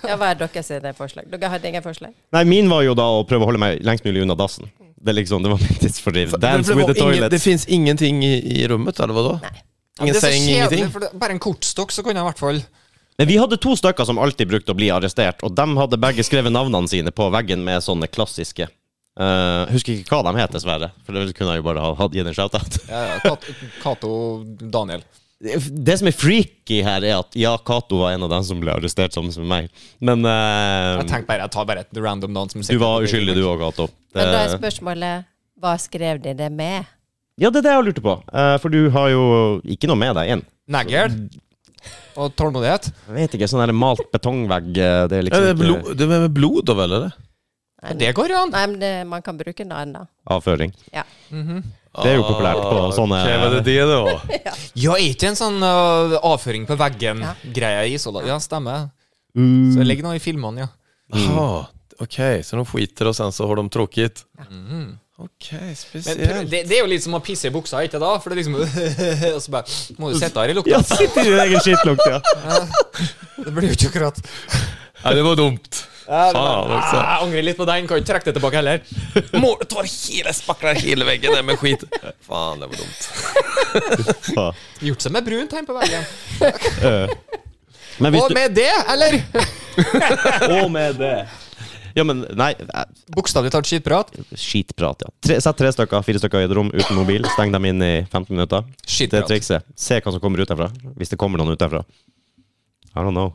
Ja, hva er deres sine forslag? Dere hadde ingen forslag?
Nei, min var jo da å prøve å holde meg lengst mulig unna dassen. Det, er liksom, det var min tidsfordriv.
Men
Dance
det,
with
var
the
ingen,
toilet.
det finns ingenting i, i rummet, eller vadå? Ingen
det er så
säng,
kjedelig,
ingenting?
for det, bare en kortstokk, så kunne jeg i hvert fall
Men vi hadde to stykker som alltid brukte å bli arrestert, og de hadde begge skrevet navnene sine på veggen med sånne klassiske Eh, husker ikke hva de het, dessverre. For det kunne jeg jo bare ha hatt gitt en shout-out.
Ja, ja, eh, Kat- Cato Daniel.
Det som er freaky her, er at ja, Cato var en av dem som ble arrestert sammen med meg. Men eh,
Jeg tenkte bare, jeg tar bare et random navn. som
du
sikkert-
var uskyldig, du òg, Cato.
Men da er
Det-
spørsmålet hva skrev de det med?
Ja, det er det jeg lurte på. Eh, for du har jo ikke noe med deg inn.
Negl og tålmodighet.
Jeg vet ikke, sånn der malt betongvegg eh, Det er
Ja,
liksom
det, er
ikke
blod, det er med blod, da vel? eller?
Nei,
Det går jo an.
Nei, men det, man kan bruke en annen, da.
avføring.
Mhm.
Det er jo populært på sånne-
Ok, var det det det var?
Ja, er ikke en sånn øh, avføring på
Ja.
veggen-greie i Isola? Ja, stemmer.
Mm.
Så det ligger noe i filmene, ja.
Ah, ok, så de skiter, og sen så har de tråkigt? Mm. Ok,
Men
spesielt.
prøv- det, det er jo litt som å pisse i buksa, ikke da? For det er liksom Og så bare Må du sitte her i lukta?
Ja, sitter i din egen skittlukt, ja.
Det blir jo ikke akkurat
Nei, det var dumt. Faen,
Ah,
altså.
Jeg angrer litt på den. Kan ikke trekke det tilbake heller.
Må du ta hele, spakla hele veggen der med skit. Faen, det var dumt.
Ja.
Gjort seg med brunt hjemme på veggen.
Men hvis
Og
du
med det, eller?
Og med det! Ja, men nei eh,
Bokstavelig talt skitprat.
Skitprat, ja. Tre, sett tre stykker, fire stykker i et rom uten mobil. Steng dem inn i 15 minutter. Det er
Skitprat.
trikset. Se hva som kommer ut derfra. Hvis det kommer noen ut derfra. I don't know.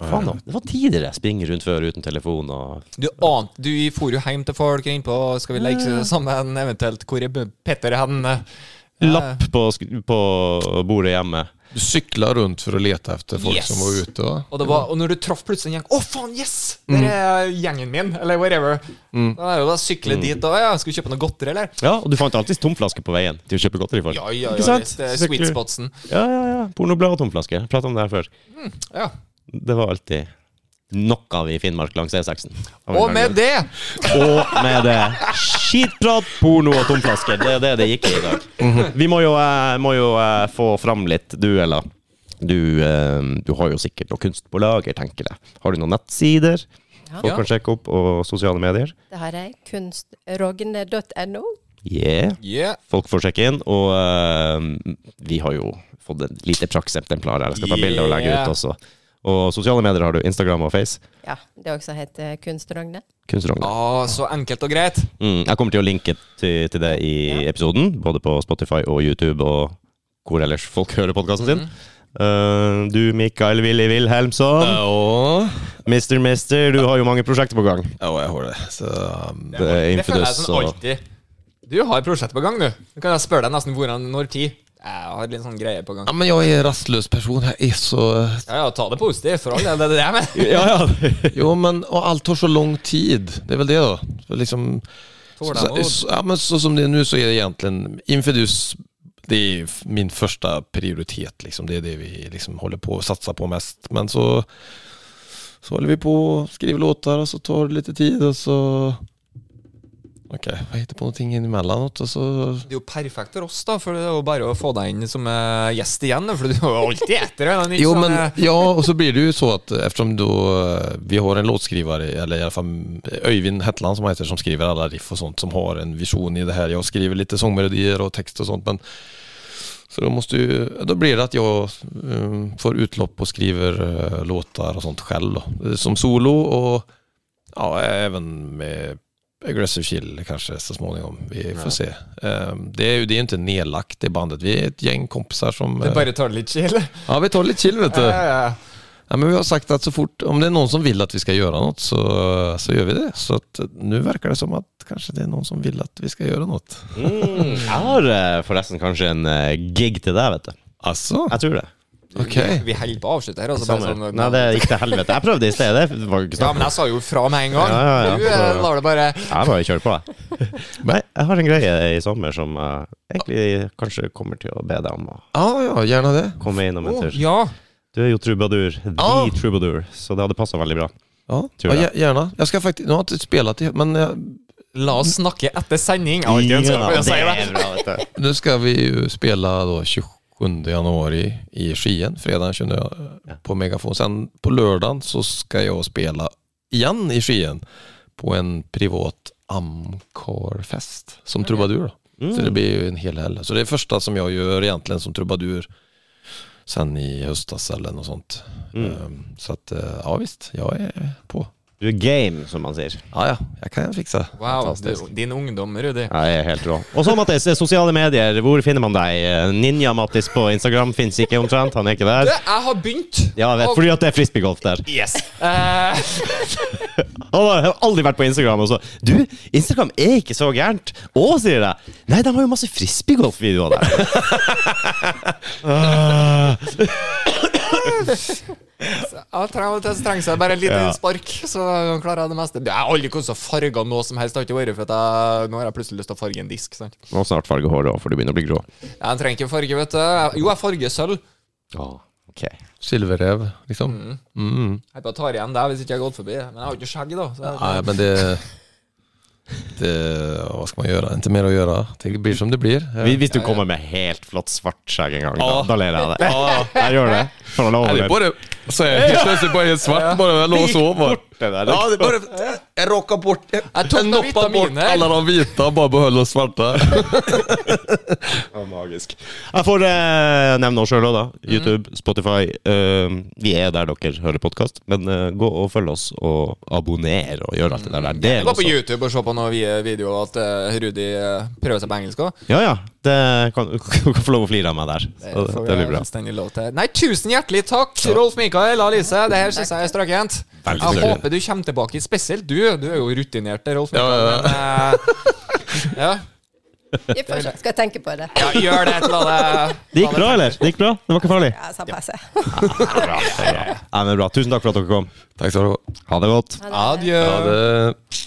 Faen, da. Det var tidligere. Springe rundt før uten telefon og
Du ante Du for jo hjem til folk innpå Skal vi leke sammen, eventuelt Hvor er Petter hen?
Lapp på, sk- på bordet hjemme.
Du sykla rundt for å lete etter folk
Yes.
som var ute. og-
Og, det var, og når du traff plutselig en gjeng Å, faen, yes!
Mm.
Der er gjengen min, eller whatever. Da er det jo da å sykle
Mm.
dit og ja, Skal vi kjøpe noe godteri, eller?
Ja, og du fant alltid tomflaske på veien til å kjøpe godteri for.
Ja, ja,
Ikke
ja.
sant?
Litt, eh,
Sykler.
sweet spotsen.
Ja, ja, ja. Pornoblad og tomflaske. Prata om det her før.
Ja.
Det var alltid nok av i Finnmark langs E E6-en.
Og med det
Og med det. Skitprat, porno og tomflasker. Det er det det gikk i i dag.
Mhm.
Vi må jo, eh, må jo eh, få fram litt dueller. Du, eh, du har jo sikkert noe kunst på lager, tenker jeg. Har du noen nettsider
Ja.
folk kan sjekke opp, og sosiale medier?
Det har jeg. Kunstrogne.no.
Yeah.
yeah.
Folk får sjekke inn, og eh, vi har jo fått et lite praksemplar her. Jeg skal ta bilde og legge
Yeah.
ut også. Og sosiale medier har du Instagram og Face.
Ja, det også heter Kunstrogne.
Kunstrogn.
Å, så enkelt og greit.
Mm, jeg kommer til å linke til, til det i episoden, både på Spotify og YouTube og hvor ellers folk hører podkasten sin.
Mm.
Eh, du, Mikael Willy Wilhelmsson.
Ja,
Mister Mister, du har jo mange prosjekter på gang.
ja, jeg har det. Så, um,
Det er
Det føler jeg
Infidus
sånn
og
alltid. Du har prosjektet på gang, du. Nå kan jeg spørre deg nesten hvordan, når tid. Jeg har litt sånn greie på gang.
ja, men jeg er rastløs person. Jeg er så
Ja, ja, ta det positivt, for all del. Det er det jeg mener.
Ja, ja.
Jo, men og alt tar så lang tid. Det er vel det, da. For liksom, så,
Tålmodighet.
så- ja, men så som det är nu så är det egentligen Infidus det är f- min första prioritet liksom. Det är det vi liksom håller på att satsa på mest. Men så så håller vi på och skriver låtar och så tar det lite tid och så Okej, jag hittar på någonting emellanåt och så
Det er jo perfekt for oss, da, for det er jo bare å få deg inn som eh, gjest igjen. da, For du er jo alltid etter. eller? Ikke
Jo,
sånn,
men
eh,
ja, och så blir det ju så att eftersom då eh, vi har en låtskrivare, eller i alla fall Öyvind Hetland som han heter, som skriver alla riff och sånt, som har en vision i det här. Jag skriver lite sångmelodier och text och sånt, men så då måste ju, då blir det att jag eh, får utlopp och skriver eh, låtar och sånt själv då. Eh, Som solo och ja, även med Aggressive Chill kanske så småningom. Vi får se. Eh, Det är ju det är inte nedlagt det bandet. Vi är ett gäng kompisar som...
Det
eh,
bare tar det litt chill.
Ja, vi tar lite chill vet du.
Ja, ja, ja.
Ja, men vi har sagt att så fort, om det är någon som vill att vi ska göra något så, så gör vi det. Så att nu verkar det som att kanske det är någon som vill att vi ska göra något.
mm, Jeg har eh, forresten kanskje en eh, gig til deg, vet du.
Alltså,
Jeg tror det.
okej.
Vi holder på å avslutte her. Altså, bare
Samme.
sånn,
Nei, det gikk til helvete. Jeg prøvde i sted. Det var ikke
Ja,
snakk
men
om.
jeg sa jo fra med en gang.
Ja, ja, ja.
Du eh, lar det bare
Jeg bare kjører på, jeg. Nei, jeg har en greie i sommer som jeg egentlig kanskje kommer til å be deg om å
Ja, Ah, ja, gärna det.
komme innom en
Å,
tur.
Ja. Ah!
Du er jo trubadur. The
Ja.
trubadur. Så det hadde passa veldig bra.
Ja,
Tror
ja
jag.
gär- gärna. Jag ska faktiskt, nu har jag inte spelat det, men jag,
La oss snakke etter sending. Ja, ikke sant,
Ja,
jeg sier
det
det.
er bra, vet du.
nu ska vi ju spela då 27 januari i Skien, fredagen 20 eh, på Megafon. Sen på lördagen så ska jag spela igen i Skien på en privat Amcar-fest som trubadur. Då. Så det blir ju en hel helg. Så det är första som jag gör egentligen som trubadur Mm. sen i höstas eller något sånt. Ehm, Så att, eh, ja visst, jag är på.
Du er game, som man sier.
Ja, ja. Jeg kan fikse det.
Wow,
Fantastisk.
du, din ungdom, Rudi.
Ja, jeg er helt rå. Og så, Mattis, sosiale medier. Hvor finner man deg? Ninja-Mattis på Instagram fins ikke omtrent. Han er ikke
Du,
der.
jeg har begynt!
Ja, jeg vet, fordi at det er frisbeegolf der.
Yes. Eh,
Han har har aldri vært på Instagram. Og så Du, Instagram er ikke så gærent. Å, sier jeg. Nei, de har jo masse frisbeegolfvideoer der.
jeg trenger, jeg trenger seg bare en liten
Ja.
spark, så klarer jeg det meste. Jeg har aldri kunnet farge noe som helst. Det har ikke vært for at jeg, nå har jeg plutselig lyst til å farge en disk. Sant?
Må snart farge håret òg, for du begynner å bli grå.
Jeg trenger ikke farge, vet du. Jeg- Jo, jeg farger sølv.
Ok.
Silverrev, liksom. Mm.
Jeg bare tar igjen det hvis ikke jeg har gått forbi. Men jeg har jo ikke skjegg, da. Så jeg,
Nei, men det, det Hva skal man gjøre? Ikke mer å gjøre. Det blir som det blir.
Hvis hvis du kommer med helt flott svart skjegg en gang, da, da ler jeg av det.
Ja.
Jeg gjør det. For å love
Eller
det.
bare så är jag helt plötsligt bara helt svart, bara jag låg och sov. bara.
det där.
Ja, det bara, jag råkade bort, jag,
Jag tog med
noppade bort
vitaminer.
alla de vita och bara behöll de svarta.
Ja, magisk. Jeg får eh, nevne oss sjøl òg, da. YouTube, Spotify. eh, vi er der dere hører podkast. Men eh, gå og følg oss, og abonner, og gjør alt det der. Del
Gå på
også.
YouTube og se på noen vi- videoer at eh, Rudi eh, prøver seg på engelsk òg.
Ja, ja. Det kan, du kan få lov å flire av meg der. Så, det, det blir bra.
Nei, tusen hjertelig takk, Rolf Mikael Alise. Det her syns jeg er strøkent.
Veldig
Jeg
strøkent.
håper du kommer tilbake, spesielt du. Du er jo rutinert, Rolf
Ja,
Mikael.
ja,
men, eh, ja.
Vi får se. Skal tenke på det.
ja, gjør det til alle.
Det gikk bra, eller? Det gikk bra? Det var ikke farlig?
Ja, samme passe.
Ja, men bra. Tusen takk for at dere kom.
Tack så mycket.
Ha det godt.
Ha det.
Adjø.
Ja, det...